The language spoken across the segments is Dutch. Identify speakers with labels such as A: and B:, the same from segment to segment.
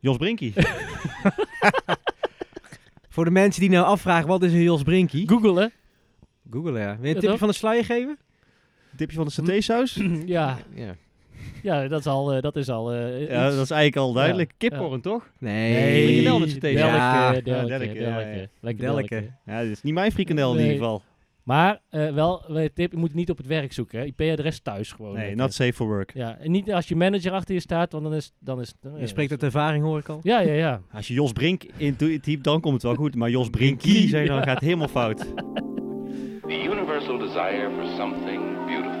A: Jos Brinkie.
B: Voor de mensen die nou afvragen, wat is een Jos Brinkie?
C: Google, hè?
B: Google, ja. Wil je een
C: Ja,
B: tipje
C: toch?
B: van de sluier geven?
A: Tipje van de satésaus.
C: ja,
B: Ja.
C: ja, dat is al... eh, dat is al eh,
A: Ja,
C: iets.
A: dat is eigenlijk al duidelijk.
C: Ja.
A: Kipcorn, toch?
B: Nee.
A: Nee. Frikandel met z'n thee.
C: Delke, eh,
B: Ja.
C: delke,
A: Ja,
C: delke,
A: delke, ja, ja.
C: Lekker delke.
B: Delke.
A: Ja, dit is niet mijn frikandel in
C: Nee.
A: ieder geval.
C: Maar eh, wel, eh, tip, je moet het niet op het werk zoeken. hè. IP-adres thuis gewoon.
A: Nee,
C: Eh,
A: not safe for work.
C: Ja, en niet als je manager achter je staat, want dan is... Dan is dan,
B: Je spreekt uit ervaring, hoor ik al.
C: Ja, ja, ja.
A: Als je Jos Brink intypt, dan komt het wel goed. Maar Jos Brinkie, zeg je, dan gaat het helemaal fout.
D: The universal desire for something beautiful.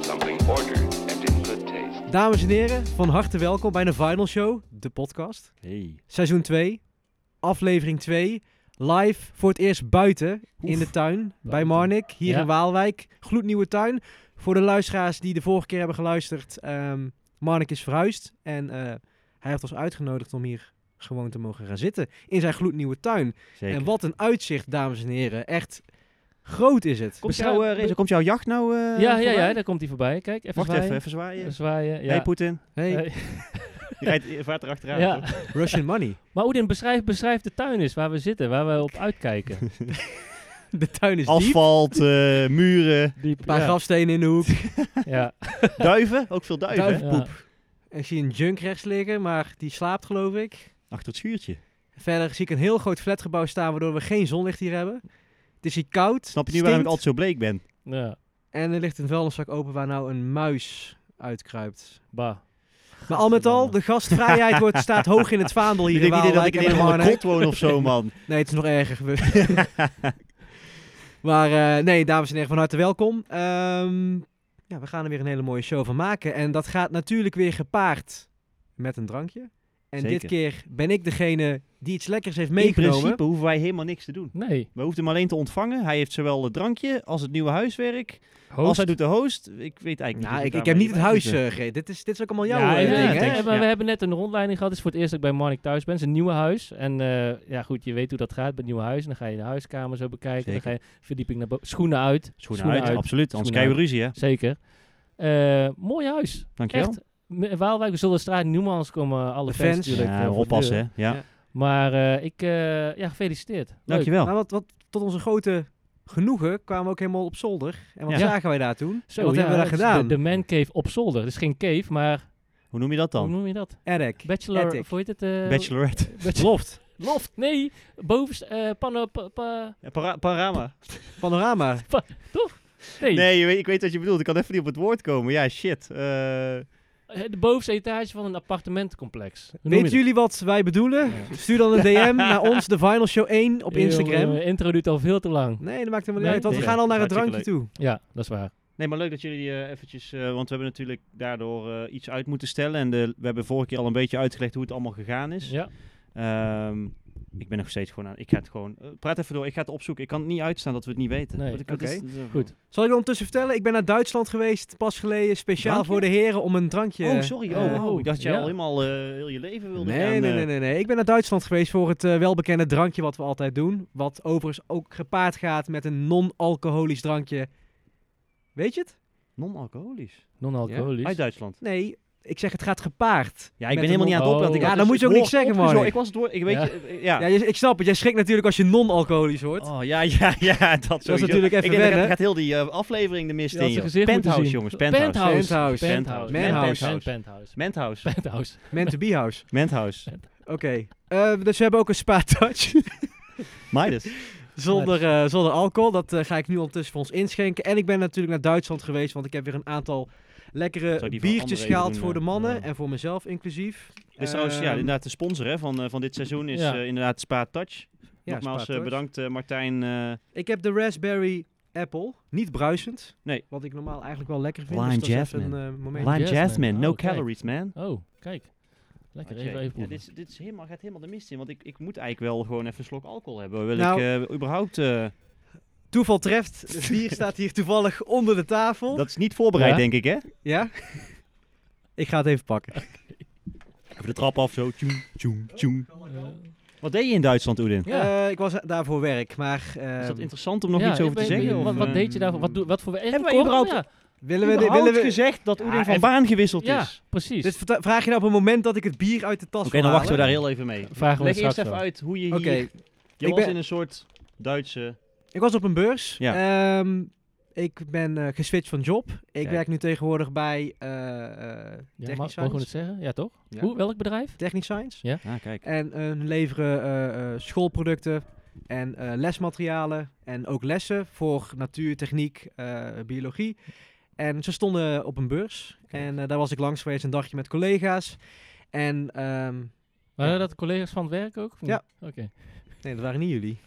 D: Something ordered and in good taste.
B: Dames en heren, van harte welkom bij de Final Show, de podcast.
A: Hey.
B: Seizoen 2, aflevering 2. Live voor het eerst buiten in
C: Oef.
B: de tuin bij
C: Buiten.
B: Marnik, hier
C: Ja.
B: in Waalwijk. Gloednieuwe tuin. Voor de luisteraars die de vorige keer hebben geluisterd, ehm Marnik is verhuisd. En eh, hij heeft ons uitgenodigd om hier gewoon te mogen gaan zitten in zijn gloednieuwe tuin.
A: Zeker.
B: En wat een uitzicht, dames en heren. Echt groot is het.
A: komt,
C: Beschouw-
A: jouw, eh, Reza, komt jouw jacht nou eh,
C: ja, ja,
A: voorbij?
C: ja, daar komt hij voorbij. Kijk, even
A: Wacht
C: zwaaien.
A: even, even zwaaien.
C: zwaaien. Ja.
A: Hey Poetin,
B: Hey,
C: Eh,
A: je rijdt je vaart erachteraan.
C: ja.
A: toch?
B: Russian money.
C: Maar Oedin, beschrijf, beschrijf de tuin eens waar we zitten, waar we op uitkijken.
B: De tuin is diep.
A: Asfalt, eh, muren,
C: Diep.
B: Een paar
C: Ja.
B: grafstenen in de hoek.
C: ja.
A: duiven. Ook veel duiven. hè?
B: Duiven.
C: ja.
B: Ik zie een junk rechts liggen, maar die slaapt geloof ik.
A: Achter het schuurtje.
B: Verder zie ik een heel groot flatgebouw staan, waardoor we geen zonlicht hier hebben. Het is hier koud.
A: Snap je nu
B: stinkt,
A: waarom ik altijd zo bleek ben?
C: Ja.
B: En er ligt een vuilniszak open waar nou een muis uitkruipt.
C: Bah.
B: Maar al met al, de gastvrijheid wordt, staat hoog in het vaandel hier
A: Ik
B: in
A: denk niet dat
B: Waalwijk
A: ik in
B: en
A: een
B: bij
A: andere
B: Marnijk.
A: kot woon of zo, man.
B: Nee, het is nog erger. We- maar eh, nee, dames en heren, van harte welkom. Ehm, ja, we gaan er weer een hele mooie show van maken. En dat gaat natuurlijk weer gepaard met een drankje. En
A: Zeker.
B: dit keer ben ik degene die iets lekkers heeft
A: In
B: meegenomen.
A: principe hoeven wij helemaal niks te doen.
C: Nee.
A: We hoeven hem alleen te ontvangen. Hij heeft zowel het drankje als het nieuwe huiswerk. Als
C: Hoogst
A: hij doet de host. Ik weet eigenlijk niet.
B: Nou,
A: of
B: ik,
A: daar
B: ik heb
A: mee
B: niet het
A: bij
B: huis
A: moet.
B: eh, gereden. Dit is, dit is ook allemaal jouw
C: ja,
B: eh,
C: ja,
B: ding,
C: ja,
B: hè?
C: ja, maar
A: Ja.
C: We hebben net een rondleiding gehad. Het is voor het eerst dat ik bij Marnik thuis ben. Het is een nieuwe huis. En eh, ja, goed, je weet hoe dat gaat bij het nieuwe huis. En dan ga je de huiskamer zo bekijken.
A: Zeker.
C: Dan ga je verdieping naar boven. Schoenen uit.
A: Schoenen uit, absoluut. Anders
C: Schoenen
A: krijgen we ruzie, hè?
C: Zeker. Eh, mooi huis.
A: Dankjewel.
C: Echt. M- Waalwijk, we zullen de straat niet noemen, anders komen alle
B: De
C: fans,
B: fans.
C: natuurlijk. eh,
A: Ja,
C: voor de
A: oppassen,
C: deur.
A: hè? Ja.
B: Ja.
C: Maar eh, ik, eh, ja, gefeliciteerd. Leuk.
A: Dankjewel.
B: Maar Nou, wat, wat tot onze grote genoegen kwamen we ook helemaal op zolder. En
A: Ja.
B: wat zagen wij daar toen?
C: Zo,
B: En wat
C: ja,
B: hebben we daar
C: het is
B: gedaan?
C: De, de man cave op zolder. Het is geen cave, maar
A: Hoe noem je dat
C: hoe
A: dan?
C: noem je dat?
B: Erek.
C: Bachelor,
B: Attic.
C: of hoe heet het? eh,
A: Bachelorette.
C: bachelor-
B: Loft.
C: Loft, nee. Bovenste, eh pannen, pa- pa-
A: Ja, para- panorama.
B: Panorama.
C: nee.
A: Nee, je weet- ik weet wat je bedoelt. Ik kan even niet op het woord komen. Ja, shit. Eh,
C: Eh, De bovenste etage van een appartementencomplex. Hoe noem je
B: Weet
C: dat?
B: jullie wat wij bedoelen? Stuur dan een DM naar ons, de Final Show 1, op
C: Eeuw,
B: Instagram.
C: eh, intro duurt al veel te lang.
B: Nee, dat maakt helemaal niet
C: Nee,
B: uit, want we
A: nee.
B: gaan al naar het drankje
A: Hartstikke
B: toe.
C: Ja, dat is waar.
A: Nee, maar leuk dat jullie eh, eventjes... eh, want we hebben natuurlijk daardoor eh, iets uit moeten stellen. En de, we hebben vorige keer al een beetje uitgelegd hoe het allemaal gegaan is.
C: Ja.
A: Ehm, ik ben nog steeds gewoon aan... Ik ga het gewoon... eh, praat even door. Ik ga het opzoeken. Ik kan het niet uitstaan dat we het niet weten.
C: Nee,
A: Want ik- dat
B: oké.
A: is- dat is-
C: Goed.
B: Zal ik ondertussen vertellen? Ik ben naar Duitsland geweest, pas geleden, speciaal
A: Drankje?
B: voor de heren om een drankje...
A: Oh, sorry. Oh,
B: eh,
A: oh, ik dacht jij
C: ja.
A: al helemaal eh, heel je leven wilde
B: Nee,
A: gaan,
B: nee,
A: eh,
B: nee, nee, nee. Ik ben naar Duitsland geweest voor het eh, welbekende drankje wat we altijd doen. Wat overigens ook gepaard gaat met een non-alcoholisch drankje. Weet je het?
A: Non-alcoholisch.
C: Non-alcoholisch.
A: Uit Duitsland.
B: Nee, ik zeg het gaat gepaard.
A: Ja, ik ben
B: Met een
A: helemaal niet aan het
C: non-
A: opletten.
C: Oh.
B: Ja, dan moet je ook niks zeggen, man.
A: Ik was het woord... Ik weet
C: Ja.
A: je... eh, Ja.
B: Ja, je- ik snap het. Jij schrikt natuurlijk als je non-alcoholisch hoort.
A: Oh, ja, ja, ja, dat
B: dat is
A: sowieso.
B: natuurlijk even
A: ik denk, dat
B: wennen.
A: gaat heel die eh, aflevering de mist
C: Je
A: in,
C: had zijn
A: joh.
C: gezicht moeten
A: Penthouse,
C: zien.
A: jongens. Penthouse.
B: Penthouse.
C: Penthouse.
B: Penthouse.
C: Man- Penthouse.
A: Menthouse.
C: Penthouse.
B: Man to be house.
A: Menthouse.
B: Oké. Eh, dus we hebben ook een spa-touch.
A: Midas.
B: zonder, eh, zonder alcohol. Dat eh, ga ik nu ondertussen voor ons inschenken. En ik ben natuurlijk naar Duitsland geweest. Want ik heb weer een aantal
A: Zal ik
B: lekkere
A: die van anderen
B: biertjes
A: even
B: gehaald
A: doen,
B: voor de
A: eh?
B: mannen.
A: Ja.
B: En voor mezelf inclusief.
A: Dit is trouwens ja,
B: Ehm,
A: inderdaad de sponsor hè, van, eh, van dit seizoen is
C: Ja.
A: eh, inderdaad Spa Touch.
B: ja,
A: Nogmaals eh,
B: spaartocht.
A: bedankt eh, Martijn. eh,
B: Ik heb de Raspberry Apple. Niet bruisend.
A: Nee.
B: Wat ik normaal eigenlijk wel lekker vind.
A: Lime
B: dus dat is even
A: jasmine.
B: een eh, moment.
C: Lime jasmine.
A: no
C: Oh, kijk.
A: calories man.
C: Oh, kijk. Lekker,
A: Oké.
C: even, even
A: ja,
C: proeven.
A: dit is, dit is helemaal, gaat helemaal de mist in, want ik, ik moet eigenlijk wel gewoon even een slok alcohol hebben. Wil
B: Nou.
A: ik eh, überhaupt... eh,
B: Toeval treft. Het bier staat hier toevallig onder de tafel.
A: dat is niet voorbereid
C: Ja.
A: denk ik hè?
B: Ja? ik ga het even pakken.
A: Even de trap af zo. Tjoen, tjoen, tjoen.
C: Eh,
A: Wat deed je in Duitsland, Oedin?
C: Ja.
B: Eh, ik was daar voor werk, maar
A: Is dat
B: ehm,
A: interessant om nog
C: Ja,
A: iets
C: ik
A: over te
C: ben- ik
A: zeggen?
C: ben-
A: of,
C: Wat, wat
A: eh,
C: deed je daarvoor? Wat, doe- wat voor...
A: Hebben wij
C: Kom,
A: überhaupt-
C: ja,
B: willen we... dit-
A: Überhaupt
B: Willen we
A: gezegd dat Oedin
C: Ah,
A: van
C: even-
A: baan gewisseld
C: ja,
A: is?
C: precies.
B: dit verta- vraag je nou op het moment dat ik het bier uit de tas
A: Oké,
B: wil
A: dan wachten we
B: halen?
A: daar heel even mee.
C: Vragen we
A: Leg
C: het
A: eerst
C: straks
A: even
C: wel.
A: uit hoe je hier...
B: Oké,
A: Je
B: Ik
A: was
B: ben-
A: in een soort Duitse...
B: ik was op een beurs.
A: Ja.
B: Ehm, ik ben eh, geswitcht van job. Ik
A: Kijk.
B: werk nu tegenwoordig bij eh, eh,
C: Ja,
B: Technisch
C: mag, mogen we
B: Science.
C: het zeggen? Ja, toch?
A: Ja.
C: Hoe, welk bedrijf?
B: Technisch Science.
A: Ah, kijk.
B: En eh, hun leveren eh, eh, schoolproducten en eh, lesmaterialen en ook lessen voor natuur, techniek, eh, biologie. En ze stonden op een beurs en eh, daar was ik langs geweest een dagje met collega's. En ehm,
C: Waren dat collega's van het werk ook? of niet?
B: Ja.
C: Oké.
B: nee, dat waren niet jullie.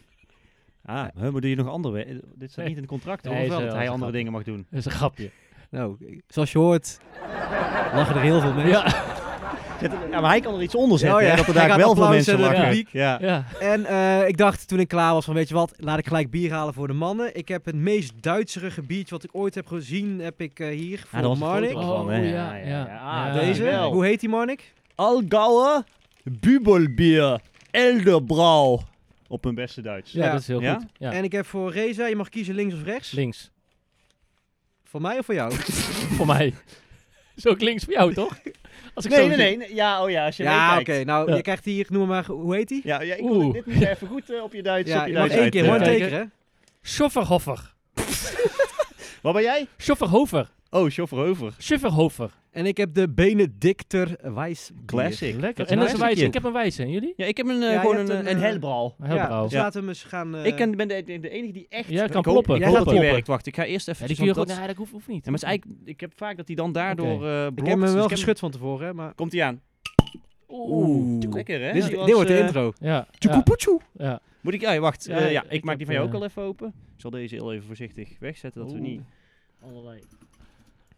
A: Ah, hè, maar doe je nog andere... we- Dit staat
C: Nee.
A: niet in het contract, hoor.
C: Nee,
A: of wel
C: is,
A: dat
C: eh,
A: hij
C: is
A: andere
C: grappig.
A: dingen mag doen.
C: Dat is een grapje.
B: Nou, ik- zoals je hoort, lachen er heel veel mensen.
C: Ja.
A: Zet- Ja, maar hij kan er iets onder zetten,
B: Oh ja,
A: hè, dat er
B: hij
A: daar
B: gaat
A: wel veel
B: applaus
A: mensen
B: zetten,
A: lachen. Ja.
B: publiek.
C: ja.
B: En eh, ik dacht toen ik klaar was van weet je wat, laat ik gelijk bier halen voor de mannen. Ik heb het meest Duitserige biertje wat ik ooit heb gezien, heb ik eh, hier
A: Ah,
B: voor
A: dat was een
B: Marnik.
A: foto van, hè.
C: Oh, ja, ja.
A: Ah,
C: Ja.
B: Deze,
A: wel.
B: hoe heet die Marnik?
A: Allgauer Bübelbier Elderbrau. Op hun beste Duits.
C: Ja,
B: Ja.
C: dat is heel
A: Ja?
C: goed. Ja.
B: En ik heb voor Reza, je mag kiezen links of rechts.
C: Links.
B: Voor mij of voor jou?
C: voor mij. Is ook links voor jou, toch? Als ik zo
A: Nee, nee,
C: zie.
A: nee, nee. Ja, oh ja, als je
B: ja, oké.
A: meekijkt.
B: nou,
C: Ja.
B: je krijgt hier, noem maar, hoe heet die?
A: Ja, ja, ik
C: Oeh.
A: wil dit moet je even goed eh, op je Duits,
B: Ja,
A: op je
B: je mag
A: Duits
B: één keer,
A: uit,
B: one
A: eh,
C: hoor.
B: taker,
C: kijken.
B: hè?
C: Schofferhofer.
A: Wat ben jij?
C: Schofferhofer.
A: Oh, Schofferhofer.
C: Schofferhofer.
B: En ik heb de Benedicter Wijs.
A: Classic.
C: Lekker.
A: is
C: En dat is
A: een
C: een wijze.
A: stukje.
C: Ik heb een wijze. En jullie?
A: Ja, ik heb een, eh,
B: Ja, je
A: gewoon
B: hebt
A: een,
B: een,
A: een,
B: eh,
A: helbral.
C: Heel
B: ja,
C: brouw.
B: Dus
A: Ja.
B: laten we eens gaan... eh,
A: ik ken- ben de, de, de enige die echt...
C: Jij kan
A: ik hoop-
C: poppen,
A: Ik
B: jij
A: hoop
B: kan
A: dat die
C: poppen.
A: werkt. Wacht, ik ga eerst even...
C: Ja, die kun je
A: want
C: gewoon...
A: dat-
C: Nee, dat hoeft, hoeft niet.
A: Ja, maar het is eigenlijk... Ik heb vaak dat hij dan daardoor
C: Oké.
A: eh,
B: ik
A: blokt.
B: heb
A: dus
B: hem wel geschud van tevoren, hè? Maar...
A: Komt hij aan.
C: Oeh.
A: Lekker, hè?
B: dit,
A: Die
B: is-
A: was,
B: dit wordt de
A: eh,
B: intro.
C: Ja. Ja.
B: Tjoekoepoetjoe.
C: ja.
A: Moet ik... Ja, wacht.
C: Ja,
A: eh, ja,
C: ja,
A: ik,
C: ik
A: maak die
C: heb,
A: van jou ook
C: eh,
A: al even open. Ik zal deze heel even voorzichtig wegzetten, dat we
C: Oeh.
A: niet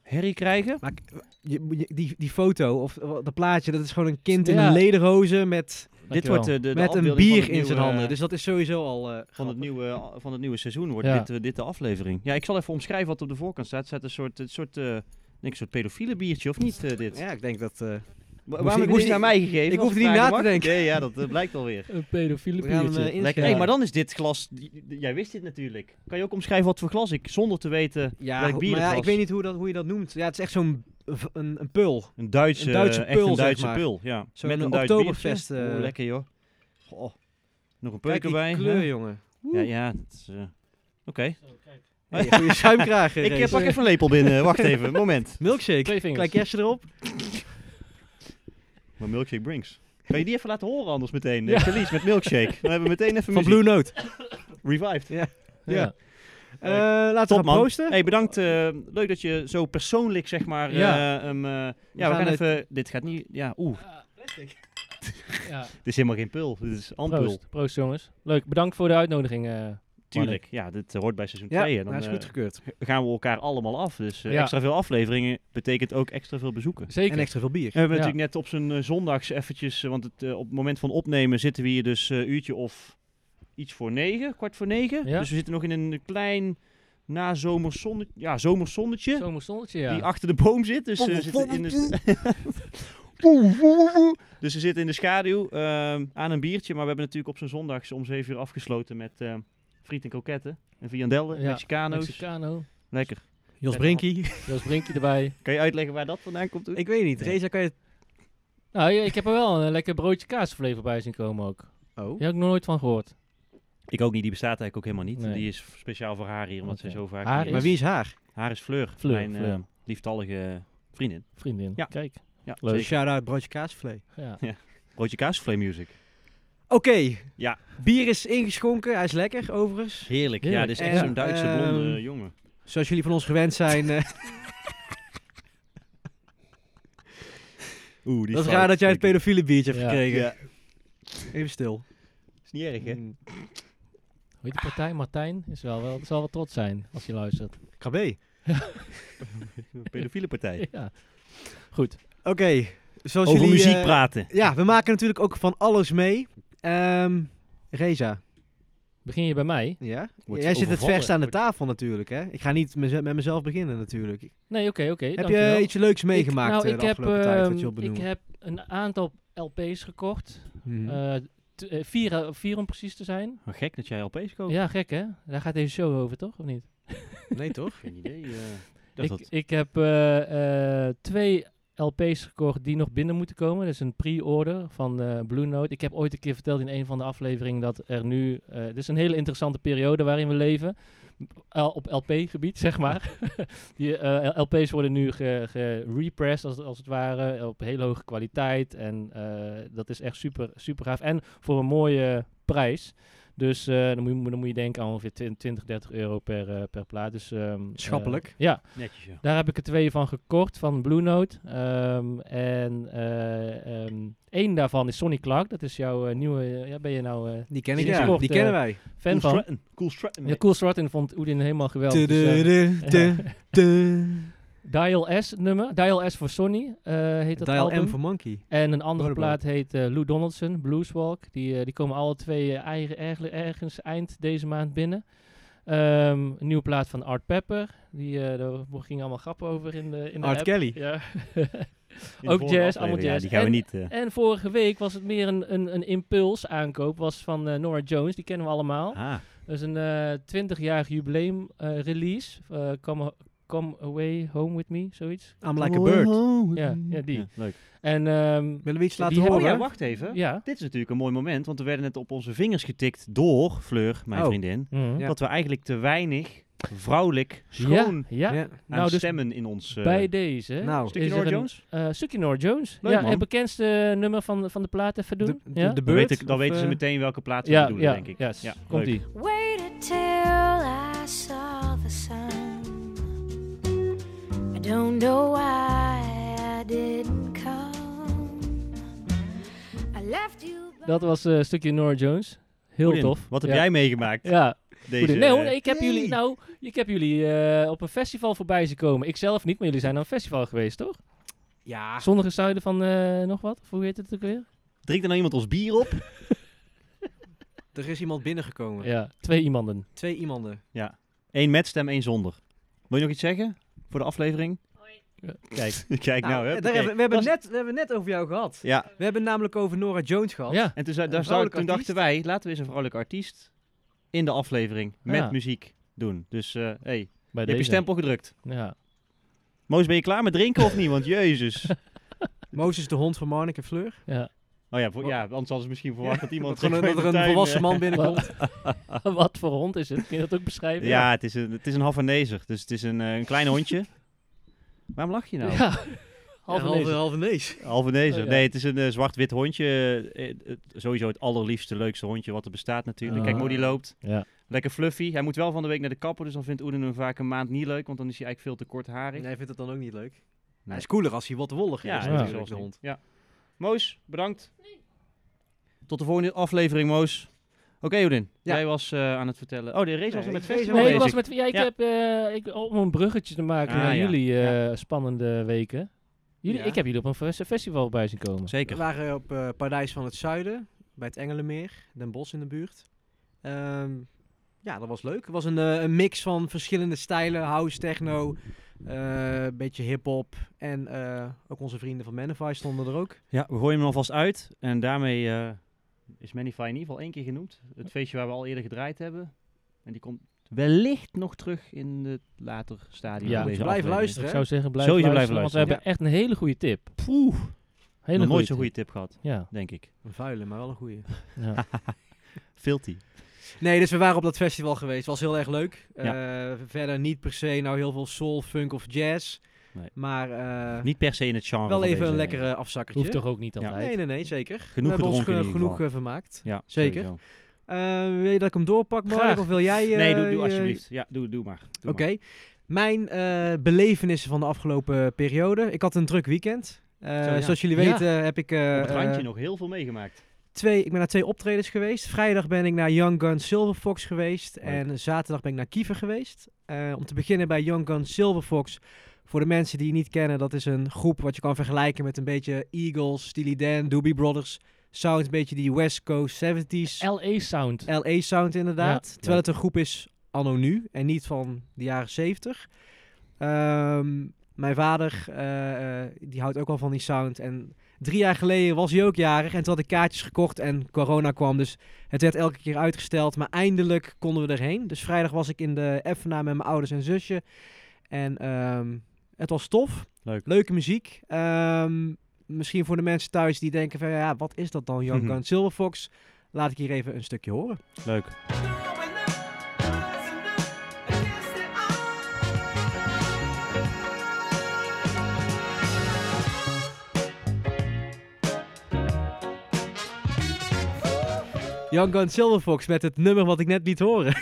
A: herrie krijgen.
B: Maar k- je- je- die, die foto, of eh, dat plaatje, dat is gewoon een kind in
C: Ja.
B: een lederhoze met,
A: Dit
C: Dankjewel.
A: wordt eh, de, de
B: met een
A: afbeelding
B: bier
A: van het
B: in zijn
A: nieuwe- eh,
B: handen. Dus dat is sowieso al... eh,
A: van,
B: grappig.
A: het nieuwe, van het nieuwe seizoen wordt
C: Ja.
A: dit, eh, dit de aflevering. Ja, ik zal even omschrijven wat op de voorkant staat. Het staat een soort, een soort, eh, ik denk een soort pedofiele biertje, of niet, eh, dit?
B: Ja, ik denk dat... eh,
A: Wa-
B: ik-
A: Waarom heb je
B: moest
A: dit
B: ik-
A: aan mij gegeven?
B: ik
A: als
B: hoefde niet
A: vragen
B: na te
A: mag?
B: denken.
A: Nee, ja, dat eh, blijkt alweer.
C: Een pedofiele
B: we gaan hem
C: biertje.
B: eh,
A: Lekker.
B: inschrijven.
A: hey, maar dan is dit glas... die- die- Jij wist dit natuurlijk. Kan je ook omschrijven wat voor glas ik, zonder te weten...
B: Ja,
A: Welk
B: ho-
A: bier
B: maar
A: het
B: ja,
A: was.
B: ik weet niet hoe, dat, hoe je dat noemt. Ja, het is echt zo'n v- een, een pul.
A: Een Duitse,
B: Een Duitse
A: eh, echt
B: pul,
A: een
B: zeg
A: Duitse
B: maar.
A: pul, ja.
B: Zo'n
A: Met een Duits
B: Oktoberfest,
A: biertje.
B: eh.
A: Oeh, lekker joh. Goh. Nog een
B: Kijk
A: peuk
B: die
A: erbij.
B: kleur,
A: hè?
B: jongen.
A: Ja, ja. het is, eh, Oké. Oh,
B: Hey, goeie schuimkraag. eh,
A: Ik eh,
B: Rees.
A: pak even een lepel binnen. Wacht even, moment.
B: Milkshake.
C: Twee vingers.
B: Klein kerstje erop.
A: Maar Milkshake Brinks. Kan je die even laten horen anders meteen?
C: Ja.
A: Ja. Verlies met Milkshake. Dan hebben we meteen even
B: Van
A: muziek.
B: Blue Note.
A: Revived.
C: Ja.
B: Eh laten we
A: Top
B: gaan
A: man.
B: proosten.
A: Hey, bedankt. eh, leuk dat je zo persoonlijk zeg maar...
C: Ja.
A: eh, hem, eh, ja, we gaan,
B: gaan het-
A: even... Dit gaat niet... Ja, oeh.
C: Ja.
A: Dit is helemaal geen pul. Dit is ampul.
C: Proost. Proost, jongens. Leuk. Bedankt voor de uitnodiging. eh.
A: Tuurlijk. Ja, dit eh, hoort bij seizoen
B: Ja,
A: 2.
B: hij is goed
A: dan
B: gekeurd.
A: eh, gaan we elkaar allemaal af. Dus eh,
C: Ja.
A: extra veel afleveringen betekent ook extra veel bezoeken.
C: Zeker.
B: En extra veel bier.
A: En we hebben
C: Ja.
A: natuurlijk net op zijn eh, zondags eventjes, eh, want het, eh, op het moment van opnemen zitten we hier dus een uurtje of iets voor negen, kwart voor negen.
C: Ja.
A: Dus we zitten nog in een klein nazomerzonnetje, ja, zomerzonnetje,
C: Zomerstonnetje, ja.
A: die achter de boom zit. Dus, eh, we zitten in de dus we zitten in de schaduw ehm, aan een biertje, maar we hebben natuurlijk op zijn zondags om zeven uur afgesloten met ehm, friet en kroketten en viandellen,
C: Ja,
A: Mexicano's.
C: Mexicano.
A: Lekker.
B: Jos Brinkie.
C: Jos Brinkje erbij.
A: Kan je uitleggen waar dat vandaan komt? Oet?
B: ik weet niet.
A: Nee.
B: Reza, kan je...
C: Nou, ja, ik heb er wel een lekker broodje kaasvlees bij zien komen ook.
B: Oh.
C: Die heb ik nog nooit van gehoord.
A: Ik ook niet, die bestaat eigenlijk ook helemaal niet.
C: Nee.
A: Die is speciaal voor haar hier, omdat
C: Oké.
A: zij zo vaak...
C: Haar
A: hier
C: is-
B: Maar wie is haar?
A: Haar is Fleur,
C: Fleur,
A: mijn
C: Fleur.
A: eh, lieftallige vriendin.
C: Vriendin.
A: Ja.
C: Kijk.
A: Ja,
C: Leuk.
A: zeker.
B: Shout-out broodje kaasvlee.
C: Ja.
A: Broodje kaasvlees music.
B: Oké.
A: Ja.
B: Bier is ingeschonken. Hij is lekker, overigens.
A: Heerlijk, ja,
C: Heerlijk.
A: dit is echt
B: En,
A: zo'n Duitse
B: ehm,
A: blonde eh, jongen.
B: Zoals jullie van ons gewend zijn. eh,
A: Oeh, die
B: dat is raar dat jij het pedofiele biertje hebt
C: Ja.
B: gekregen.
A: Ja.
B: Even stil.
A: Is niet erg, hè?
C: Hoe heet die partij? Martijn? Is wel wel, zal wel trots zijn als je luistert.
B: KB.
A: Pedofiele partij.
C: Ja. Goed.
B: Oké, zoals
A: Over
B: jullie...
A: muziek
B: eh,
A: praten.
B: Ja, we maken natuurlijk ook van alles mee. Ehm Reza,
C: Begin je bij mij?
B: ja?
A: Wordt
B: jij zit het
A: overvallen.
B: verst aan de tafel natuurlijk, hè? Ik ga niet mez- met mezelf beginnen natuurlijk.
C: Nee, oké, oké.
B: heb je
C: dankjewel.
B: iets leuks
C: Ik-
B: meegemaakt
C: nou,
B: eh,
C: ik
B: de
C: heb,
B: afgelopen tijd dat
C: ehm,
B: je op
C: Ik
B: benoemt?
C: heb een aantal LP's gekocht.
B: Mhm.
C: Eh, t- eh, vier, eh, vier om precies te zijn.
A: Wat gek dat jij LP's
B: Oh.
A: koopt.
C: Ja, gek hè? Daar gaat deze show over, toch? Of niet?
B: Nee, toch?
A: Geen idee. eh. Ik dacht
C: Ik,
A: dat-
C: ik heb eh, eh, twee LP's gekocht die nog binnen moeten komen. Dat is een pre-order van eh, Blue Note. Ik heb ooit een keer verteld in een van de afleveringen dat er nu... eh dit is een hele interessante periode waarin we leven. Eh, op LP-gebied, zeg maar. die eh, LP's worden nu ge- gerepressed, als, als het ware, eh, op hele hoge kwaliteit. En eh, dat is echt super, super gaaf. En voor een mooie prijs. Dus eh, dan, moet je, dan moet je denken aan ongeveer 20, 30 euro per, eh, per plaat. Dus, ehm, eh,
B: Schappelijk.
C: ja,
A: Netjes, ja.
C: daar heb ik er twee van gekocht, van Blue Note. Ehm, en eh, ehm, één daarvan is Sonny Clark. Dat is jouw eh, nieuwe... ja, ben je nou eh,
B: Die ken ik,
C: Sinds
B: ja.
C: kort,
B: Die
C: eh,
B: kennen wij.
A: cool
C: fan van?
A: Stratton. Cool Stratton.
C: Ja, Cool Stratton vond Oedin helemaal geweldig. dus, eh,
B: Tududu, tu, tu.
C: Dial S nummer. Dial S voor Sonny eh, heet dat
B: Dial
C: album.
B: M voor Monkey.
C: En een andere
B: Wonderboy.
C: plaat heet eh, Lou Donaldson, Blueswalk. Die, eh, die komen alle twee eh, eigen- erg- ergens eind deze maand binnen. Ehm, een nieuwe plaat van Art Pepper. Die, eh, daar gingen allemaal grappen over in de, in de
B: Art
C: app.
B: Kelly.
C: Ja.
A: In de
C: ook
A: volgende
C: jazz, allemaal
A: aflevering. Ja,
C: jazz.
A: die gaan we
C: En-
A: niet... eh,
C: En vorige week was het meer een, een, een impuls aankoop. Was van eh, Nora Jones, die kennen we allemaal.
A: ah,
C: Dat is een eh 20-jarig jubileum eh, release. Eh, come, come Away Home With Me, zoiets.
B: I'm like a bird.
C: Ja, ja die.
A: ja, leuk.
C: En ehm,
B: Willen we iets
C: Die
B: laten
C: hebben-
A: Oh ja,
B: horen?
A: wacht even.
C: ja.
A: Dit is natuurlijk een mooi moment, want we werden net op onze vingers getikt door Fleur, mijn
B: Oh.
A: vriendin,
C: Mhm.
B: Ja.
A: dat we eigenlijk te weinig vrouwelijk schoon aan
C: ja, ja.
B: Ja.
C: Nou, dus
A: stemmen in ons... eh,
C: Bij deze.
B: Nou,
A: Stukje
C: is er
A: Nora
C: een-
A: Jones?
C: eh, stukje Nora Jones.
A: Leuk,
C: ja,
A: man.
C: het bekendste nummer van, van de plaat even doen.
B: De- de-
C: ja?
B: de
A: Dan,
B: Bird,
A: weten, dan
B: of,
A: weten ze
B: eh,
A: meteen welke plaat ze
C: ja,
A: bedoelen,
C: ja,
A: denk ik.
C: yes.
A: Ja,
C: Komt
A: leuk.
C: ie.
E: Waited till I saw the sun. I don't know why I didn't come. I left you.
C: Dat was eh, stukje Nora Jones. Heel
A: Goedin,
C: tof.
A: Wat heb
C: Ja.
A: jij meegemaakt?
C: Ja,
A: Deze,
C: Goeie- nee hoor,
A: eh,
C: nee, ik heb jullie, nou, ik heb jullie eh, op een festival voorbij zien komen. Ik zelf niet, maar jullie zijn aan een festival geweest, toch?
A: Ah.
B: Ja.
C: Zonnige zuiden van eh, nog wat? Of hoe heet het ook weer?
A: Drinkt er nou iemand ons bier op?
B: Er is iemand binnengekomen.
C: Ja, twee iemanden.
B: Twee iemanden.
A: Eén met stem, één zonder. Wil je nog iets zeggen voor de aflevering?
C: Ja.
A: Kijk, kijk nou.
B: daar
A: hè.
B: hebben, we, hebben
A: Was-
B: net, we hebben net over jou gehad.
A: Ja,
B: We hebben namelijk over Nora Jones gehad.
C: Ja,
A: en toen, zei,
B: Een
A: daar zou-
B: vrouwelijke
A: toen dachten
B: artiest.
A: wij, laten we eens een vrouwelijke artiest in de aflevering met
C: Ja.
A: muziek doen. Dus hé, hey, je
C: bij
A: hebt je
C: deze.
A: stempel gedrukt.
C: Ja.
A: Moos, ben je klaar met drinken of niet? Want jezus.
B: Mozes de hond van Marnik en Fleur.
C: ja.
A: Oh ja, voor, ja anders hadden ze misschien verwacht dat iemand...
B: dat er een,
A: gewoon
B: dat er
A: in de
B: een
A: tuin,
B: volwassen
A: eh,
B: man binnenkomt.
C: wat voor hond is het? Kun je dat ook beschrijven?
A: eh, Ja, het is een, het is een Havanezer. Dus het is een, eh, een klein hondje. Waarom lach je nou?
C: Ja. Halve lezer.
B: halve nees.
A: Albanese.
C: Oh, ja.
A: Nee, het is een eh, zwart-wit hondje. Eh, eh, het- sowieso het allerliefste, leukste hondje wat er bestaat natuurlijk.
C: Ah.
A: Kijk hoe die loopt.
C: Ja.
A: Lekker fluffy. Hij moet wel van de week naar de kapper, dus dan vindt Oeden hem vaak een maand niet leuk, want dan is hij eigenlijk veel te kortharig.
B: Nee, hij vindt het dan ook niet leuk. Hij
A: Nee.
B: is cooler als hij wat wollig
A: Ja,
B: is.
A: dat is
B: natuurlijk,
A: zoals
B: de hond.
A: Ja. Moos, bedankt. Tot de volgende aflevering, Moos. Oké, Oedin.
B: Ja.
A: Jij was eh, aan het vertellen. Oh, de race was
B: Nee,
A: er met
B: ik-
A: festival
C: Nee, ik
A: bezig.
C: was met... Ja, ik
A: Ja.
C: heb... eh, ik, om een bruggetje te maken
A: Ah,
C: naar
A: ja.
C: jullie eh, spannende weken. Jullie,
B: Ja.
C: Ik heb jullie op een fes- festival bij zien komen.
B: We
A: Zeker.
B: waren op eh, Paradijs van het Zuiden, bij het Engelenmeer, Den Bosch in de buurt. Ehm, ja, dat was leuk. Het was een, eh, een mix van verschillende stijlen, house, techno, eh, een beetje hip-hop. En eh, ook onze vrienden van Manify stonden er ook.
A: Ja, we gooien hem alvast uit. En daarmee eh, is Manify in ieder geval één keer genoemd. Het feestje waar we al eerder gedraaid hebben. En die komt wellicht nog terug in het later stadium.
C: Ja,
A: van deze
B: blijven
A: aflevering.
B: luisteren.
C: Ik zou zeggen, blijf
A: Sowieso
C: luisteren,
A: blijven
C: want we
A: luisteren,
C: hebben echt een hele goede tip. Poeh. Hele
A: Nog nooit
C: goede
A: zo'n
C: tip.
A: goede tip gehad,
C: Ja.
A: denk ik.
B: Een vuile, maar wel een goeie.
C: ja.
A: Filty.
B: Nee, dus we waren op dat festival geweest. Was heel erg leuk.
A: Ja.
B: Eh, verder niet per se nou heel veel soul, funk of jazz.
A: Nee.
B: Maar eh,
A: Niet per se in het genre.
B: wel
A: van
B: even
A: deze-
B: een lekkere afzakkertje.
C: Hoeft toch ook niet
A: Ja.
C: altijd.
B: Nee, nee, nee, zeker.
A: Genoeg
B: we hebben ons
A: gedronken in
B: ge-
A: ieder
B: genoeg
A: geval.
B: eh, vermaakt.
A: Ja,
B: Zeker.
A: sowieso.
B: Eh, wil je dat ik hem doorpak, Mark?
C: Graag.
B: Of wil jij... eh,
A: nee, doe,
B: je-
A: doe alsjeblieft. Ja, doe, doe maar. Doe
B: Oké. Mijn eh, belevenissen van de afgelopen periode. Ik had een druk weekend. Eh,
A: Zo, ja.
B: Zoals jullie
C: Ja.
B: weten heb ik... eh,
A: maar. Op het randje
B: eh,
A: nog heel veel meegemaakt.
B: twee, ik ben naar twee optredens geweest. Vrijdag ben ik naar Young Gun Silver Fox geweest.
A: Leuk.
B: En zaterdag ben ik naar Kiever geweest. Eh, om te beginnen bij Young Gun Silver Fox. Voor de mensen die het niet kennen, dat is een groep wat je kan vergelijken met een beetje Eagles, Steely Dan, Doobie Brothers. Sound een beetje die West Coast 70s.
C: LA E Sound.
B: LA Sound inderdaad.
C: Ja.
B: terwijl het een groep is anno nu en niet van de jaren 70. Ehm, mijn vader, eh, eh, die houdt ook al van die sound. En Drie jaar geleden was hij ook jarig en toen had ik kaartjes gekocht en corona kwam. Dus het werd elke keer uitgesteld. Maar eindelijk konden we erheen. Dus vrijdag was ik in de Effenaar met mijn ouders en zusje. En ehm, het was tof.
A: Leuk.
B: Leuke muziek. Ehm, misschien voor de mensen thuis die denken van ja, wat is dat dan, Young
A: Mhm.
B: Gun Silver Fox? Laat ik hier even een stukje horen.
A: Leuk.
B: Young Gun Silver Fox met het nummer wat ik net liet horen.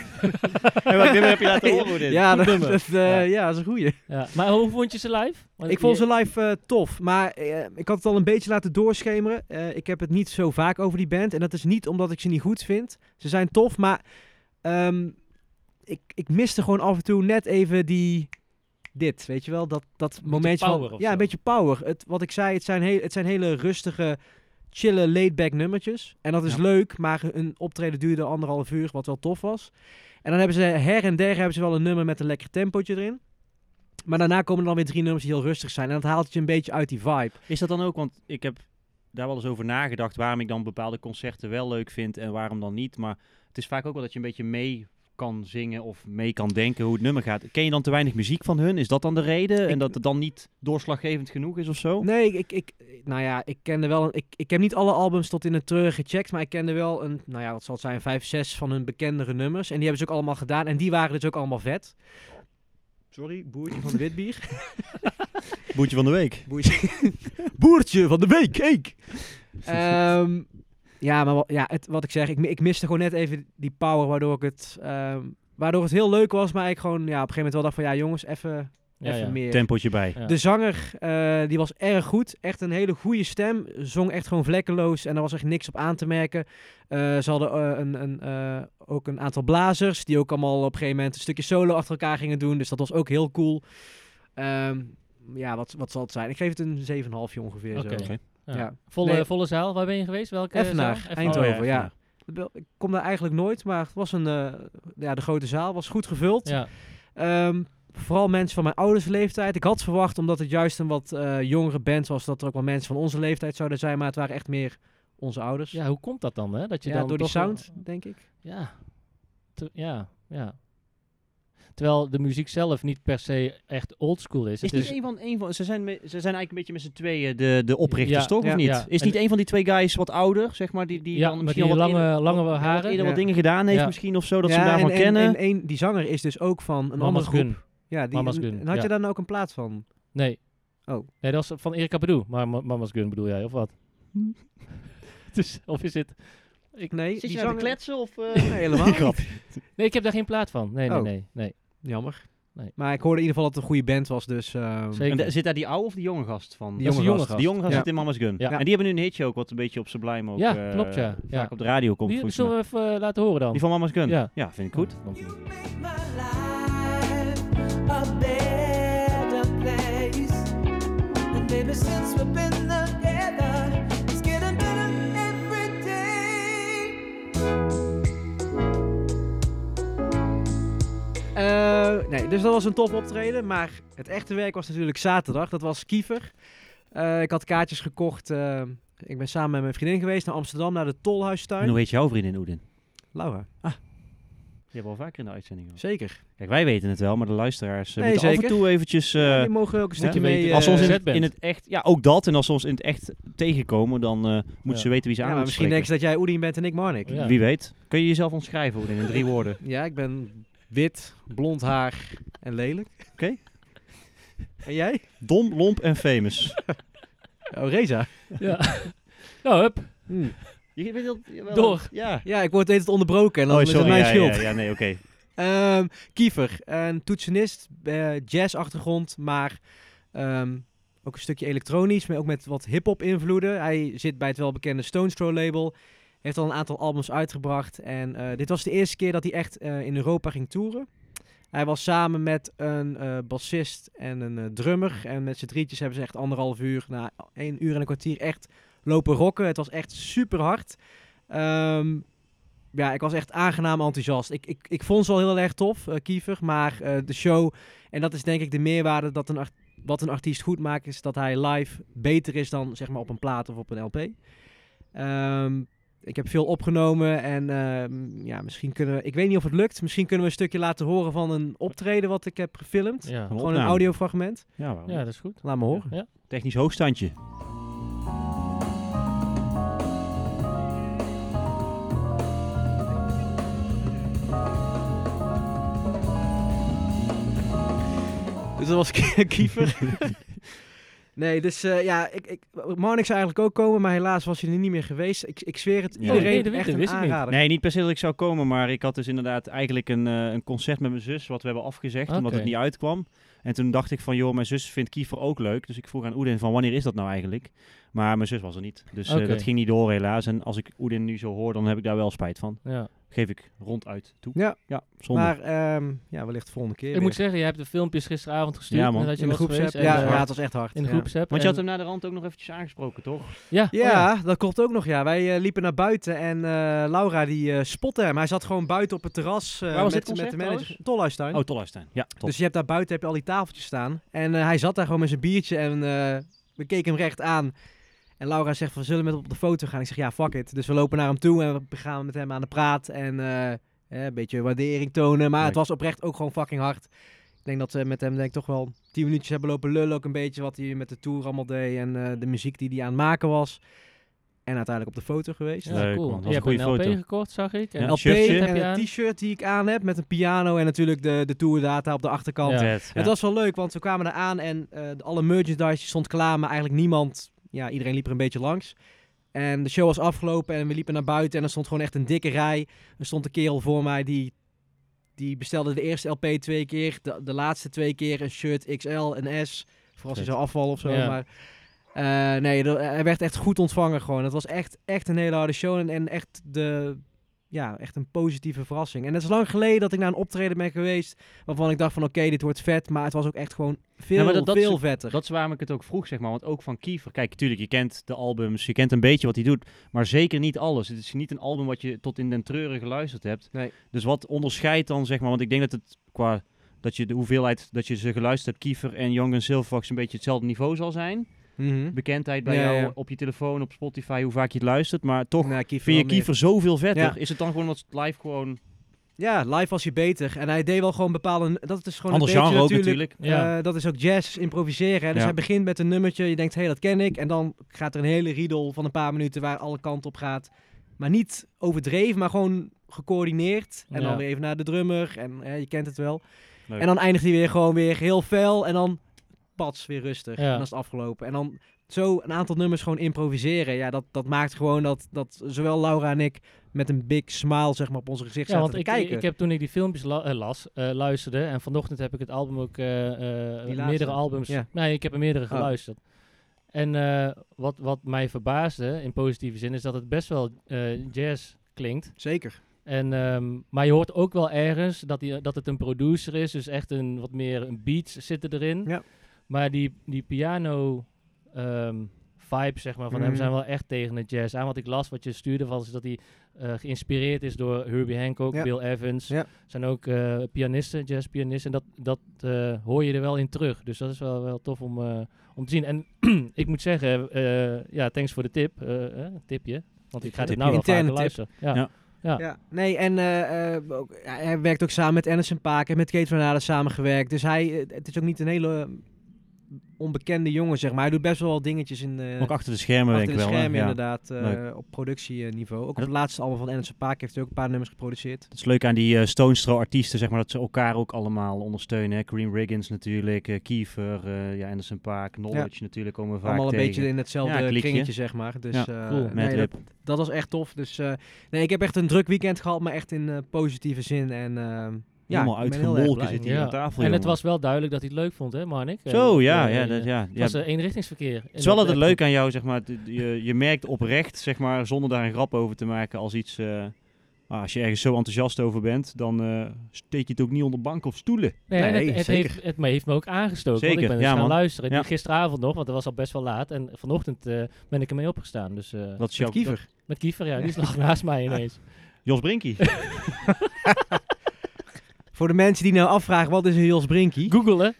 A: En wat nummer heb je laten horen dit?
B: ja, dat,
C: nummer.
B: dat, eh,
C: Ja.
B: ja, dat is een goeie.
C: Ja. Maar hoe vond je ze live? Want
B: Ik vond
C: je-
B: ze live eh, tof, maar eh, ik had het al een beetje laten doorschemeren. Eh, ik heb het niet zo vaak over die band en dat is niet omdat ik ze niet goed vind. Ze zijn tof, maar ehm, ik, ik miste gewoon af en toe net even die... Dit, weet je wel, dat, dat momentje
C: power
B: van...
C: of
B: Ja,
C: zo.
B: een beetje power. Het, wat ik zei, het zijn, heel, het zijn hele rustige, chille, laid-back nummertjes. En dat is
A: Ja.
B: leuk, maar een optreden duurde anderhalf uur, wat wel tof was. En dan hebben ze her en der hebben ze wel een nummer met een lekker tempootje erin. Maar daarna komen er dan weer drie nummers die heel rustig zijn. En dat haalt je een beetje uit die vibe.
A: Is dat dan ook, want ik heb daar wel eens over nagedacht waarom ik dan bepaalde concerten wel leuk vind en waarom dan niet. Maar het is vaak ook wel dat je een beetje mee kan zingen of mee kan denken hoe het nummer gaat. Ken je dan te weinig muziek van hun? Is dat dan de reden?
B: Ik-
A: En dat het dan niet doorslaggevend genoeg is of zo?
B: Nee, ik, ik, ik- nou ja, ik kende wel. een- ik, ik heb niet alle albums tot in het treuren gecheckt. Maar ik kende wel een, nou ja, wat zal het zijn, vijf, zes van hun bekendere nummers. En die hebben ze ook allemaal gedaan. En die waren dus ook allemaal vet. Sorry, boertje van de witbier.
A: Boetje van de week.
B: Boertje, boertje van de week, cake.
A: Eh,
B: ja, maar wat, ja, het, wat ik zeg, ik, mi- ik miste gewoon net even die power waardoor ik het, ehm, waardoor het heel leuk was. Maar ik gewoon, ja, op een gegeven moment wel dacht van, ja jongens, even,
C: Ja,
B: even
C: ja.
B: meer.
A: Tempotje bij.
C: Ja.
B: De zanger, eh, die was erg goed. Echt een hele goede stem. Zong echt gewoon vlekkeloos en er was echt niks op aan te merken. Eh, ze hadden eh, een, een, eh, ook een aantal blazers die ook allemaal op een gegeven moment een stukje solo achter elkaar gingen doen. Dus dat was ook heel cool. Ehm, ja, wat, wat zal het zijn? Ik geef het een 7,5 ongeveer.
C: Oké.
B: Zo.
A: Oké.
C: Ja.
B: Ja.
C: Volle,
B: Nee.
C: volle zaal, waar ben je geweest? Welke
B: Evenaar,
C: zaal?
B: Eindhoven,
A: Oh,
B: ja. Ik kom daar eigenlijk nooit, maar het was een, eh, ja, de grote zaal was goed gevuld.
C: Ja.
B: Ehm, vooral mensen van mijn ouders leeftijd. Ik had verwacht, omdat het juist een wat eh, jongere band was, dat er ook wel mensen van onze leeftijd zouden zijn. Maar het waren echt meer onze ouders.
C: ja, hoe komt dat dan? Hè? Dat je
B: Ja,
C: dan
B: door die
C: toch wel-
B: sound, denk ik.
C: Ja. Te- ja, ja. Terwijl de muziek zelf niet per se echt oldschool is.
A: Is
C: Het
A: niet
C: is
A: een van, een van ze, zijn me- ze zijn eigenlijk een beetje met z'n tweeën de, de oprichters,
C: Ja,
A: toch?
B: ja,
A: of niet?
C: ja.
A: Is
C: En-
A: niet een van die twee guys wat ouder, zeg maar, die, die
C: Ja,
A: dan
C: met
A: misschien
C: die
A: al wat
C: lange-
A: eer-
C: lange
A: wat- wat
C: haren.
A: eerder wat
B: Ja.
A: dingen gedaan heeft
C: Ja.
A: misschien of zo, dat
B: ja,
A: ze hem daarvan
B: en, en-
A: kennen.
B: En, en die zanger is dus ook van een
C: Mama's
B: andere groep.
C: Gun.
B: Ja, die,
C: Mama's
B: en-
C: Gun,
B: en had
C: ja.
B: je daar nou ook een plaat van?
C: Nee.
B: Oh.
C: Nee, dat was van Erika Badu. Maar Ma- Mama's Gun bedoel jij, of wat? dus, of is het...
B: Nee,
A: Zit
B: die
A: je nou te
B: zanger-
A: kletsen of... eh?
B: Nee, helemaal niet.
C: Nee, ik heb daar geen plaat van. Nee,
B: Oh.
C: nee, nee. nee.
B: Jammer.
C: Nee.
B: Maar ik hoorde in ieder geval dat het een goede band was, dus... ehm,
C: Zeker.
A: zit daar die oude of die jonge gast van?
B: Die
C: Dat is
B: jonge
C: een jonge
B: gast.
C: gast.
A: Die jonge gast
B: Ja.
A: zit in Mama's Gun.
C: Ja.
A: En die hebben nu een hitje ook, wat een beetje op Sublime ook
C: Ja,
A: eh,
C: klopt, ja. Ja.
A: vaak op de radio komt.
C: Die
A: volgens
C: zullen
A: mij.
C: we even eh, laten horen dan.
A: Die van Mama's Gun?
C: Ja.
A: vind ik goed.
C: Ja.
B: Eh, nee, dus dat was een top optreden. Maar het echte werk was natuurlijk zaterdag. Dat was Kiever. Eh, ik had kaartjes gekocht. eh, ik ben samen met mijn vriendin geweest naar Amsterdam, naar de Tolhuistuin.
A: En hoe heet jouw vriendin Oedin?
B: Laura.
A: Je hebt al vaker in de uitzending gehad.
B: Zeker.
A: Kijk, wij weten het wel, maar de luisteraars eh,
B: Nee,
A: moeten af
B: zeker.
A: en toe eventjes... eh,
B: Die mogen ook een
A: ja,
B: stukje
C: weten
B: mee... eh,
A: als ze ons in,
C: Zet
A: het-
C: bent.
A: in het echt... Ja, ook dat. En als ze ons in het echt tegenkomen, dan eh, moeten
C: Ja.
A: ze weten wie ze
B: ja,
A: aan moeten
B: maar misschien
A: spreken.
B: denken ze dat jij Oedien bent en ik Marnik.
C: Ja.
A: Wie weet. Kun je jezelf omschrijven, Oedin, in drie woorden?
B: Ja, ik ben wit, blond haar en lelijk.
A: Oké.
B: En jij?
A: Dom, lomp en famous.
B: Oh, Reza.
C: Ja. nou, hup.
B: Hm.
A: Je bent wel- wel-
C: Door.
A: Ja.
B: Ja, ik word de hele tijd onderbroken en dan
A: oh,
B: is het
A: sorry.
B: mijn
A: Ja,
B: schuld.
A: ja, ja, nee, oké.
B: Ehm, Kiefer, een toetsenist, eh, jazz-achtergrond, maar ehm, ook een stukje elektronisch, maar ook met wat hip-hop invloeden. Hij zit bij het welbekende Stones Throw label, heeft al een aantal albums uitgebracht en eh, dit was de eerste keer dat hij echt eh, in Europa ging toeren. Hij was samen met een eh, bassist en een eh, drummer en met z'n drietjes hebben ze echt anderhalf uur, na één uur en een kwartier echt lopen rocken. Het was echt super hard. Ehm, ja, ik was echt aangenaam enthousiast. Ik, ik, ik vond ze al heel erg tof, eh, Kiefer. Maar eh, de show, en dat is denk ik de meerwaarde dat een, art- wat een artiest goed maakt is dat hij live beter is dan zeg maar op een plaat of op een LP. Ehm, ik heb veel opgenomen en ehm, ja, misschien kunnen we, ik weet niet of het lukt, misschien kunnen we een stukje laten horen van een optreden wat ik heb gefilmd.
C: Ja.
A: Een
B: Gewoon een
A: opname.
B: audiofragment.
A: Ja, waarom?
C: ja, dat is goed.
B: Laat me horen.
C: Ja.
A: Technisch hoogstandje.
B: Dus dat was Kiefer. nee, dus eh, ja, ik, ik, Marnix zou eigenlijk ook komen, maar helaas was hij er niet meer geweest. Ik, ik zweer het,
A: Ja.
B: iedereen
C: Oh, nee, dat wist-
B: echt
C: dat
B: een
C: wist ik niet.
B: aanrader.
A: Nee, niet per se dat ik zou komen, maar ik had dus inderdaad eigenlijk een, eh, een concert met mijn zus, wat we hebben afgezegd, omdat
C: Oké.
A: het niet uitkwam. En toen dacht ik van, joh, mijn zus vindt Kiefer ook leuk. Dus ik vroeg aan Oedin van, wanneer is dat nou eigenlijk? Maar mijn zus was er niet. Dus eh,
C: Oké.
A: dat ging niet door helaas. En als ik Oedin nu zo hoor, dan heb ik daar wel spijt van.
C: Ja.
A: Geef ik ronduit toe.
B: Ja.
A: Ja, zonder.
B: Maar ehm, ja, wellicht de volgende keer
C: Ik moet
B: weer.
C: zeggen, je hebt de filmpjes gisteravond gestuurd.
A: Ja, man.
C: en Dat je
B: in de
C: was
B: groepsapp. Ja,
C: geweest en,
B: ja,
C: eh,
B: het was echt hard.
C: in de
B: Ja.
C: groepsapp.
A: Want je had
C: en-
A: hem na de rand ook nog eventjes aangesproken, toch?
C: Ja, oh
B: Ja, dat klopt ook nog. Ja. Wij eh, liepen naar buiten en eh, Laura die eh, spotte hem. Hij zat gewoon buiten op het terras eh,
A: Waar was
B: met,
A: dit
B: met de
A: concert
B: manager. Tolhuistuin.
A: Oh, Tolhuistuin. Ja, top.
B: dus je hebt daar buiten heb je al die tafeltjes staan. En eh, hij zat daar gewoon met zijn biertje en eh, we keken hem recht aan. En Laura zegt van, zullen we met op de foto gaan? Ik zeg, ja, fuck it. Dus we lopen naar hem toe en we gaan met hem aan de praat. En eh, eh, een beetje waardering tonen. Maar het
A: Leuk.
B: was oprecht ook gewoon fucking hard. Ik denk dat we met hem denk ik, toch wel tien minuutjes hebben lopen lullen. Ook een beetje wat hij met de tour allemaal deed. En eh, de muziek die hij aan het maken was. En uiteindelijk op de foto geweest.
A: Ja, Leuk, man. Dat was
C: Je
A: een
C: hebt
A: goede
C: een LP
A: foto.
C: gekocht, zag ik. En
A: Ja.
B: Een LP
A: shirtje.
C: Heb je
B: en
C: aan?
B: een t-shirt die ik aan heb met een piano. En natuurlijk de, de tourdata op de achterkant.
C: Ja.
A: Vet, ja.
B: Het was wel leuk, want we kwamen eraan en eh, alle merchandise stond klaar, maar eigenlijk niemand, ja, iedereen liep er een beetje langs. En de show was afgelopen en we liepen naar buiten en er stond gewoon echt een dikke rij. Er stond een kerel voor mij die, die bestelde de eerste LP twee keer, de, de laatste twee keer een shirt XL, een S, voor als
A: Vet.
B: hij zou afvallen of zo.
C: Ja.
B: Maar eh, nee, er- hij werd echt goed ontvangen gewoon. Het was echt, echt een hele harde show en, en echt, de, ja, echt een positieve verrassing. En het is lang geleden dat ik naar een optreden ben geweest waarvan ik dacht van oké, dit wordt vet, maar het was ook echt gewoon veel,
A: Ja, maar dat- dat
B: veel
A: is-
B: vetter.
A: Dat is waarom ik het ook vroeg, zeg maar. Want ook van Kiefer. Kijk, tuurlijk, je kent de albums, je kent een beetje wat hij doet. Maar zeker niet alles. Het is niet een album wat je tot in den treuren geluisterd hebt.
B: Nee.
A: Dus wat onderscheidt dan, zeg maar. Want ik denk dat het qua dat je de hoeveelheid dat je ze geluisterd hebt, Kiefer en Young en Silverfox, een beetje hetzelfde niveau zal zijn.
B: Mhm.
A: Bekendheid bij
B: Ja,
A: jou
B: ja.
A: op je telefoon, op Spotify, hoe vaak je het luistert. Maar toch
B: Nou, Kiefer
A: vind je
B: wel meer.
A: Kiefer zoveel vetter.
B: Ja.
A: Is het dan gewoon dat het live gewoon...
B: Ja, live was hij beter. En hij deed wel gewoon bepaalde... Dat is gewoon
A: Ander
B: een beetje
A: genre ook
B: natuurlijk.
A: natuurlijk.
C: Ja.
B: eh, dat is ook jazz, improviseren. hè. Dus
A: Ja.
B: hij begint met een nummertje, je denkt, hé, dat ken ik. En dan gaat er een hele riedel van een paar minuten waar alle kanten op gaat. Maar niet overdreven, maar gewoon gecoördineerd. En
C: Ja.
B: dan weer even naar de drummer. En hè, je kent het wel.
A: Leuk.
B: En dan eindigt hij weer gewoon weer heel fel. En dan pats, weer rustig.
C: Ja.
B: En dan is het afgelopen. En dan zo een aantal nummers gewoon improviseren. Ja, dat, dat maakt gewoon dat, dat zowel Laura en ik met een big smile zeg maar, op onze gezicht
C: Ja,
B: zaten
C: want
B: te
C: ik,
B: kijken.
C: ik heb toen ik die filmpjes la- eh, las, eh, luisterde. En vanochtend heb ik het album ook, eh, eh,
B: Die laatste?
C: meerdere albums.
B: Ja.
C: Nee, ik heb er meerdere
B: Oh.
C: geluisterd. En eh, wat, wat mij verbaasde, in positieve zin, is dat het best wel eh, jazz klinkt.
B: Zeker.
C: En, ehm, maar je hoort ook wel ergens dat, die, dat het een producer is. Dus echt een, wat meer een beats zitten erin.
B: Ja.
C: Maar die, die piano ehm vibe zeg maar, van hem
B: Mhm.
C: zijn wel echt tegen de jazz aan. Want ik las wat je stuurde van is dat hij eh, geïnspireerd is door Herbie Hancock,
B: Ja.
C: Bill Evans.
B: Ja.
C: Zijn ook eh, pianisten, jazzpianisten. En dat, dat eh, hoor je er wel in terug. Dus dat is wel, wel tof om, eh, om te zien. En ik moet zeggen, eh, ja, thanks voor de tip. eh, eh, tipje. Want ik ga dit
A: Tipje.
C: nou wel
B: Interne
C: vaker
B: tip.
C: luisteren. Ja.
A: Ja.
C: Ja.
B: Ja, nee, en eh, eh, ook, ja, hij werkt ook samen met Anderson Paak en met Kate Renade samengewerkt. Dus hij, eh, het is ook niet een hele eh, onbekende jongen, zeg maar. Hij doet best wel wat dingetjes in, eh,
A: Ook achter de schermen
B: achter de
A: denk ik wel. hè?
B: schermen,
A: Ja.
B: inderdaad, eh, op productieniveau. Ook op
A: Dat-
B: het laatste album van Anderson Paak heeft hij ook een paar nummers geproduceerd.
A: Het is leuk aan die eh Stonestro-artiesten, zeg maar, dat ze elkaar ook allemaal ondersteunen. Hè? Kareem Riggins natuurlijk, eh, Kiefer, eh ja, Anderson Paak, Knowledge natuurlijk komen we vaak
B: Allemaal een
A: tegen.
B: beetje in hetzelfde
A: Ja, klikje.
B: kringetje, zeg maar. Dus,
A: Ja,
B: eh,
C: cool.
B: nee,
A: Mad
B: dat-
A: Lib.
B: dat was echt tof. Dus eh, nee, ik heb echt een druk weekend gehad, maar echt in eh, positieve zin. En eh, ja,
A: Helemaal
B: ik ben heel erg
A: uitgemolken
B: blij.
A: zit hier
C: Ja.
A: aan tafel,
C: En het
A: jongen.
C: was wel duidelijk dat hij het leuk vond, hè, Marnik? Eh,
A: Zo,
C: dat,
A: ja,
C: eh,
A: ja,
C: eh,
A: dat, ja, ja.
C: Het was eh, eenrichtingsverkeer.
A: Het is wel altijd leuk aan jou, zeg maar, d- je, je merkt oprecht, zeg maar, zonder daar een grap over te maken, als iets... eh, ah, als je ergens zo enthousiast over bent, dan eh, steek je het ook niet onder banken of stoelen.
C: Nee, en
B: Nee,
C: het, het
B: zeker.
C: Heeft, het me- heeft me ook aangestoken.
A: Zeker,
C: want ik ben
A: ja,
C: dus gaan
A: man.
C: luisteren.
A: Ja.
C: Gisteravond nog, want het was al best wel laat. En vanochtend eh, ben ik ermee opgestaan. Dus, eh,
A: Dat is
B: Met
A: jouw...
B: Kiefer.
C: met Kiefer, ja, die lag naast mij ineens.
A: Jos Brinkie.
B: Voor de mensen die nou afvragen, wat is een Jos Brinkie?
C: Googelen.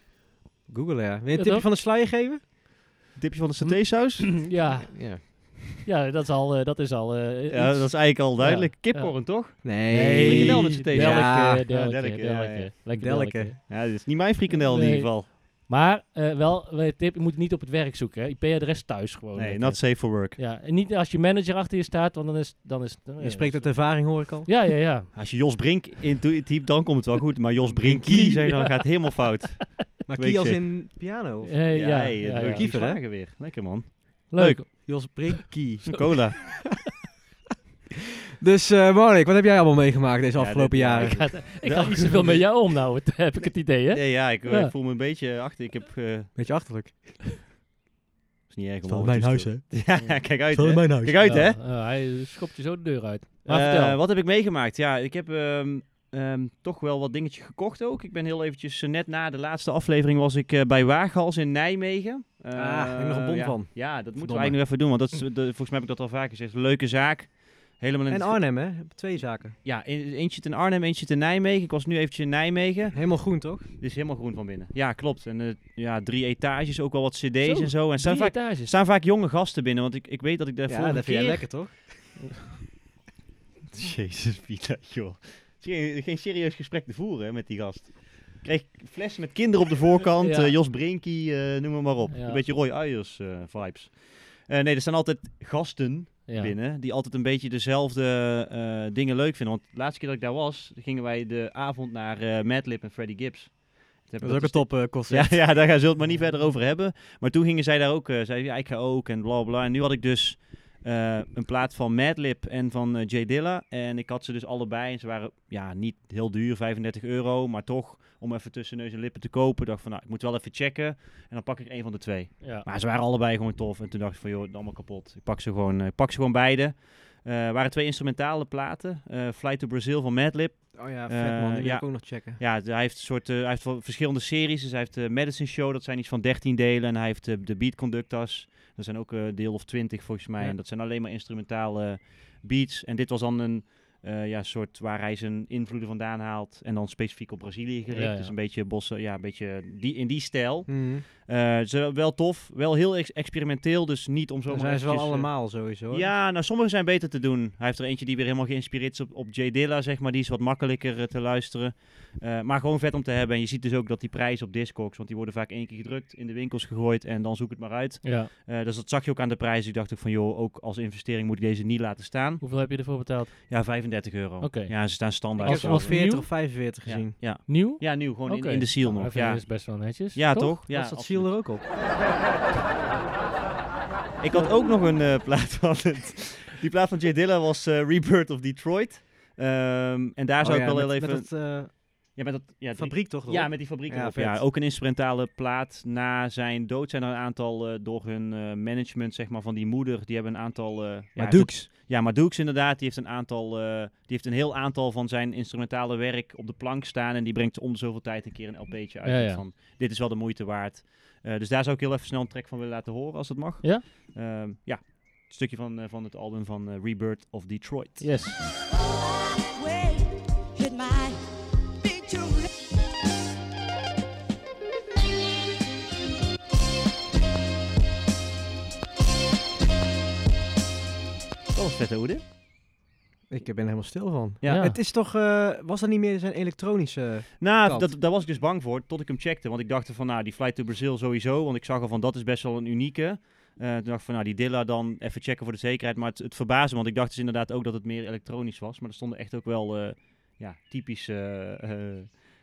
B: Google, ja. Wil je een
C: Ja,
B: tipje
C: toch?
B: van de sluier geven?
A: Dipje van de satésaus?
C: ja,
B: Ja.
C: ja, dat is al... eh, dat is al eh,
A: Ja,
C: iets.
A: dat is eigenlijk al duidelijk.
C: Ja.
A: Kipcorn, toch?
B: Nee.
A: frikandel met z'n tweeën.
C: Delke,
B: Ja.
C: delke,
A: Ja,
C: delke,
A: delke, ja,
C: delke.
A: ja.
C: Lekker
B: Delke.
C: delke.
A: Ja, dit is niet mijn frikandel in
C: Nee.
A: ieder geval.
C: Maar eh, wel, wel een tip, je moet het niet op het werk zoeken. hè. IP-adres thuis gewoon.
A: Nee,
C: Eh,
A: not safe for work.
C: Ja, en niet als je manager achter je staat, want dan is... Dan is dan,
B: Je spreekt uit ervaring, hoor ik al.
C: Ja, ja, ja.
A: Als je Jos Brink in typt, dan komt het wel goed. Maar Jos Brinkie, zeg je, dan gaat het helemaal fout.
B: Maar
A: Weet
B: key als
A: je.
B: in piano. of-
C: Eh, ja,
A: hey,
C: ja,
A: het
C: ja.
A: lukt die
B: Kiever, hè?
A: vragen weer. Lekker, man.
C: Leuk.
B: Jos Brinkie.
A: Zo'n cola.
B: Dus eh Marnik, wat heb jij allemaal meegemaakt deze
A: Ja,
B: afgelopen
A: dit-
B: jaren?
C: Ik ga, ik ga niet zoveel met jou om nou, het- heb ik het idee, hè?
A: Nee, ja, ik eh,
C: Ja.
A: voel me een beetje achter. Ik heb... eh,
B: Beetje achterlijk.
A: is niet erg om
B: Van
A: over
B: mijn
A: te
B: huis, hè?
A: stoten. Ja, kijk uit, hè?
B: mijn huis.
A: Kijk uit, hè?
C: Ja, ja, Oh, hij schopt je zo de deur uit. Maar
A: Eh,
C: vertel.
A: wat heb ik meegemaakt? Ja, ik heb ehm, ehm, toch wel wat dingetje gekocht ook. Ik ben heel eventjes, eh, net na de laatste aflevering was ik eh, bij Waaghals in Nijmegen. Eh,
B: Ah, heb ik nog een bon
A: ja.
B: van.
A: Ja, dat moeten
B: Verdomme.
A: we eigenlijk nog even doen, want dat is, de- volgens mij heb ik dat al vaker gezegd. Leuke zaak. Helemaal in
B: En
A: het-
B: Arnhem, hè? Twee zaken.
A: Ja, e- eentje ten Arnhem, eentje ten Nijmegen. Ik was nu eventjes in Nijmegen.
B: Helemaal groen, toch?
A: Dit is helemaal groen van binnen. Ja, klopt. En eh, ja, drie etages, ook wel wat cd's
C: Zo,
A: en zo. En er staan,
C: Drie
A: vaak, er
C: etages.
A: staan vaak jonge gasten binnen, want ik, ik weet dat ik daar
B: Ja, dat vind jij lekker, toch?
A: Jezus, Pieter, joh. Het is Geen, geen serieus gesprek te voeren hè, met die gast. Ik Kreeg fles met kinderen op de voorkant,
C: Ja.
A: eh, Jos Brinkie, eh, noem maar, maar op.
C: Ja.
A: Een beetje Roy Ayers eh, vibes. Eh, nee, er staan altijd gasten
C: Ja.
A: binnen die altijd een beetje dezelfde eh, dingen leuk vinden. Want de laatste keer dat ik daar was, gingen wij de avond naar eh Madlib en Freddie Gibbs. Toen heb ik
B: Dat is ook een
A: dus-
B: top eh,
A: ja,
B: concept.
A: ja, daar gaan we het maar niet verder over hebben. Maar toen gingen zij daar ook, eh zei ja, ik ga ook en bla bla. En nu had ik dus eh, een plaat van Madlib en van eh, Jay Dilla. En ik had ze dus allebei. En ze waren ja, niet heel duur, 35 euro. Maar toch, om even tussen neus en lippen te kopen, dacht van, nou, ik moet wel even checken. En dan pak ik een van de twee.
C: Ja.
A: Maar ze waren allebei gewoon tof. En toen dacht ik van, joh, het is allemaal kapot. Ik pak ze gewoon, eh, ik pak ze gewoon beide. Eh waren twee instrumentale platen. Eh Flight to Brazil van Madlib.
B: Oh ja,
A: Eh,
B: vet man. Die wil
A: ja.
B: ik ook nog checken.
A: Ja, de- hij heeft, een soort, eh, hij heeft wel verschillende series. Dus hij heeft de Medicine Show, dat zijn iets van 13 delen. En hij heeft eh, de Beat Conductors. Dat zijn ook een deel of 20 volgens mij.
B: Ja.
A: En dat zijn alleen maar instrumentale eh, beats. En dit was dan een eh, ja, soort waar hij zijn invloeden vandaan haalt. En dan specifiek op Brazilië gericht.
C: Ja, ja.
A: Dus een beetje bossen, ja, een beetje die, in die stijl.
B: Mhm.
A: Eh, ze- wel tof, wel heel ex- experimenteel. Dus niet om zo
B: Dan
A: maar
B: zijn ze wel
A: eventjes, eh,
B: allemaal sowieso. hoor.
A: ja, nou sommige zijn beter te doen. Hij heeft er eentje die weer helemaal geïnspireerd is op, op Jay Dilla, zeg maar. Die is wat makkelijker eh, te luisteren. Eh, maar gewoon vet om te hebben. En je ziet dus ook dat die prijzen op Discogs, want die worden vaak één keer gedrukt, in de winkels gegooid en dan zoek het maar uit.
C: ja.
A: Eh, dus dat zag je ook aan de prijs. Ik dacht ook van, joh, ook als investering moet ik deze niet laten staan.
C: Hoeveel heb je ervoor betaald?
A: Ja, 35 euro.
C: Oké.
A: Ja, ze staan
B: Ik
A: standaard.
B: heb
C: Als-
B: ze
A: zo.
B: al
C: als-
B: 40
C: nieuw?
B: of 45 gezien.
A: Ja.
C: Nieuw?
A: ja, nu, gewoon
C: Oké.
A: in, in de seal
C: Nou,
A: nog.
C: even-
A: Ja,
C: Dat is best wel netjes.
A: ja toch? Ja,
B: Ja, dat viel
A: absoluut.
B: er ook op.
A: Ik had ook nog een eh, plaat van het. Die plaat van Jay Dilla was eh, Rebirth of Detroit. Ehm, en daar zou
B: Oh
A: ik
B: ja,
A: wel heel
B: met-
A: even...
B: Met dat eh,
A: ja, met dat, ja, die-
B: fabriek toch?
A: Ja,
B: erop?
A: met die fabriek
B: Ja,
A: erop,
B: vet.
A: ja, Ook een instrumentale plaat. Na zijn dood zijn er een aantal eh, door hun eh, management, zeg maar, van die moeder. Die hebben een aantal... eh, ja,
B: Maar Dukes.
A: dat- Ja, maar Dukes inderdaad. Die heeft een aantal... eh, die heeft een heel aantal van zijn instrumentale werk op de plank staan. En die brengt om de zoveel tijd een keer een LP'tje uit.
C: Ja, ja.
A: Van, dit is wel de moeite waard. Eh, dus daar zou ik heel even snel een track van willen laten horen, als dat mag.
C: Ja?
A: Ehm, ja. Een stukje van, eh, van het album van eh, Rebirth of Detroit.
C: Yes.
A: Oh, vette hoede.
B: Ik eh, ben er helemaal stil van.
A: Ja.
C: Ja.
B: Het is toch, eh, was dat niet meer zijn elektronische...
A: Nou,
B: kant.
A: dat, daar was ik dus bang voor, tot ik hem checkte. Want ik dacht van, nou, die Flight to Brazil sowieso. Want ik zag al van, dat is best wel een unieke. Eh, toen dacht ik van, nou, die Dilla dan even checken voor de zekerheid. Maar het, het verbaasde, me, want ik dacht dus inderdaad ook dat het meer elektronisch was. Maar er stonden echt ook wel, eh, ja, typische eh, eh,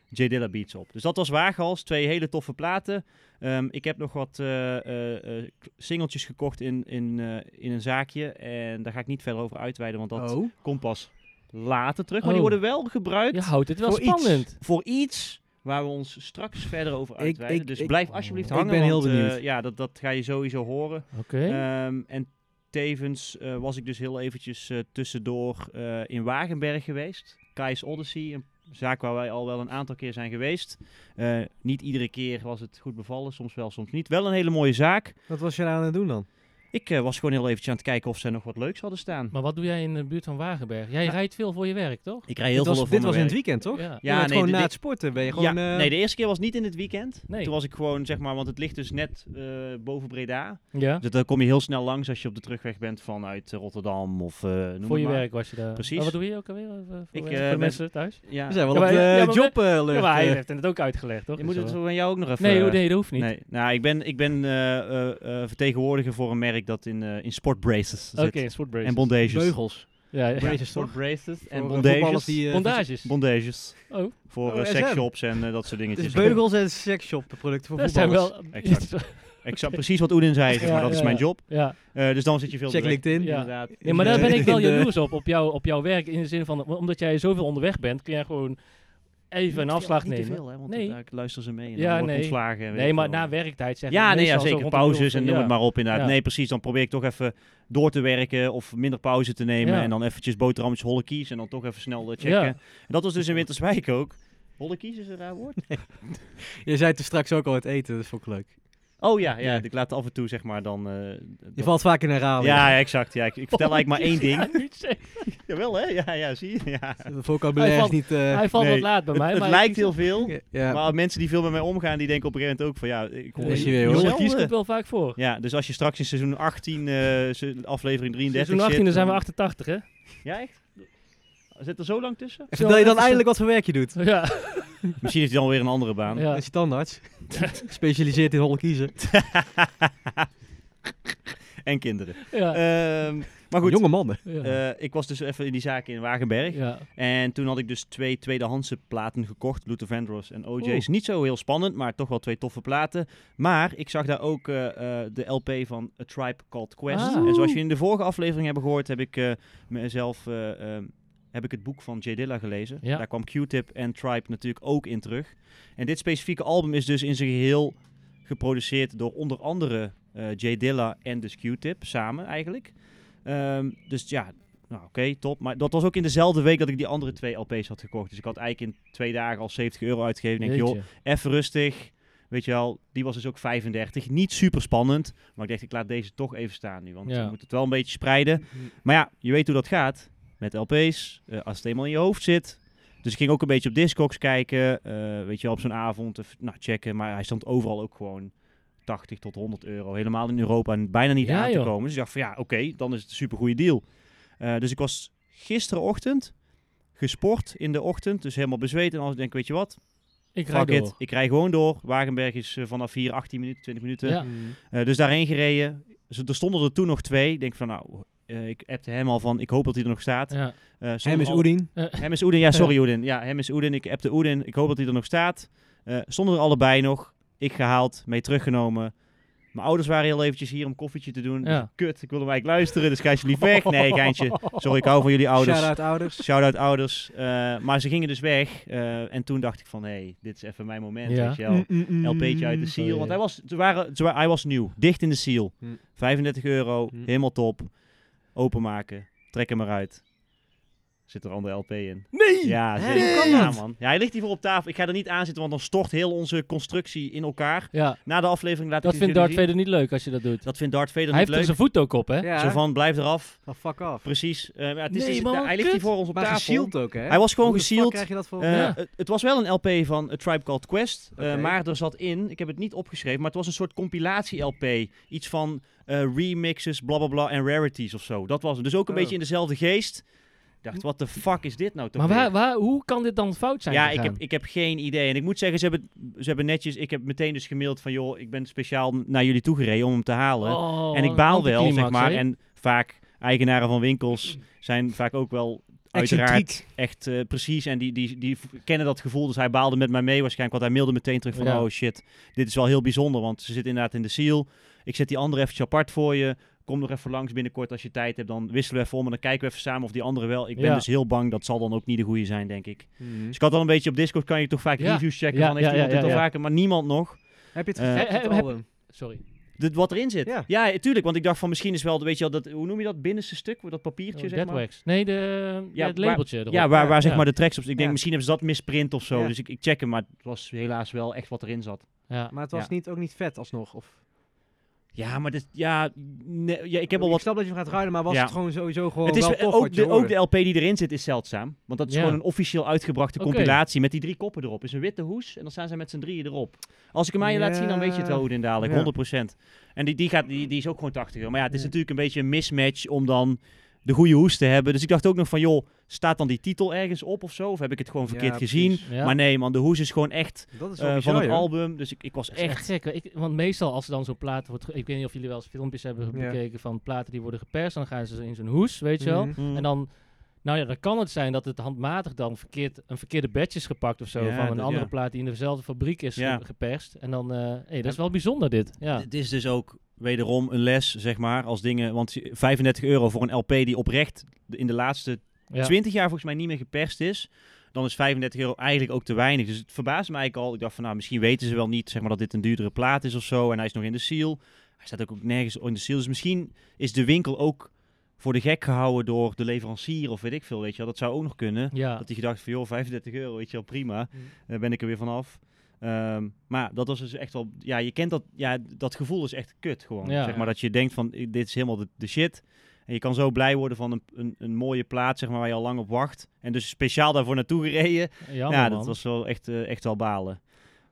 A: J Dilla beats op. Dus dat was Waaghals, twee hele toffe platen. Ehm, ik heb nog wat eh, eh, eh, k- singeltjes gekocht in, in, eh, in een zaakje. En daar ga ik niet verder over uitweiden, want dat
B: Oh.
A: komt pas later terug. Maar
C: Oh.
A: die worden wel gebruikt
C: Je houdt het wel
A: Voor iets.
C: spannend.
A: voor iets waar we ons straks verder over
B: Ik-
A: uitweiden.
B: ik-
A: dus
B: ik-
A: blijf alsjeblieft
B: ik
A: hangen.
B: ben heel
A: want, eh,
B: benieuwd.
A: ja, dat, dat ga je sowieso horen.
C: Oké.
A: Ehm, en tevens eh, was ik dus heel eventjes eh, tussendoor eh, in Wagenberg geweest. Kai's Odyssey, een zaak waar wij al wel een aantal keer zijn geweest. Eh, niet iedere keer was het goed bevallen, soms wel, soms niet. Wel een hele mooie zaak.
B: Wat was je daar aan het doen dan?
A: Ik Ik eh, was gewoon heel eventjes aan het kijken of ze nog wat leuks hadden staan.
C: Maar wat doe jij in de buurt van Wagenberg? Jij
A: Ja.
C: rijdt veel voor je werk, toch?
A: Ik rij heel
B: dit was,
A: veel
B: dit
A: over
B: was
A: mijn
B: in het weekend, toch?
C: Ja.
B: Ja, nee,
A: nee,
B: gewoon
A: dit-
B: na het sporten ben je gewoon...
A: ja,
B: eh,
A: nee, de eerste keer was niet in het weekend.
C: Nee.
A: Toen was ik gewoon, zeg maar, want het ligt dus net eh, boven Breda.
C: Ja.
A: Dus daar kom je heel snel langs als je op de terugweg bent vanuit eh, Rotterdam of eh, noem
C: Voor
A: het
C: je
A: maar.
C: werk was je daar.
A: Precies.
C: Oh, wat doe je ook alweer? eh, voor- voor
A: Ik,
C: voor
A: eh,
C: de
A: ben-
C: mensen thuis?
A: Ja.
B: We zijn wel
C: Ja,
B: op
C: maar-
B: de
C: ja, maar we-
B: job eh,
C: Ja, maar hij
B: lucht.
C: heeft het ook uitgelegd, toch?
A: Je moet
C: Is
A: het
C: wel-
A: van jou ook nog even...
C: Nee,
A: eh,
C: hoe nee, dat hoeft niet.
A: Nee, nou, ik ben, ik ben eh, eh, eh, vertegenwoordiger voor een merk dat in, eh, in sportbraces zit.
C: Oké, een sportbraces.
A: En bondages.
B: Beugels.
C: Ja, ja.
B: Braces, toch?
A: Sportbraces en
B: Voor, eh,
A: bondages.
B: voetballers die, eh,
C: Bondages.
A: bondages.
C: Oh,
A: Voor
B: Oh,
A: eh,
B: SM.
A: seksshops en eh, dat soort
B: Het
A: dingetjes.
B: is dus beugels en seksshop producten voor
C: dat zijn
B: voetballers.
C: wel...
A: Exact. Ik snap precies wat Oedin zei, zeg maar
C: Ja,
A: dat is
C: ja,
A: mijn
C: ja.
A: job.
C: ja.
A: Eh, dus dan zit je veel
B: Check
A: direct-
B: LinkedIn.
C: Ja.
A: Inderdaad.
C: Nee, maar daar ben ik wel
B: In de-
C: jaloers op, op, jou, op jouw werk. In de zin van, omdat jij zoveel onderweg bent, kun jij gewoon even een afslag
A: Niet te
C: nemen.
A: veel, hè, want
C: Nee.
A: dan, eh, luisteren ze mee en
C: Ja,
A: dan word ik
C: nee.
A: ontslagen. en weet
C: Nee,
A: ik
C: maar
A: veel.
C: na werktijd zeg
A: Ja,
C: ik
A: nee,
C: meestal
A: ja,
C: zo
A: zeker.
C: rond de middelste-
A: Pauzes en noem
C: ja.
A: het maar op inderdaad.
C: Ja.
A: Nee, precies. Dan probeer ik toch even door te werken of minder pauze te nemen.
C: Ja.
A: En dan eventjes boterhammetjes holle kies en dan toch even snel eh, checken.
C: Ja.
A: En dat was dus in Winterswijk ook. Holle kies is een raar woord.
B: Je zei het er straks ook al het eten, dat vond ik leuk.
A: Oh ja, ja,
B: Ja.
A: ik laat af en toe zeg maar dan... eh,
B: Je
A: dat-
B: valt vaak in
A: ja,
B: herhaling.
A: ja, exact. Ja. Ik, ik vertel eigenlijk maar één
C: Ja,
A: ding.
C: niet zeggen.
A: Jawel hè? Ja, ja zie je? Ja.
B: De vocabulaire
C: Hij
B: is
C: valt-
B: niet... eh,
C: Hij valt
A: nee.
C: wat laat bij mij.
A: het
C: maar
A: lijkt heel veel,
B: ja.
A: maar mensen die veel met mij omgaan, die denken op een gegeven moment ook van ja, ik hoor
B: Is
A: je
B: hij weer, hoor.
C: Jonge
A: zelden.
C: kies komt wel vaak voor.
A: Ja, dus als je straks in seizoen 18, eh, se- aflevering 33
C: Seizoen 18
A: zit,
C: dan zijn we
A: dan-
C: 88, hè?
A: Ja, echt? Zit er zo lang tussen?
B: En Vertel je dan
C: Even-
B: eindelijk wat voor werk je doet.
C: Ja.
A: Misschien heeft hij dan weer een andere baan.
C: ja.
B: Als je tandarts. Specialiseert in holle kiezen.
A: en kinderen.
C: ja.
A: Ehm, maar goed,
B: Jonge mannen.
C: Ah. ja.
A: eh, ik was dus even in die zaak in Wagenberg.
C: Ja.
A: En toen had ik dus twee tweedehandse platen gekocht. Luther Vandross en OJ's.
C: Oeh.
A: Niet zo heel spannend, maar toch wel twee toffe platen. Maar ik zag daar ook eh, eh, de LP van A Tribe Called Quest.
C: Ah.
A: En zoals jullie in de vorige aflevering hebben gehoord, heb ik eh, mezelf... eh, ehm, heb ik het boek van J. Dilla gelezen.
C: Ja.
A: Daar kwam Q-Tip en Tribe natuurlijk ook in terug. En dit specifieke album is dus in zijn geheel geproduceerd door onder andere eh J. Dilla en dus Q-Tip samen eigenlijk. Ehm, dus ja, nou, oké, top. Maar dat was ook in dezelfde week dat ik die andere twee LP's had gekocht. Dus ik had eigenlijk in twee dagen al 70 euro uitgegeven. Ik denk, joh,
C: Jeetje.
A: even rustig. Weet je wel, die was dus ook 35. Niet super spannend. Maar ik dacht, ik laat deze toch even staan nu. Want
C: Ja.
A: we moeten het wel een beetje spreiden. Maar ja, je weet hoe dat gaat met LP's. eh, als het eenmaal in je hoofd zit. Dus ik ging ook een beetje op Discogs kijken. eh, weet je wel, op zo'n avond. Even, nou, checken. Maar hij stond overal ook gewoon 80 tot 100 euro. Helemaal in Europa en bijna niet
C: Ja,
A: aan te
C: joh.
A: komen. Dus ik dacht van ja, oké, dan is het een super goede deal. Eh, dus ik was gisterenochtend gesport in de ochtend. Dus helemaal bezweet. En als ik denk, weet je wat,
C: Ik rijd
A: Fuck it,
C: door.
A: ik rij gewoon door. Wagenberg is eh, vanaf hier 18 minuten, 20 minuten.
C: Ja.
B: Mm.
A: Eh, dus daarheen gereden. Ze- er stonden er toen nog twee. Ik denk van, nou, eh, ik appte hem al van, ik hoop dat hij er nog staat.
C: Ja.
A: Eh, stonden
B: Hem is
A: al-
B: Oedin.
A: Hem is Oedin, ja, sorry Oedin. Ja, hem is Oedin. Ik appte Oedin, ik hoop dat hij er nog staat. Eh, stonden er allebei nog. Ik gehaald, mee teruggenomen. Mijn ouders waren heel eventjes hier om koffietje te doen.
C: Ja.
A: Kut, ik wilde hem eigenlijk luisteren, dus ga alsjeblieft weg. Nee, geintje. Sorry, ik hou van jullie ouders.
B: Shout-out ouders.
A: Shout-out ouders. Eh, maar ze gingen dus weg. eh, en toen dacht ik van, hé, hey, dit is even mijn moment,
C: Ja. Hm.
A: weet je wel.
B: Mm, mm, mm.
A: LP'tje uit de
C: Oh,
A: seal.
C: ja.
A: Want hij was, ze waren, ze wa- hij was nieuw. Dicht in de seal.
B: Hm.
A: 35 euro.
B: Hm.
A: Helemaal top. Openmaken. Trek hem eruit. Zit er andere LP in.
B: Nee!
A: Ja,
B: Hè,
A: zeker.
B: hoe kan
A: ja,
B: dat?
A: man. Ja, hij ligt hier voor op tafel. Ik ga er niet aan zitten, want dan stort heel onze constructie in elkaar.
C: ja.
A: Na de aflevering laat
C: Dat
A: ik het
C: vindt
A: jullie
C: Darth
A: zien.
C: Vader niet leuk als je dat doet.
A: Dat vindt Darth Vader
C: Hij
A: niet
C: heeft dus er
A: leuk.
C: zijn voet ook op, hè?
B: Ja.
A: Zo van, blijf eraf.
B: Oh, fuck af.
A: Precies. Eh, ja, het is,
C: Nee,
A: dus-
C: man,
A: hij ligt hier
C: kut.
A: voor ons op
B: Maar
A: tafel.
B: gesield ook, hè?
A: Hij was gewoon
B: Hoe de fuck
A: gesield.
B: krijg je dat voor?
A: Eh,
C: Ja.
A: het, het was wel een LP van A Tribe Called Quest, eh,
B: Oké.
A: maar er zat in, ik heb het niet opgeschreven, maar het was een soort compilatie-LP. Iets van eh, remixes, blablabla en rarities of zo. Dat was het. Dus ook een
B: Oh.
A: beetje in dezelfde geest. Ik dacht, wat de fuck is dit nou toch?
C: Maar
A: weer?
C: waar, waar, hoe kan dit dan fout zijn
A: ja, ik
C: gegaan?
A: heb, ik heb geen idee. En ik moet zeggen, ze hebben, ze hebben netjes, ik heb meteen dus gemaild van, joh, ik ben speciaal naar jullie toegereden om hem te halen.
C: Oh,
A: en ik
C: wat
A: baal
C: een
A: wel, zeg
C: anticlimax,
A: maar.
C: hè?
A: En vaak eigenaren van winkels zijn vaak ook wel uiteraard
B: Excentriek.
A: echt eh, precies. En die, die, die v- kennen dat gevoel. Dus hij baalde met mij mee waarschijnlijk. Want hij mailde meteen terug van,
C: Ja.
A: oh shit, dit is wel heel bijzonder. Want ze zit inderdaad in de seal. Ik zet die andere eventjes apart voor je. Kom nog even langs binnenkort als je tijd hebt. Dan wisselen we even om en dan kijken we even samen of die andere wel. Ik ben
C: Ja.
A: dus heel bang. Dat zal dan ook niet de goede zijn, denk ik.
B: Mm.
A: Dus ik had al een beetje op Discord, kan je toch vaak
C: Ja.
A: reviews checken
C: Ja,
A: van heeft
C: ja,
A: iemand
C: ja,
A: dit
C: ja,
A: al
C: ja.
A: vaker, maar niemand nog.
B: Heb je het
A: Eh,
B: gecheckt,
C: heb-
B: het
C: heb-
B: album?
C: Sorry. Oh,
A: Dit- wat erin zit.
B: Ja.
A: ja, tuurlijk. Want ik dacht van misschien is wel, weet je wel, dat, hoe noem je dat binnenste stuk? Dat papiertje,
C: Oh,
A: zeg maar.
C: Deadwax. Nee, de,
A: Ja,
C: ja, het labeltje erop. eh,
A: Ja, waar, waar zeg
C: Ja.
A: maar de tracks op Ik denk,
B: Ja.
A: misschien hebben ze dat misprint of zo.
B: Ja.
A: Dus ik, ik check hem, maar het was helaas wel echt wat erin zat.
C: Ja.
B: Maar het was
A: Ja.
B: niet, ook niet vet alsnog. Of...
A: Ja, maar dit, ja, nee, ja, ik heb al
B: Ik
A: wat...
B: snap dat je hem gaat ruilen, maar was
A: Ja.
B: het gewoon sowieso gewoon
A: Het is,
B: wel
A: eh,
B: tof
A: ook,
B: wat je
A: de, ook
B: hoorde?
A: de LP die erin zit is zeldzaam. Want dat is
C: Ja.
A: gewoon een officieel uitgebrachte
C: Oké.
A: compilatie met die drie koppen erop. is een witte hoes en dan staan zij met z'n drieën erop. Als ik hem aan je laat zien, dan weet je het wel hoe het in dadelijk,
B: Ja.
A: 100%. En die, die, gaat, die, die is ook gewoon 80 euro. Maar ja, het is
B: Ja.
A: natuurlijk een beetje een mismatch om dan de goede hoes te hebben. Dus ik dacht ook nog van, joh, staat dan die titel ergens op of zo? Of heb ik het gewoon
B: Ja,
A: verkeerd
B: precies.
A: gezien?
C: Ja.
A: Maar nee, man, de hoes is gewoon echt
B: Dat is
A: eh,
B: wel bizar,
A: van het
B: joh.
A: album. Dus ik, ik was
C: Dat is echt
A: echt...
C: gek. hoor. Ik, want meestal als er dan zo'n plaat wordt... ge- Ik weet niet of jullie wel eens filmpjes hebben
B: Ja.
C: bekeken van platen die worden geperst. Dan gaan ze in zo'n hoes, weet je wel.
B: Mhm.
A: Mm.
C: En dan... Nou ja, dan kan het zijn dat het handmatig dan verkeerd, een verkeerde batch is gepakt of zo.
A: Ja,
C: van een
A: dat-
C: andere
A: ja.
C: plaat die in dezelfde fabriek is
A: Ja.
C: ge- geperst. En dan... eh hey, dat is wel bijzonder dit. Ja.
A: Het is dus ook wederom een les, zeg maar, als dingen... Want 35 euro voor een LP die oprecht in de laatste
C: Ja.
A: 20 jaar volgens mij niet meer geperst is... dan is 35 euro eigenlijk ook te weinig. Dus het verbaasde me eigenlijk al. Ik dacht van, nou, misschien weten ze wel niet zeg maar, dat dit een duurdere plaat is of zo. En hij is nog in de seal. Hij staat ook ook nergens in de seal. Dus misschien is de winkel ook voor de gek gehouden door de leverancier of weet ik veel, weet je wel. Dat zou ook nog kunnen.
C: Ja.
A: Dat hij gedacht van, joh, 35 euro, weet je wel, prima.
C: Mm.
A: Daar ben ik er weer vanaf. Ehm, maar dat was dus echt wel... Ja, je kent dat... Ja, dat gevoel is echt kut gewoon.
C: Ja.
A: zeg maar dat je denkt van, i- dit is helemaal de, de shit. En je kan zo blij worden van een, een, een mooie plaat, zeg maar, waar je al lang op wacht. En dus speciaal daarvoor naartoe gereden.
C: Jammer,
A: ja,
C: man.
A: dat was wel echt, eh, echt wel balen.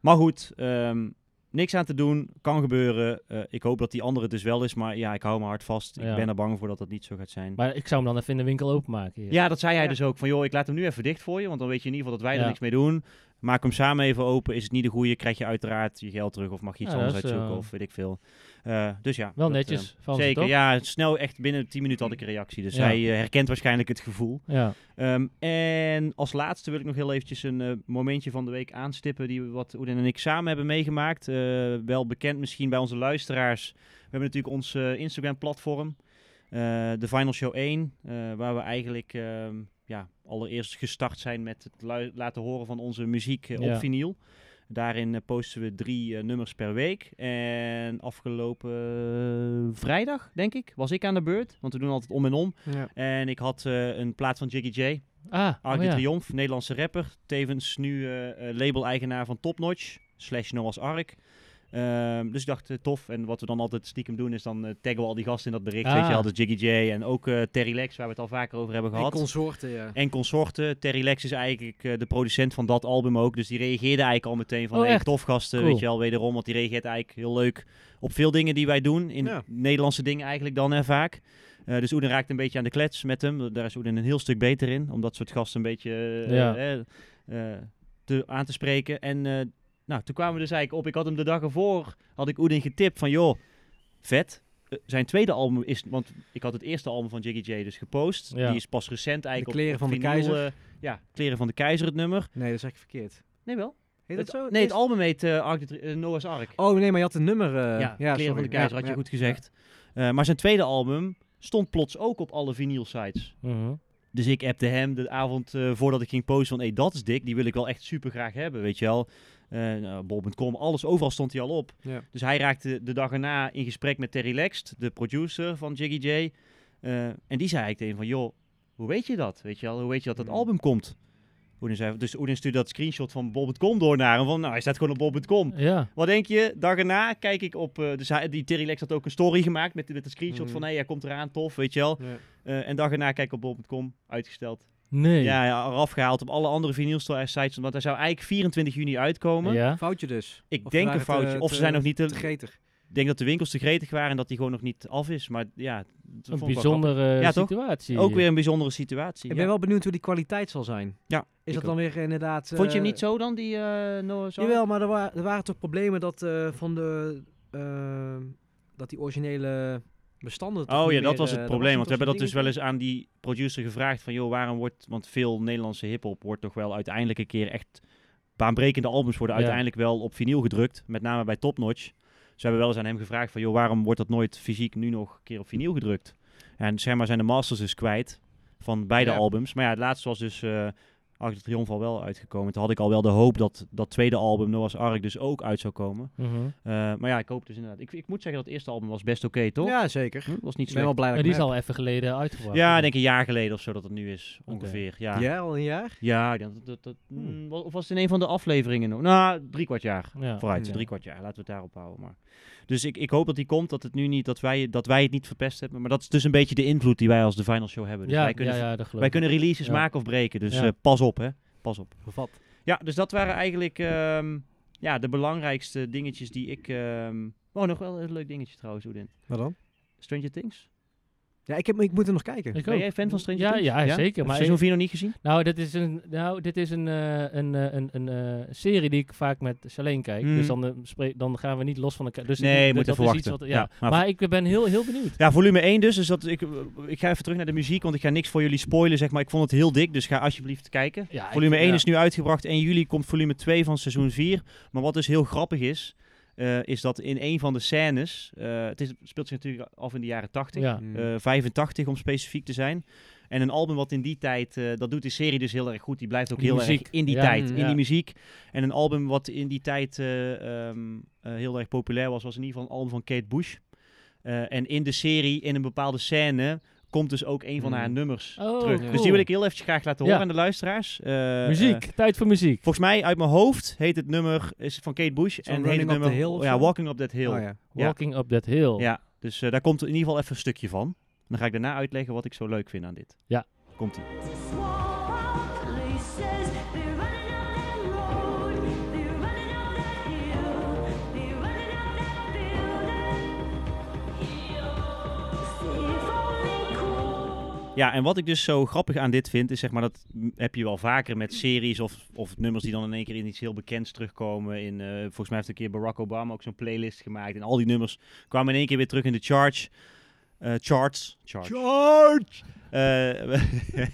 A: Maar goed, ehm, niks aan te doen. Kan gebeuren. Eh, ik hoop dat die andere het dus wel is. Maar ja, ik hou me hard vast.
C: Ja.
A: Ik ben er bang voor dat dat niet zo gaat zijn.
C: Maar ik zou hem dan even in de winkel openmaken. hier.
A: Ja, dat zei hij
B: Ja.
A: dus ook. Van joh, ik laat hem nu even dicht voor je, want dan weet je in ieder geval dat wij
C: Ja.
A: er niks mee doen. Maak hem samen even open. Is het niet de goede, krijg je uiteraard je geld terug of mag je iets
C: Ja, dat
A: anders
C: is,
A: uitzoeken
C: eh,
A: of weet ik veel. Eh, dus ja.
C: Wel
A: dat,
C: netjes
A: eh,
C: van ze,
A: zeker,
C: toch?
A: ja. Snel, echt binnen 10 minuten had ik een reactie. Dus
C: Ja.
A: hij eh, herkent waarschijnlijk het gevoel.
C: Ja.
A: Ehm, en als laatste wil ik nog heel eventjes een eh, momentje van de week aanstippen die we wat Oedin en ik samen hebben meegemaakt. Eh, wel bekend misschien bij onze luisteraars. We hebben natuurlijk ons eh, Instagram-platform, eh, de Final Show 1, eh, waar we eigenlijk ehm, ja, allereerst gestart zijn met het lu- laten horen van onze muziek eh, op
C: Ja.
A: vinyl. Daarin eh, posten we drie eh, nummers per week. En afgelopen eh, vrijdag, denk ik, was ik aan de beurt. Want we doen altijd om en om.
B: Ja.
A: En ik had eh, een plaat van Jiggy J.
C: Ah,
A: Arc
C: oh
A: de
C: ja.
A: Triomf, Nederlandse rapper. Tevens nu eh, eh, label-eigenaar van Topnotch, slash Noah's Ark. Ehm, dus ik dacht, eh, tof. En wat we dan altijd stiekem doen, is dan eh, taggen we al die gasten in dat bericht.
C: Ah.
A: Weet je wel, de Jiggy J en ook eh, Terry Lex, waar we het al vaker over hebben
B: En
A: gehad.
B: consorten, ja.
A: en consorten. Terry Lex is eigenlijk eh, de producent van dat album ook. Dus die reageerde eigenlijk al meteen van,
C: Oh,
A: hey,
C: echt?
A: tof gasten,
C: Cool.
A: weet je wel, wederom. Want die reageert eigenlijk heel leuk op veel dingen die wij doen. In
B: Ja.
A: Nederlandse dingen eigenlijk dan, hè, vaak. Eh, dus Oeden raakt een beetje aan de klets met hem. Daar is Oeden een heel stuk beter in. Om dat soort gasten een beetje eh,
C: Ja.
A: eh, eh, te, aan te spreken. En eh, nou, toen kwamen we dus eigenlijk op. Ik had hem de dag ervoor, had ik Oeden getipt van... joh, vet. Eh, zijn tweede album is... Want ik had het eerste album van Jiggy J dus gepost.
C: Ja.
A: Die is pas recent eigenlijk
B: De Kleren
A: op,
B: van
A: op
B: de
A: vinyl,
B: Keizer.
A: eh, ja, Kleren van de Keizer het nummer.
B: Nee, dat is eigenlijk verkeerd.
A: Nee, wel.
B: Heet dat zo?
A: Nee, het album heet eh, Arc de Tri- eh, Noah's Ark.
B: Oh nee, maar je had een nummer. eh,
A: ja, Kleren
B: sorry.
A: van de Keizer had je
B: Ja,
A: goed gezegd. Eh, maar zijn tweede album stond plots ook op alle vinyl sites.
C: Mhm.
A: Dus ik appte hem de avond eh, voordat ik ging posten van... hey, dat is dik, die wil ik wel echt super graag hebben, weet je wel. Eh, nou, Bol.com, alles, overal stond hij al op.
B: Ja.
A: Dus hij raakte de dag erna in gesprek met Terry Lext, de producer van Jiggy J. Eh, en die zei eigenlijk tegen hem van... joh, hoe weet je dat, weet je wel? Hoe weet je dat dat
B: Mm.
A: album komt? Oedin zei, dus Oedin stuurde dat screenshot van Bol.com door naar hem. Van, nou, hij staat gewoon op Bol.com.
C: Ja.
A: Wat denk je? Dag erna kijk ik op... eh, dus hij, die Terry Lext had ook een story gemaakt met, met een screenshot
B: Mm.
A: van... hé, hey, hij komt eraan, tof, weet je wel.
B: Ja.
A: Eh, en dag erna kijk ik op Bol.com, uitgesteld.
C: Nee.
A: Ja, ja, eraf gehaald op alle andere vinylstore sites. Want hij zou eigenlijk 24 juni uitkomen.
C: Ja.
B: Een Foutje dus.
A: Ik
B: Of
A: denk
B: waren
A: een
B: het, eh,
A: foutje. of
B: te-
A: ze zijn nog niet te...
B: Te gretig.
A: Ik denk dat de winkels te gretig waren en dat die gewoon nog niet af is. Maar ja, het vond ik wel
C: Een
A: grappig.
C: bijzondere
A: Ja, toch?
C: situatie.
A: Ook weer een bijzondere situatie.
B: Ik
A: ja.
B: ben wel benieuwd hoe die kwaliteit zal zijn.
A: Ja,
B: Is
A: ik
B: dat dan weer inderdaad...
A: Vond je hem
B: eh,
A: niet zo dan, die eh Noah's Ark?
B: Jawel, maar er, wa- er waren toch problemen dat eh, van de... eh, dat die originele bestanden... toch
A: Oh
B: niet
A: ja, dat
B: meer,
A: was
B: eh,
A: het
B: daar
A: probleem. Want we
B: toch
A: hebben dat dus
B: zo'n
A: wel eens aan die producer gevraagd. Van joh, waarom wordt... Want veel Nederlandse hiphop wordt toch wel uiteindelijk een keer echt... Baanbrekende albums worden
C: Ja.
A: uiteindelijk wel op vinyl gedrukt. Met name bij Top Notch. Dus we hebben wel eens aan hem gevraagd van... joh, waarom wordt dat nooit fysiek nu nog een keer op vinyl gedrukt? En zeg maar zijn de masters dus kwijt. Van beide
B: Ja.
A: albums. Maar ja, het laatste was dus... eh, Arc de Triomphe al wel uitgekomen. Toen had ik al wel de hoop dat dat tweede album, Noah's Ark, dus ook uit zou komen.
C: Mhm.
A: Eh, maar ja, ik hoop dus inderdaad. Ik, ik moet zeggen dat het eerste album was best oké, toch?
B: Ja, zeker.
A: Hm, was niet
B: Ik ben
A: slecht.
B: wel blij dat
C: Maar
B: ik
C: die is
B: hem
C: al even geleden uitgebracht.
A: Ja, ik denk een jaar geleden of zo dat het nu is, ongeveer.
B: heb.
A: Ja,
B: Ja, al een jaar?
A: ja ik denk dat, dat, dat,
B: Hmm.
A: mm, wa- of was het in een van de afleveringen? nog? Nou, drie kwart jaar.
C: Ja.
A: Vooruit,
B: Ja.
A: drie kwart jaar. Laten we het daarop houden. Maar. Dus ik, ik hoop dat die komt, dat, het nu niet, dat, wij, dat wij het niet verpest hebben. Maar dat is dus een beetje de invloed die wij als de Final Show hebben. Dus
C: ja,
A: wij, kunnen,
C: ja, ja, dat geloof
A: wij
C: ik.
A: kunnen releases
C: Ja.
A: maken of breken. Dus
C: Ja.
A: eh, pas op, hè. Pas op.
B: Gevat.
A: Ja, dus dat waren eigenlijk ehm, ja, de belangrijkste dingetjes die ik... ehm Oh, nog wel een leuk dingetje trouwens, Oedin.
B: Wat dan?
A: Stranger Things?
B: Ja, ik, heb, ik moet er nog kijken.
C: Ik
A: Ben
C: ook.
A: jij fan van Stranger
C: ja,
A: Things?
C: Ja, zeker.
A: Maar
C: Maar
A: seizoen 4 nog niet gezien?
C: Nou, dit is een, nou, dit is een, eh, een, eh, een, een eh, serie die ik vaak met Shaleen kijk.
A: Mhm.
C: Dus dan, eh, spreek- dan gaan we niet los van elkaar. Dus
A: Nee,
C: ik-
A: je moet
C: dat
A: even
C: is iets
A: wachten.
C: Wat, ja.
A: Ja, maar-
C: maar, ik ben heel, heel benieuwd.
A: Ja, volume 1 dus. dus dat, ik, ik ga even terug naar de muziek, want ik ga niks voor jullie spoilen, zeg maar. Ik vond het heel dik, dus ga alsjeblieft kijken.
C: Ja, ik-
A: Volume 1
C: ja.
A: is nu uitgebracht. 1 juli komt volume 2 van seizoen 4. Maar wat dus heel grappig is, eh, is dat in een van de scènes... eh, het, is, het speelt zich natuurlijk af in de jaren 80.
C: Ja.
B: Hm.
A: eh, 85 om specifiek te zijn. En een album wat in die tijd, eh, dat doet die serie dus heel erg goed. Die blijft ook
C: Die
A: heel
C: muziek.
A: erg in die
C: Ja,
A: tijd,
B: mm,
A: in
C: ja.
A: die muziek. En een album wat in die tijd eh, ehm, eh, heel erg populair was, was in ieder geval een album van Kate Bush. Eh, en in de serie, in een bepaalde scène, komt dus ook een van
B: Mm.
A: haar nummers
C: Oh,
A: terug.
C: cool.
A: Dus die wil ik heel even graag laten
C: Ja.
A: horen aan de luisteraars. Eh, eh,
C: muziek, tijd voor muziek.
A: volgens mij uit mijn hoofd heet het nummer is van Kate Bush. en heet
B: Running
A: het
B: Up the
A: nummer
B: Hill of
A: ja,
B: zo?
A: Walking Up That Hill.
B: Oh, ja.
A: Ja.
C: Walking Up That Hill.
A: Ja, dus eh, daar komt in ieder geval even een stukje van. En dan ga ik daarna uitleggen wat ik zo leuk vind aan dit.
C: Ja.
A: Komt ie. Ja, en wat ik dus zo grappig aan dit vind, is zeg maar dat m, heb je wel vaker met series of, of nummers die dan in één keer in iets heel bekends terugkomen. In, eh, volgens mij heeft een keer Barack Obama ook zo'n playlist gemaakt. En al die nummers kwamen in één keer weer terug in de charge, eh, charts. Charts.
B: George!
A: Eh,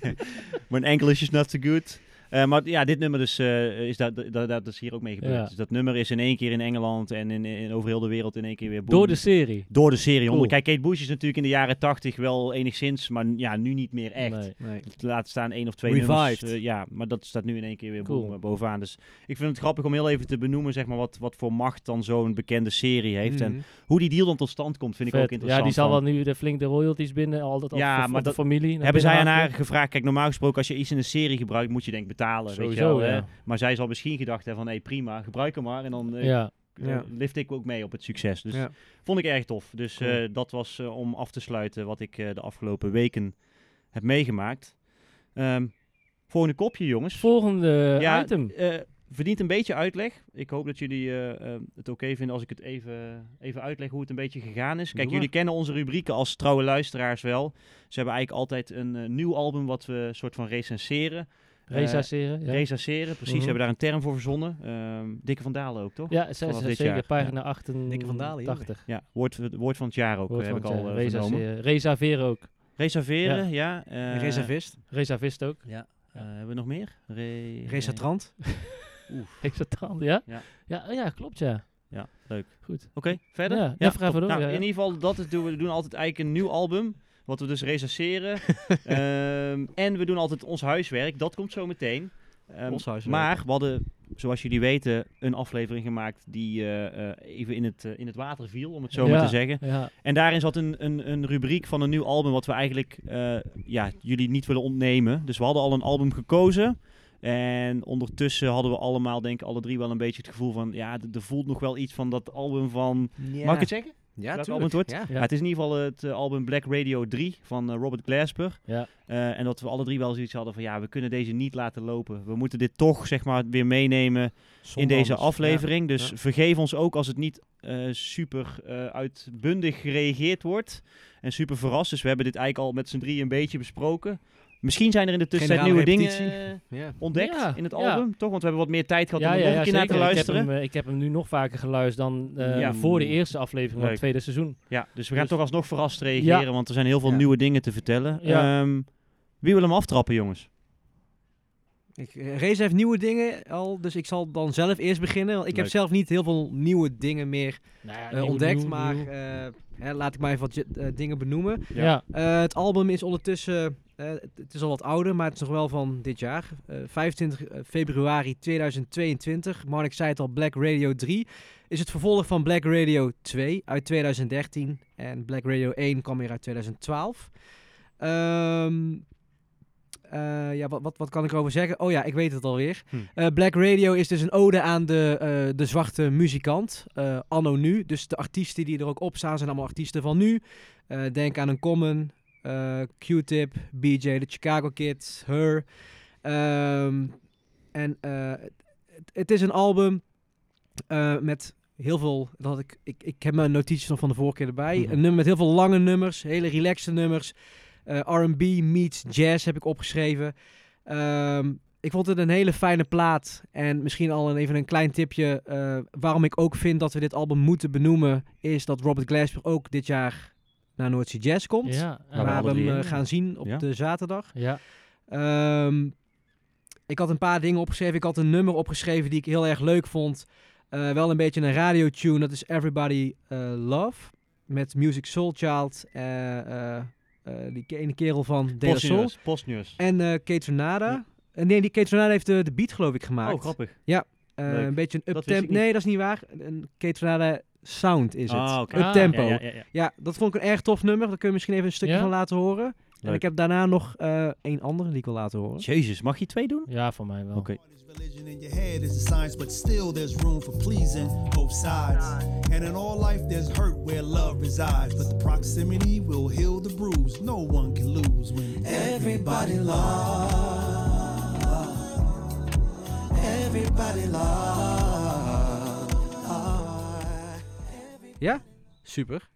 A: Mijn English is not too good. Eh, maar ja, dit nummer dus, eh, is dat, dat, dat is hier ook mee gebeurd.
C: Ja.
A: Dus dat nummer is in één keer in Engeland en in, in, over heel de wereld in één keer weer boem.
C: Door de serie.
A: Door de serie.
C: Cool.
A: onder. Kijk, Kate Bush is natuurlijk in de jaren tachtig wel enigszins, maar ja, nu niet meer echt.
C: Nee.
B: Nee.
A: Laat staan één of twee
B: Revived.
A: nummers. eh, ja, maar dat staat nu in één keer weer
C: Cool.
A: boven- bovenaan. Dus ik vind het grappig om heel even te benoemen zeg maar, wat, wat voor macht dan zo'n bekende serie heeft. En
B: Mhm.
A: hoe die deal dan tot stand komt, vind ik ook
C: Vet.
A: interessant.
C: ja, die zal
A: van-
C: wel nu de, flink de royalties binnen, al dat al
A: Ja,
C: voor- voor
A: maar
C: de
A: dat-
C: familie. naar
A: Hebben zij aan
C: binnen
A: haar
C: haken.
A: gesproken? Kijk, normaal gesproken, als je iets in een serie gebruikt, moet je denk ik betalen. weet je
C: Sowieso,
A: wel, hè?
C: ja.
A: Maar zij zal misschien gedacht hebben van, hé, prima, gebruik hem maar. En dan eh,
C: Ja.
A: eh,
B: Ja.
A: lift ik ook mee op het succes. Dus
B: Ja.
A: vond ik erg tof. Dus
B: Cool.
A: eh, dat was eh, om af te sluiten wat ik eh, de afgelopen weken heb meegemaakt. Ehm, volgende kopje, jongens.
C: Volgende
A: Ja,
C: item.
A: eh, verdient een beetje uitleg. Ik hoop dat jullie eh, eh, het oké vinden als ik het even, even uitleg hoe het een beetje gegaan is. Kijk,
B: maar.
A: jullie kennen onze rubrieken als trouwe luisteraars wel. Ze hebben eigenlijk altijd een eh, nieuw album wat we soort van recenseren. eh,
C: Recenseren. Ja,
A: Recenseren, precies.
C: Mhm.
A: Ze hebben daar een term voor verzonnen. Ehm, Dikke van Dalen ook, toch?
C: ja ze-
A: vanaf
C: ze-
A: dit jaar.
C: zeker. Pagina 88.
B: Dikke Van Dalen, ja.
A: Ja, woord, woord van het jaar ook,
C: Hoort
A: heb
C: van
A: ik al
C: het,
A: eh,
C: eh,
A: vernomen.
C: recenseren. Reserveren ook.
A: Reserveren, ja. eh,
B: Een reservist.
C: Reservist ook.
A: Ja. eh, hebben we nog meer? Re-
B: Resatrant.
C: Heeft dat dan, ja?
A: Ja.
C: Ja, oh ja klopt, ja.
A: Ja, leuk.
C: Goed.
A: Oké, verder?
C: Ja, ja, vraag
A: top.
B: Oh,
C: maar door,
A: Nou,
C: ja, ja.
A: In ieder geval, dat is- doen we. we doen altijd eigenlijk een nieuw album. Wat we dus recenseren. Ehm, en we doen altijd ons huiswerk. Dat komt zo meteen. Ehm,
B: Ons huiswerk.
A: Maar we hadden, zoals jullie weten, een aflevering gemaakt die eh, eh, even in het, eh, in het water viel, om het zo maar
C: Ja.
A: te zeggen.
C: Ja,
A: En daarin zat een, een, een rubriek van een nieuw album, wat we eigenlijk eh, ja, jullie niet willen ontnemen. Dus we hadden al een album gekozen. En ondertussen hadden we allemaal, denk ik, alle drie wel een beetje het gevoel van... Ja, d- er voelt nog wel iets van dat album van... Mag ik het zeggen? Welk
B: Ja, tuurlijk.
A: album het wordt?
B: Ja.
C: Ja.
A: Ja, het is in ieder geval het eh, album Black Radio 3 van eh, Robert Glasper.
C: Ja.
A: Eh, en dat we alle drie wel zoiets hadden van... Ja, we kunnen deze niet laten lopen. We moeten dit toch, zeg maar, weer meenemen in
B: Zonder
A: deze
B: anders.
A: aflevering. Dus
B: Ja.
A: vergeef ons ook als het niet eh, super eh, uitbundig gereageerd wordt. En super verrast. Dus we hebben dit eigenlijk al met z'n drieën een beetje besproken. Misschien zijn er in de tussentijd
B: Generale
A: nieuwe
B: repetitie.
A: dingen eh,
B: Ja. Ja.
A: ontdekt
C: Ja,
A: in het
C: ja.
A: album, toch? Want we hebben wat meer tijd gehad
C: ja,
A: om er
C: ja,
A: nog een
C: ja,
A: keer naar te
C: zeker. Ik heb,
A: luisteren.
C: hem, eh, ik heb hem nu nog vaker geluisterd dan eh,
A: Ja.
C: voor de eerste aflevering van
A: Leuk.
C: het tweede seizoen.
A: Ja, dus we gaan
C: Dus-
A: toch alsnog verrast reageren, want er zijn heel veel
B: Ja.
A: nieuwe dingen te vertellen.
C: Ja.
A: Ehm, wie wil hem aftrappen, jongens?
B: Ik, eh, Reza heeft nieuwe dingen al, dus ik zal dan zelf eerst beginnen. Want ik heb
A: Leuk.
B: zelf niet heel veel nieuwe dingen meer
C: Nou ja,
B: eh,
C: nieuw,
B: ontdekt,
C: nieuw,
B: maar
C: nieuw.
B: eh, hè, laat ik maar even wat j- eh, dingen benoemen.
A: Ja.
C: Ja.
B: Eh, het album is ondertussen, eh, het- het is al wat ouder, maar het is nog wel van dit jaar. Eh, 25 februari 2022, Mark zei het al, Black Radio 3 is het vervolg van Black Radio 2 uit 2013 en Black Radio 1 kwam weer uit 2012. Ehm, eh, ja, wat, wat, wat kan ik erover zeggen? Oh ja, ik weet het alweer.
A: Hm.
B: Eh, Black Radio is dus een ode aan de, eh, de zwarte muzikant, eh, anno nu. Dus de artiesten die er ook op staan zijn allemaal artiesten van nu. Eh, denk aan een Common, eh, Q-Tip, BJ, de Chicago Kids, Her. Ehm, en eh, het- het is een album eh, met heel veel... Dat had ik, ik, ik heb mijn notities nog van de vorige keer erbij.
A: Mhm.
B: Een nummer met heel veel lange nummers, hele relaxte nummers. Eh, R&B meets jazz heb ik opgeschreven. Ehm, ik vond het een hele fijne plaat. En misschien al een- even een klein tipje. eh, waarom ik ook vind dat we dit album moeten benoemen. Is dat Robert Glasper ook dit jaar naar Noordzee Jazz komt.
C: Ja,
A: Maar
B: Waar we
A: alle
B: hebben hem
A: drie
B: eh,
A: in.
B: gaan zien op
A: Ja.
B: de zaterdag.
A: eh,
C: ja.
B: Ehm, ik had een paar dingen opgeschreven. Ik had een nummer opgeschreven die ik heel erg leuk vond. Eh, wel een beetje een radiotune. Dat is Everybody eh, Love. Met Music Soul Child. eh, eh, eh, die ene kerel van De La Soul.
A: Postnews. Postnews.
B: En eh Kate Tornada.
A: Ja.
B: Eh, Nee, die Kate Tornada heeft de, de beat geloof ik gemaakt.
A: Oh, grappig.
B: Eh,
A: leuk.
B: een beetje
A: Dat
B: een
A: wist ik
B: uptempo.
A: niet.
B: Nee, dat is niet waar. Een Kate Tornada sound is het.
A: Ah, oké.
C: Ah.
B: Uptempo.
A: Ja,
B: Ja,
A: ja, ja, ja.
B: dat vond ik een erg tof nummer. Daar kun je misschien even een stukje
C: Ja?
B: van laten horen. En
A: Leuk.
B: ik heb daarna nog eh één andere die ik wil laten horen.
A: Jezus, mag je twee doen?
C: Ja, voor mij wel.
A: Oké.
F: Religion in your head is a science, but still there's room for pleasing both sides. And in all life, there's hurt where love resides, but the proximity will heal the bruise. No one can lose when everybody love. Everybody love.
B: Ja? Super.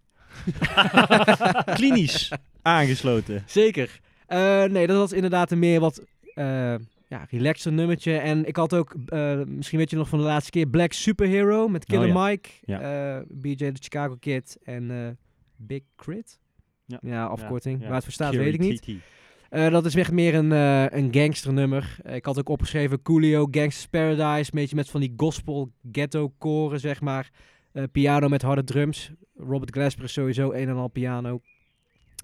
A: Klinisch aangesloten.
B: Zeker. Eh, nee, dat was inderdaad een meer wat eh ja, relaxer nummertje. En ik had ook, eh, misschien weet je nog van de laatste keer, Black Superhero met Killer
A: Oh ja.
B: Mike,
A: Ja.
B: eh, BJ de Chicago Kid en eh, Big Crit.
A: Ja.
B: Ja, afkorting.
A: Ja.
B: Waar het voor staat, weet ik niet.
A: Curiosity.
B: Eh, dat is echt meer een, eh een gangsternummer. Eh, ik had ook opgeschreven Coolio, Gangsters Paradise. Een beetje met van die gospel ghetto koren, zeg maar. Eh, piano met harde drums. Robert Glasper is sowieso een en al piano.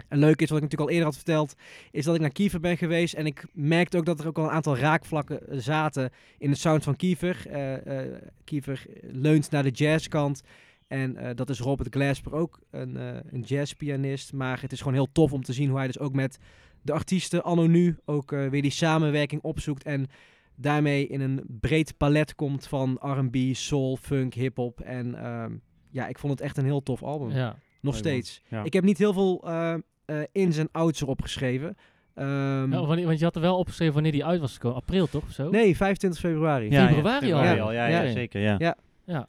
B: En leuk is, wat ik natuurlijk al eerder had verteld, is dat ik naar Kiever ben geweest. En ik merkte ook dat er ook al een aantal raakvlakken eh, zaten in de sound van Kiever. Eh, eh, Kiever leunt naar de jazzkant. En eh, dat is Robert Glasper ook, een, eh, een jazzpianist. Maar het is gewoon heel tof om te zien hoe hij dus ook met de artiesten anno nu ook eh, weer die samenwerking opzoekt en daarmee in een breed palet komt van R&B, soul, funk, hip-hop en ehm, ja, ik vond het echt een heel tof album.
C: Ja.
A: man.
B: Nog steeds.
A: Ja.
B: Ik heb niet heel veel eh, eh, ins en outs erop geschreven. Ehm,
C: Ja, wanneer- want je had er wel opgeschreven wanneer die uit was gekomen. April toch? of Zo?
B: nee, 25 februari.
A: Ja, ja,
C: Februari al.
A: februari Ja, ja,
B: Ja.
A: ja, zeker. Ja.
B: Ja.
C: Ja.
A: Ik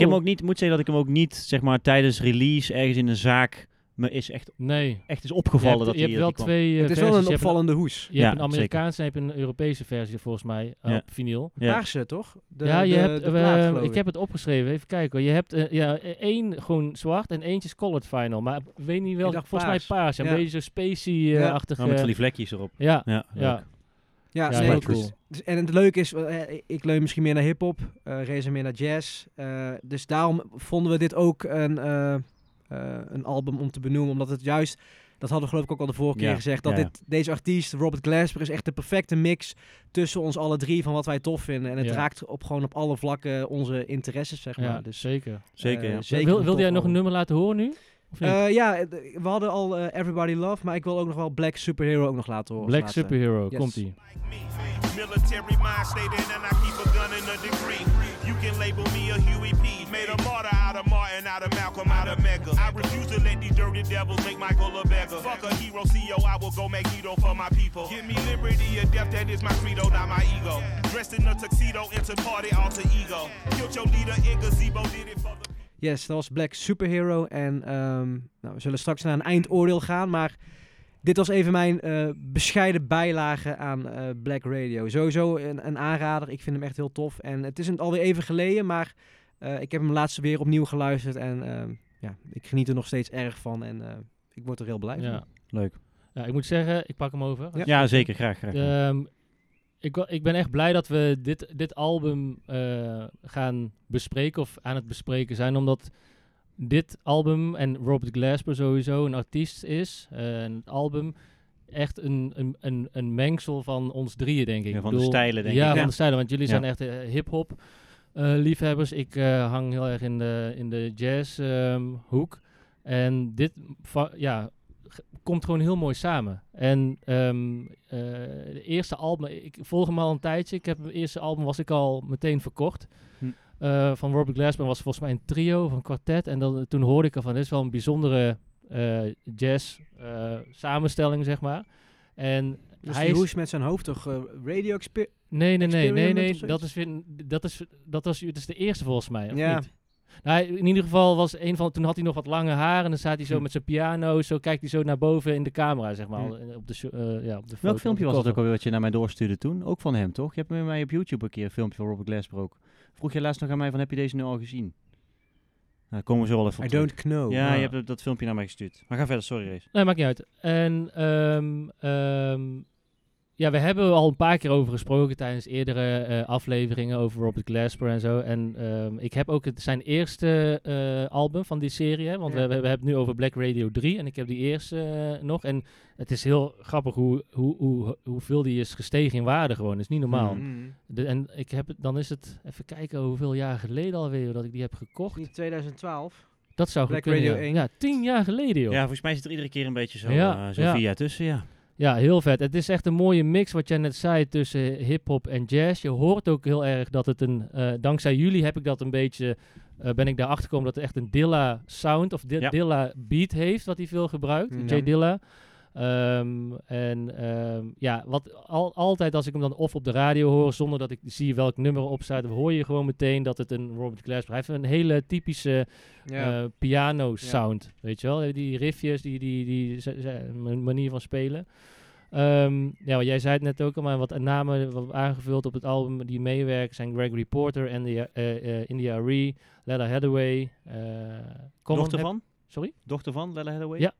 A: heb hem ook niet, moet zeggen dat ik hem ook niet, zeg maar, tijdens release ergens in een zaak me is echt,
C: Nee.
A: echt is
C: Je
A: opgevallen
C: hebt,
A: dat
C: je hebt
A: hij
C: wel
A: dat hij kwam.
C: twee eh,
B: het is
C: versies.
B: wel een
C: Je hebt
B: opvallende hoes.
C: Je hebt
A: Ja,
C: een Amerikaanse en je hebt een Europese versie volgens mij eh,
A: Ja.
C: op vinyl.
A: Ja.
B: Paarse, toch? De,
C: ja, je
B: de-
C: hebt,
B: de
C: eh,
B: plaat,
C: eh,
B: geloof
C: ik heb het opgeschreven, even kijken. hoor. Je hebt eh, ja, eh, één gewoon zwart en eentje is colored final. Maar ik weet niet wel,
B: Ik dacht
C: volgens mij paars. Een
B: Ja.
C: beetje zo
B: Ja.
C: spacey-achtig.
A: Nou, met van die vlekjes erop.
C: ja,
A: Ja, leuk.
C: ja,
B: Ja,
C: Ja,
B: nee,
A: heel
B: het is-
C: cool.
B: dus- en het leuke is, eh, eh, ik leun misschien meer naar hip-hop, eh Reza meer naar jazz. eh, dus daarom vonden we dit ook een, eh, eh, een album om te benoemen, omdat het juist. Dat hadden we geloof ik ook al de vorige
A: Ja,
B: keer gezegd. Dat
A: ja, ja.
B: dit, deze artiest, Robert Glasper, is echt de perfecte mix tussen ons alle drie van wat wij tof vinden. En het
C: Ja.
B: raakt op gewoon op alle vlakken onze interesses, zeg maar.
C: ja,
B: dus,
C: zeker.
A: Zeker,
B: eh,
A: ja.
B: zeker
C: Wil,
B: een
C: wilde jij
B: tof
C: nog een
B: album.
C: nummer laten horen nu? Of niet?
B: Eh, ja, eh, d- we hadden al eh, Everybody Love, maar ik wil ook nog wel Black Superhero ook nog laten horen. eh. als
C: Black
B: laatste.
C: Superhero,
B: Yes.
C: komt-ie.
G: me. Military mind stayed in and I keep a gun and a degree. You can label me a Huey P. Made a martyr out of Martin, out of Malcolm, out of Mega. I refuse to let these dirty devils make Michael a beggar. Fuck a hero CEO, I will go Magneto for my people. Give me liberty or death, that is my credo, not my ego. Dressed in a tuxedo, into party alter ego. Killed your leader in gazebo, did it for the
B: Yes, dat was Black Superhero. En ehm, nou, we zullen straks naar een eindoordeel gaan. Maar dit was even mijn eh, bescheiden bijlage aan eh, Black Radio. Sowieso een, een aanrader. Ik vind hem echt heel tof. En het is een- alweer even geleden, maar eh, ik heb hem laatst weer opnieuw geluisterd. En ehm, ja, ik geniet er nog steeds erg van. En eh, ik word er heel blij van.
C: Ja.
A: Leuk.
C: Ja, Eh, ik moet zeggen, ik pak hem over.
B: Ja.
A: Ja, zeker. Graag, graag.
C: Ehm, Ik, wa- ik ben echt blij dat we dit, dit album eh, gaan bespreken of aan het bespreken zijn. Omdat dit album en Robert Glasper sowieso een artiest is. eh, en het album echt een, een, een, een mengsel van ons drieën, denk ik.
A: Ja,
C: Ik
A: van de stijlen, denk
C: ja,
A: ik.
C: van
A: Ja.
C: de stijlen. Want jullie
A: Ja.
C: zijn echt eh, hip-hop eh, liefhebbers. Ik eh, hang heel erg in de, in de jazz ehm, hoek. En dit va- ja, g- komt gewoon heel mooi samen. En ehm, eh, de eerste album, ik volg hem al een tijdje. Ik heb het eerste album was ik al meteen verkocht.
A: Hm.
C: Eh, van Robert Glasper was volgens mij een trio of een kwartet. En dan, toen hoorde ik ervan, dit is wel een bijzondere eh, jazz eh, samenstelling, zeg maar. En
B: Dus
C: hij
B: hij
C: is-
B: hoest met zijn hoofd toch eh, radio exper-
C: Nee, nee, nee, nee,
B: Experiment
C: nee.
B: of zoiets?
C: Dat is, weer, dat is, dat was, dat is de eerste volgens mij. Of
B: Ja.
C: niet? Nou, hij- in ieder geval was een van. Toen had hij nog wat lange haar en dan staat hij zo
A: Hm.
C: met zijn piano. Zo kijkt hij zo naar boven in de camera, zeg maar.
A: Hm.
C: eh, Op de, sho- eh, ja, op de foto,
A: Welk
C: op
A: filmpje
C: de
A: was dat ook
C: cover.
A: alweer wat je naar mij doorstuurde toen? Ook van hem, toch? Je hebt met mij op YouTube een keer een filmpje van Robert Glasper ook. Vroeg je laatst nog aan mij van, heb je deze nu al gezien? Nou, komen we zo wel even
B: I
A: op
B: don't know.
A: terug. Ja,
C: Ja.
A: je hebt dat- dat filmpje naar mij gestuurd. Maar ga verder, sorry Rees.
C: Nee, maakt niet uit. En ehm, ehm, ja, we hebben er al een paar keer over gesproken tijdens eerdere eh, afleveringen over Robert Glasper en zo. En ehm, ik heb ook het, zijn eerste eh, album van die serie, hè, want
B: Ja.
C: we, we, we hebben het nu over Black Radio 3 en ik heb die eerste eh, nog. En het is heel grappig hoe, hoe, hoe, hoeveel die is gestegen in waarde gewoon. Dat is niet normaal.
A: Mhm.
B: Mm.
C: De- en ik heb, het- dan is het, even kijken hoeveel jaar geleden alweer dat ik die heb gekocht.
B: Niet 2012.
C: Dat zou goed
B: Black
C: kunnen,
B: Radio
C: ja.
B: 1.
C: Ja, tien jaar geleden joh.
A: Ja, volgens mij zit er iedere keer een beetje zo,
C: Ja,
A: eh, zo
C: ja.
A: vier jaar tussen, ja.
C: Ja, heel vet. Het is echt een mooie mix wat jij net zei tussen hip-hop en jazz. Je hoort ook heel erg dat het een. eh, dankzij jullie heb ik dat een beetje. eh, ben ik daarachter gekomen dat het echt een Dilla sound of di-
A: Ja.
C: Dilla beat heeft, wat hij veel gebruikt.
B: Mm.
C: J. Dilla. Ehm, en ehm, ja, wat al, altijd als ik hem dan of op de radio hoor, zonder dat ik zie welk nummer erop staat, hoor je gewoon meteen dat het een Robert Glasper. Hij heeft een hele typische
B: Ja.
C: eh, piano sound. Weet je wel, Eh, die riffjes, die, die, die z- z- m- manier van spelen. Ehm, ja, want jij zei het net ook al, maar wat namen wat aangevuld op het album die meewerken zijn Gregory Porter, India, eh, eh, India Ree, Leda Hathaway. eh, Common
A: Dochter
C: heb-
A: van?
C: Sorry?
A: Dochter van Lella Hathaway?
C: Ja.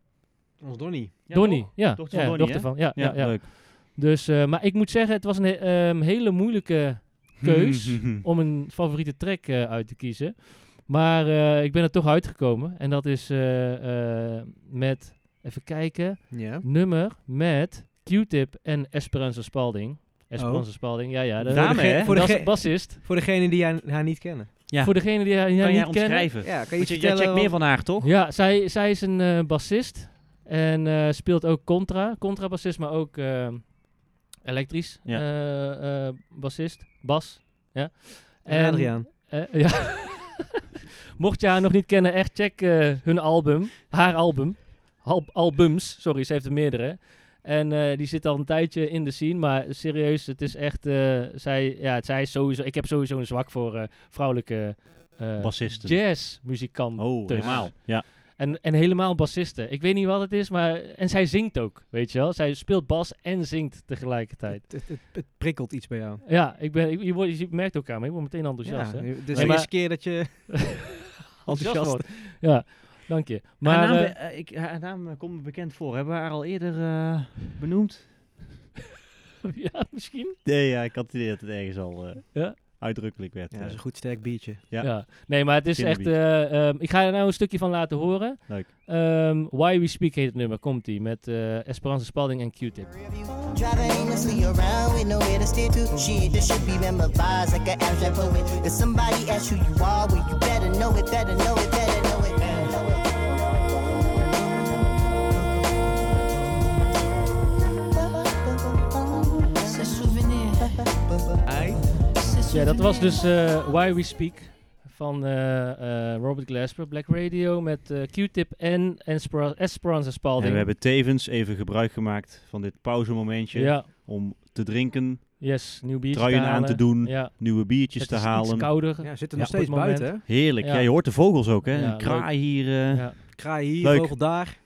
B: Ons Donnie.
A: Ja,
C: Donnie.
A: toch?
C: Ja,
A: Dochter van
C: ja,
A: Donnie,
C: dochter
A: hè?
C: van. Ja, ja,
A: Ja,
C: ja.
A: leuk.
C: Dus, eh, maar ik moet zeggen, het was een he- ehm, hele moeilijke keus om een favoriete track eh, uit te kiezen. Maar eh, ik ben er toch uitgekomen. En dat is eh, eh, met, even kijken,
B: Ja.
C: nummer met Q-Tip en Esperanza Spalding. Esperanza Spalding, ja, ja.
A: Oh. Dame,
C: Dat,
A: hè?
B: Voor,
C: dat
B: degene
C: is bassist.
B: voor degene die haar, haar niet kennen.
A: Ja.
C: Voor degene die haar, die haar
A: Kan jij
C: niet kennen.
A: omschrijven?
B: Ja, kan je
A: Want
B: iets
A: je, jij
B: vertellen?
A: checkt meer
B: wat-
A: van haar, toch?
C: Ja, zij, zij is een eh, bassist. En eh, speelt ook contra. Contrabassist, maar ook eh, elektrisch
A: Ja.
C: eh, eh, bassist. Bas. Ja.
B: En Adriaan.
C: Eh, ja. Mocht je haar nog niet kennen, echt check eh, hun album. Haar album. Al- albums, sorry, ze heeft er meerdere. En eh, die zit al een tijdje in de scene, maar serieus, het is echt. eh, zij, ja, zij is sowieso. Ik heb sowieso een zwak voor eh, vrouwelijke eh,
A: Bassisten.
C: jazzmuzikanten.
A: Oh, helemaal. Ja.
C: En, en helemaal bassisten. Ik weet niet wat het is, maar. En zij zingt ook, weet je wel. Zij speelt bas en zingt tegelijkertijd.
B: Het, het, het, het prikkelt iets bij jou.
C: Ja, ik ben, ik- je, wordt, je merkt ook aan me, ik word meteen enthousiast.
B: ja,
C: hè?
B: dit is
C: Nee,
B: de
C: maar-
B: eerste keer dat je enthousiast wordt.
C: Ja, dank je. Maar
A: haar, naam,
C: eh,
A: eh, ik, haar naam eh, komt me bekend voor. Hebben we haar al eerder eh, benoemd?
C: ja, misschien.
A: Nee, ja, ik had het idee dat het ergens al eh,
C: Ja.
A: uitdrukkelijk werd. eh.
B: Ja, dat is een goed sterk biertje.
A: Ja.
C: Ja. Nee, maar het is echt. eh, ehm, ik ga er nou een stukje van laten horen.
A: Leuk.
C: Ehm, Why We Speak heet het nummer. Komt ie met eh Esperanza Spalding en Q-Tip.
H: Driving aimlessly around with nowhere to steer to. Shit, this should be memorized like an abstract poet. If somebody asks who you are, well, you better know it, better know it, better know it, better know it.
C: Ja, dat was dus eh, Why We Speak van eh, eh, Robert Glasper, Black Radio met eh, Q-Tip en Espera- Esperanza Spalding.
A: En we hebben tevens even gebruik gemaakt van dit pauzemomentje
C: ja,
A: om te drinken,
C: yes, nieuw biertje.
A: Truien
C: te
A: aan
C: halen.
A: te doen,
C: Ja,
A: nieuwe biertjes
C: het
A: te
C: is iets
A: halen.
C: kouder.
B: Ja, zit er
A: Ja,
B: nog
A: op
B: steeds
C: het moment.
B: buiten, hè?
A: Heerlijk.
C: Ja.
A: Ja. je hoort de vogels ook, hè?
C: Ja,
A: een kraai hier. eh.
C: Ja.
B: Kraai hier,
A: Leuk.
B: vogel daar.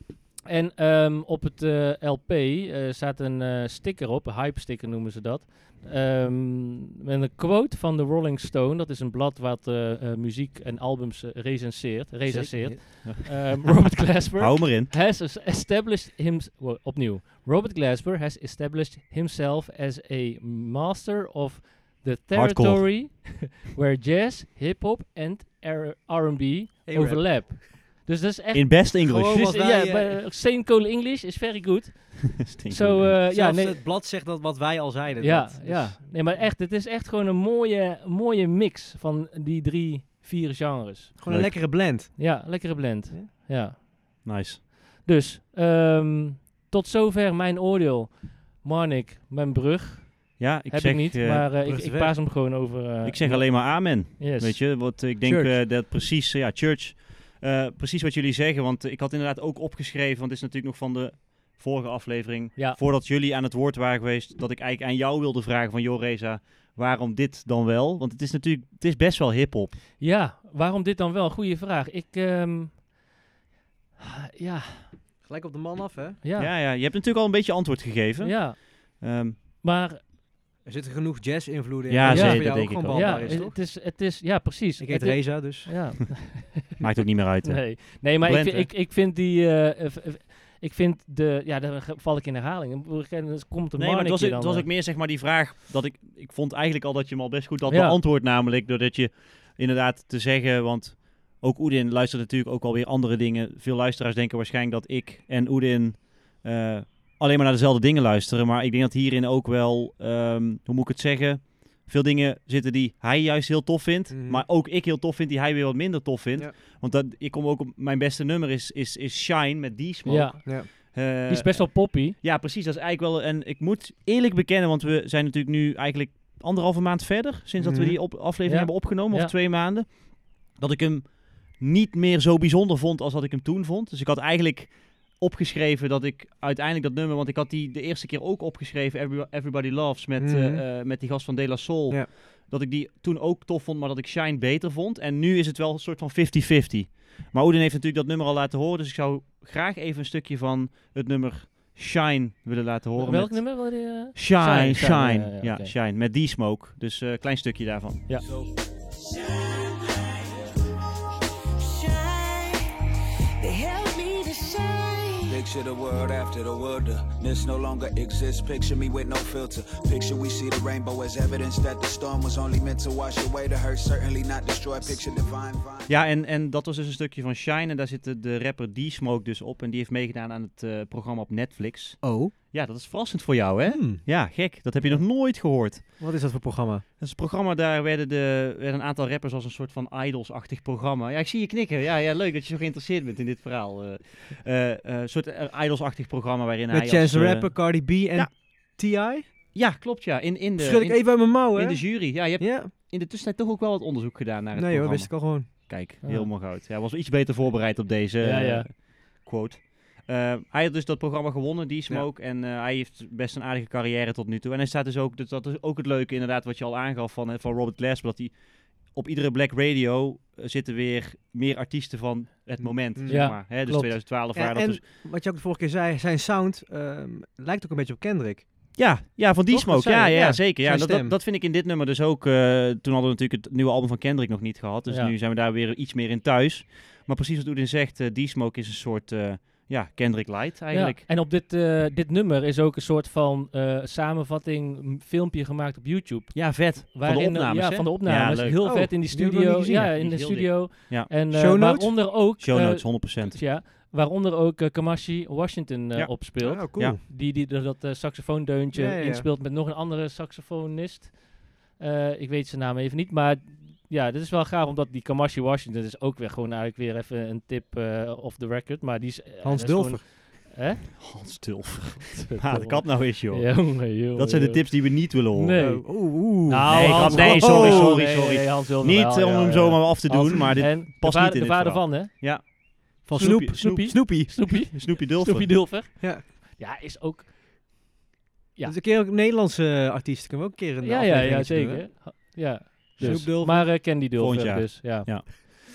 C: En ehm, op het eh, LP eh, staat een eh, sticker op, een hype sticker noemen ze dat. Ehm, met een quote van de Rolling Stone. Dat is een blad wat eh, eh, muziek en albums eh, recenseert. recenseert. Ehm, Robert Glasper.
A: Hou hem erin.
C: has es- established him wo- opnieuw. Robert Glasper has established himself as a master of the
A: Hardcore.
C: territory where jazz, hip hop and R- R&B
B: A-rap.
C: overlap. Dus dat is echt
A: In best English.
B: Gewoon
C: dus,
B: wat
C: ja,
B: wij, eh,
C: but, uh, same cool English is very good.
A: Stinkt
C: So,
A: wel.
C: eh, ja,
B: Zelfs
C: nee,
B: het blad zegt dat wat wij al zeiden.
C: ja,
B: dat, dus-
C: ja. Nee, maar echt, het is echt gewoon een mooie, mooie mix van die drie, vier genres.
B: Gewoon een
A: Leuk.
B: lekkere blend.
C: Ja, lekkere blend.
B: Ja.
C: Ja.
A: nice.
C: Dus, ehm, tot zover mijn oordeel. Marnik, mijn brug.
A: Ja, ik
C: heb
A: zeg,
C: ik niet,
A: eh,
C: maar eh,
B: brug
C: ik,
B: is
C: ik
B: weg.
C: paas hem gewoon over. eh,
A: ik zeg alleen maar amen.
C: yes.
A: Weet je, wat ik denk
B: Church.
A: eh, dat precies, eh, ja, church, eh, precies wat jullie zeggen. Want ik had inderdaad ook opgeschreven, want het is natuurlijk nog van de vorige aflevering.
C: Ja.
A: Voordat jullie aan het woord waren geweest, dat ik eigenlijk aan jou wilde vragen van, joh Reza, waarom dit dan wel? Want het is natuurlijk, het is best wel hip-hop.
C: Ja, waarom dit dan wel? Goeie vraag. Ik, ehm, ja,
B: Gelijk op de man af, hè?
A: Ja.
C: ja, ja,
A: Ja, je hebt natuurlijk al een beetje antwoord gegeven. Ehm,
C: Maar
B: Er zitten genoeg jazz-invloeden
A: Ja,
B: in.
C: zeker,
B: voor jou
A: denk
B: ook
A: ik
B: gewoon
A: wel.
C: ja,
B: behapbaar is, toch?
C: het is, het is, ja, precies.
B: Ik heet
C: Het is-
B: Reza, dus.
C: Ja,
A: maakt ook niet meer uit. hè.
C: nee. nee, maar
A: Blend,
C: ik, vind- ik, ik vind die, eh, eh, v- ik vind de, ja, dan ge- val ik in herhaling. Ik bedoel, Dan komt de
A: Nee, maar het was,
C: Marnikje
A: ook- het
C: dan,
A: was
C: eh,
A: ook meer zeg maar die vraag dat ik... Ik vond eigenlijk al dat je hem al best goed had
C: Ja.
A: beantwoord namelijk. Doordat je inderdaad te zeggen, want ook Oedin luistert natuurlijk ook alweer andere dingen. Veel luisteraars denken waarschijnlijk dat ik en Oedin eh, alleen maar naar dezelfde dingen luisteren. Maar ik denk dat hierin ook wel, ehm, hoe moet ik het zeggen... Veel dingen zitten die hij juist heel tof vindt.
B: Mhm.
A: Maar ook ik heel tof vind, die hij weer wat minder tof vindt.
B: Ja.
A: Want dat, ik kom ook op mijn beste nummer is, is, is Shine met D-Smoke.
C: Ja,
B: Ja.
A: Eh,
C: die is best wel poppy.
A: ja, precies. Dat is eigenlijk wel. En ik moet eerlijk bekennen, want we zijn natuurlijk nu eigenlijk anderhalve maand verder. Sinds dat we
B: Mhm.
A: die op aflevering
C: Ja.
A: hebben opgenomen,
C: Ja.
A: of twee maanden. Dat ik hem niet meer zo bijzonder vond als dat ik hem toen vond. Dus ik had eigenlijk opgeschreven dat ik uiteindelijk dat nummer, want ik had die de eerste keer ook opgeschreven, Every- Everybody Loves, met, eh,
B: Mhm.
A: eh, met die gast van De La Soul.
B: Ja.
A: Dat ik die toen ook tof vond, maar dat ik Shine beter vond. En nu is het wel een soort van 50-50. Maar Oedin heeft natuurlijk dat nummer al laten horen, dus ik zou graag even een stukje van het nummer Shine willen laten horen.
C: Welk
A: met-
C: nummer wil je? eh?
A: Shine,
C: Shine,
A: Shine.
C: Shine, ja, ja,
A: ja,
C: oké.
A: Shine. Met die smoke. Dus een klein stukje daarvan.
I: Picture the world after the wilderness no longer exists. Picture me with no filter. Picture we see the rainbow as evidence that the storm was only meant to wash away the hurt, certainly not destroy. Picture divine vine.
A: Ja, en, en dat was dus een stukje van Shine. En daar zit de- de rapper die smoke dus op. En die heeft meegedaan aan het eh, programma op Netflix.
B: Oh.
A: Ja, dat is verrassend voor jou, hè?
B: Hmm.
A: Ja, gek. Dat heb je nog nooit gehoord.
B: Wat is dat voor programma?
A: Dat is een programma, daar werden, de, werden een aantal rappers als een soort van idols-achtig programma. Ja, ik zie je knikken. Ja, ja, leuk dat je zo geïnteresseerd bent in dit verhaal. Eh, eh, eh, een soort eh, idols-achtig programma waarin hij
B: Met Chance
A: als,
B: the
A: eh,
B: Rapper, Cardi B en
A: ja.
B: T.I.?
A: Ja, klopt, ja. In, in de,
B: Schud ik
A: in-
B: even uit mijn mouw, hè?
A: in de jury. Ja, je hebt
B: ja.
A: in de tussentijd toch ook wel wat onderzoek gedaan naar het
B: Nee hoor,
A: programma.
B: wist ik al gewoon.
A: Kijk,
C: Ah.
A: helemaal goud. Hij was iets beter voorbereid op deze
C: Ja, ja.
A: eh, quote. Eh, hij had dus dat programma gewonnen, die Smoke. En eh, hij heeft best een aardige carrière tot nu toe. En hij staat dus ook, dat, dat is ook het leuke inderdaad wat je al aangaf van, eh, van Robert Glasper. Dat hij op iedere Black Radio eh, zitten weer meer artiesten van het moment,
B: Mm.
A: zeg
C: Ja,
A: maar. Hè, dus
C: klopt.
A: 2012 waren dat
B: En,
A: dus...
B: en wat je ook de vorige keer zei, zijn sound ehm, lijkt ook een beetje op Kendrick.
A: Ja, ja van die
B: Toch? Dat
A: Smoke.
B: zei
A: Ja,
B: je,
A: ja,
B: ja.
A: zeker. Ja,
B: Zijn
A: dat, dat,
B: stem.
A: dat vind ik in dit nummer dus ook. eh, toen hadden we natuurlijk het nieuwe album van Kendrick nog niet gehad. Dus
C: Ja.
A: nu zijn we daar weer iets meer in thuis. Maar precies wat Oedin zegt, eh die Smoke is een soort eh, ja, Kendrick Light eigenlijk.
C: Ja, en op dit, eh, dit nummer is ook een soort van eh, samenvatting, m, filmpje gemaakt op YouTube.
A: Ja, vet. van de
C: Waarin, eh,
A: opnames,
C: Ja,
A: hè?
C: van de opnames.
A: Ja, leuk.
C: heel
B: Oh,
C: vet in die
B: die hebben we nog
C: studio.
B: niet gezien.
C: ja,
A: Die
C: in de
A: is heel
C: studio.
A: Ja.
C: En eh,
B: Show notes?
C: waaronder ook...
A: Show
C: eh,
A: notes, 100%.
C: ja, waaronder ook eh, Kamashi Washington eh,
A: Ja.
C: opspeelt.
B: Oh, cool.
A: Ja.
C: Die, die er dat eh, saxofoondeuntje
B: Ja, ja, ja.
C: inspeelt met nog een andere saxofonist. Eh, ik weet zijn naam even niet, maar... Ja, dit is wel gaaf, omdat die Kamashi Washington is ook weer gewoon eigenlijk weer even een tip eh off the record. Maar die is... eh,
B: Hans
C: dat is gewoon-
B: Dulfer.
C: Hè?
A: Hans Tulfer. Ah, de kap nou is, joh.
C: Jongen, jongen,
A: Dat zijn de
C: jongen.
A: tips die we niet willen horen.
C: Nee.
B: Oh, oeh, oeh.
C: Nou,
A: Nee,
C: Hans
A: grap- nee,
C: Wilver-
A: sorry,
C: oh,
A: sorry,
C: nee,
A: sorry.
C: nee, Hans Wilver
A: Niet
C: wel,
A: eh, om
C: ja,
A: hem
C: ja.
A: zomaar af te doen,
C: Hans-
A: maar dit
C: en de
A: past
C: vader-
A: niet in
C: De
A: dit
C: vader
A: verhaal.
C: van, hè?
A: van
C: Snoep-
A: Snoep,
C: Snoopy.
A: Snoopy.
C: Snoopy.
A: Snoopy Dulfer.
C: Snoopy Dulfer.
B: Ja.
C: Ja, is ook... ja.
B: Dus een keer ook Nederlandse artiesten kunnen we ook een keer een
C: Ja, ja, ja, zeker. Ha- Ja. Dus.
B: Snoop Dulfer.
C: Maar eh, ken die Dulfer
A: Volgend jaar.
C: dus, ja.
A: Ja.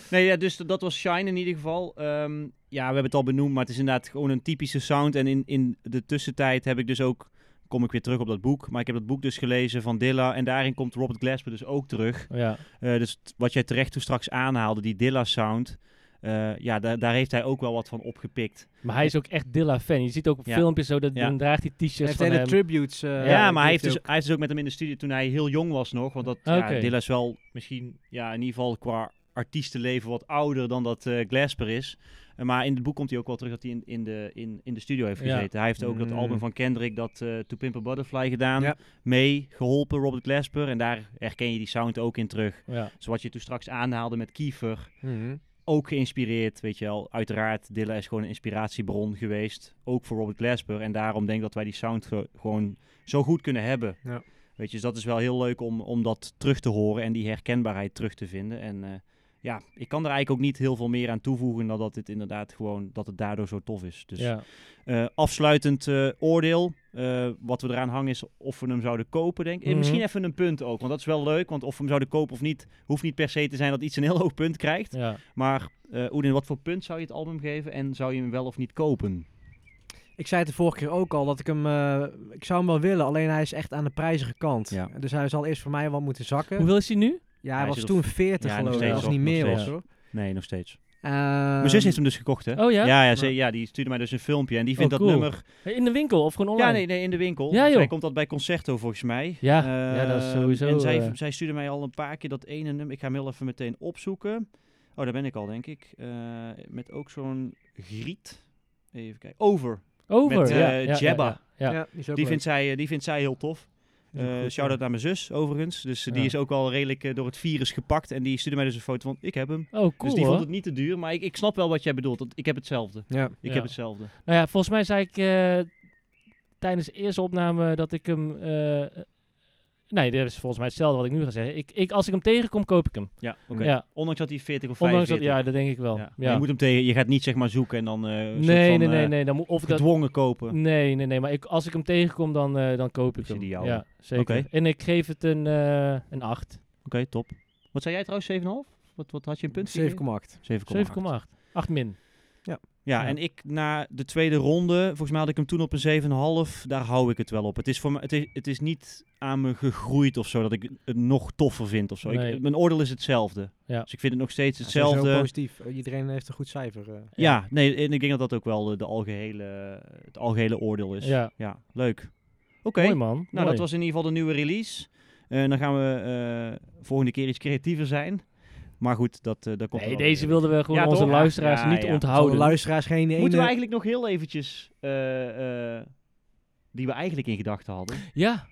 A: Nee, ja, dus dat was Shine in ieder geval. Ehm, ja, we hebben het al benoemd, maar het is inderdaad gewoon een typische sound. En in, in de tussentijd heb ik dus ook, kom ik weer terug op dat boek, maar ik heb dat boek dus gelezen van Dilla. En daarin komt Robert Glasper dus ook terug.
C: Ja,
A: Eh, dus t- wat jij terecht toen straks aanhaalde, die Dilla-sound. eh, ja, da- daar heeft hij ook wel wat van opgepikt.
C: maar hij is ook echt Dilla-fan. Je ziet ook op
A: Ja.
C: filmpjes zo, dat
A: Ja.
C: dan draagt hij t-shirts
B: heeft
C: van
B: hele
C: hem.
B: tributes. eh,
A: Ja,
C: Ja,
A: maar hij heeft, dus,
B: ook.
A: hij is dus ook met hem in de studio toen hij heel jong was nog. Want dat, ja,
C: Oké.
A: Dilla is wel misschien, ja, in ieder geval qua artiestenleven wat ouder dan dat eh, Glasper is. Eh, maar in het boek komt hij ook wel terug dat hij in, in, de, in, in de studio heeft
C: Ja.
A: gezeten. Hij heeft ook dat
B: Mm.
A: album van Kendrick, dat eh To Pimp a Butterfly, gedaan.
B: Ja.
A: Mee geholpen, Robert Glasper. En daar herken je die sound ook in terug.
C: Ja.
A: Zoals je toen straks aanhaalde met Kiefer.
B: Mhm.
A: ook geïnspireerd, weet je wel. Uiteraard, Dilla is gewoon een inspiratiebron geweest. Ook voor Robert Glasper. En daarom denk ik dat wij die sound ge- gewoon zo goed kunnen hebben.
B: Ja.
A: Weet je, dus dat is wel heel leuk om, om dat terug te horen en die herkenbaarheid terug te vinden. En eh, ja, ik kan er eigenlijk ook niet heel veel meer aan toevoegen dan dat het inderdaad gewoon, dat het daardoor zo tof is. Dus
C: ja.
A: eh, afsluitend eh, oordeel, eh, wat we eraan hangen is of we hem zouden kopen, denk ik. Eh,
C: Mhm.
A: Misschien even een punt ook, want dat is wel leuk. Want of we hem zouden kopen of niet, hoeft niet per se te zijn dat iets een heel hoog punt krijgt.
C: ja.
A: Maar eh Oedin, wat voor punt zou je het album geven en zou je hem wel of niet kopen?
B: Ik zei het de vorige keer ook al dat ik hem. eh, ik zou hem wel willen, alleen hij is echt aan de prijzige kant.
A: Ja.
B: Dus hij zal eerst voor mij wat moeten zakken.
C: Hoeveel is hij nu?
B: Ja, hij,
A: Hij
B: was
A: zit op-
B: toen 40
A: ja, nog
B: geloof ik.
A: steeds
B: Als
A: op,
B: het niet
A: nog
B: meer
A: steeds.
B: was hoor.
A: Nee, nog steeds.
B: Ehm,
A: Eh, Mijn zus heeft hem dus gekocht, hè?
C: Oh ja?
A: Ja, ja, ze- ja, die stuurde mij dus een filmpje en die vindt
C: Oh,
A: dat
C: cool.
A: nummer...
C: In de winkel of gewoon online?
A: Ja, nee, nee, in de winkel.
C: Ja, joh.
A: Zij komt dat bij Concerto volgens mij.
C: Ja,
A: Eh,
C: ja, dat is sowieso,
A: En zij,
C: eh.
A: zij stuurde mij al een paar keer dat ene nummer. Ik ga hem heel even meteen opzoeken. Oh, daar ben ik al, denk ik. Eh, met ook zo'n griet. Even kijken. Over.
C: Over.
A: Met,
C: ja,
A: eh,
C: ja, ja,
A: Jabba.
C: ja, ja.
B: Ja, die is
A: Die
B: ook leuk.
A: vindt, zij, eh, die vindt zij heel tof.
B: Die is ook
A: Eh,
B: goed,
A: Shout-out
B: ja.
A: naar mijn zus, overigens. Dus eh, die
C: Ja.
A: is ook al redelijk eh, door het virus gepakt. En die stuurde mij dus een foto van, ik heb hem.
C: Oh, cool
A: dus die
C: hoor.
A: vond het niet te duur. Maar ik, ik snap wel wat jij bedoelt. want ik heb hetzelfde.
B: Ja.
A: Ik
C: Ja.
A: heb hetzelfde.
C: Nou ja, volgens mij zei ik eh, tijdens de eerste opname dat ik hem... eh, nee, dat is volgens mij hetzelfde wat ik nu ga zeggen. Ik, ik, als ik hem tegenkom, koop ik hem.
A: Ja, oké.
C: Ja,
A: Ondanks dat hij 40 of 45
C: ondanks dat... Ja, dat denk ik wel.
A: Ja.
C: Ja.
A: Maar Je moet hem tegen. Je gaat niet zeg maar zoeken en dan. eh, een soort
C: nee,
A: van,
C: nee, nee,
A: eh,
C: nee. Dan moet, of dat,
A: Gedwongen kopen.
C: nee, nee, nee. Maar ik, als ik hem tegenkom, dan, eh, dan koop ik
A: Is die
C: hem.
A: die jouwe?
C: Ja, zeker.
A: Oké.
C: En ik geef het een, eh een 8.
A: Oké, top. Wat zei jij trouwens? 7,5? Wat, wat had je een punt? gegeven?
B: 7,8.
A: 7,8.
C: 7,8. 8 min.
A: Ja,
C: Ja.
A: en ik na de tweede ronde, volgens mij had ik hem toen op een 7,5. Daar hou ik het wel op. Het is, voor me, het, is, het is niet aan me gegroeid of zo, dat ik het nog toffer vind of zo. Ik-
C: Nee.
A: mijn oordeel is hetzelfde.
C: Ja.
A: Dus ik vind het nog steeds
B: Ja, sowieso
A: hetzelfde.
B: positief. Eh, Iedereen heeft een goed cijfer. eh.
A: ja, nee, en ik denk dat dat ook wel de, de algehele, het algehele oordeel is.
C: Ja.
A: leuk. Oké.
C: Mooi man.
A: Nou, dat was in ieder geval de nieuwe release. Eh, dan gaan we eh, volgende keer iets creatiever zijn. Maar goed, dat, eh dat komt er
C: Nee,
A: wel
C: deze
A: weer.
C: wilden we gewoon
A: Ja,
C: onze
A: toch?
C: luisteraars
A: Ja,
C: niet
A: ja.
B: Voor de
C: onthouden.
B: luisteraars geen ene.
A: Moeten we eigenlijk nog heel eventjes... eh, eh, die we eigenlijk in gedachten hadden.
C: ja.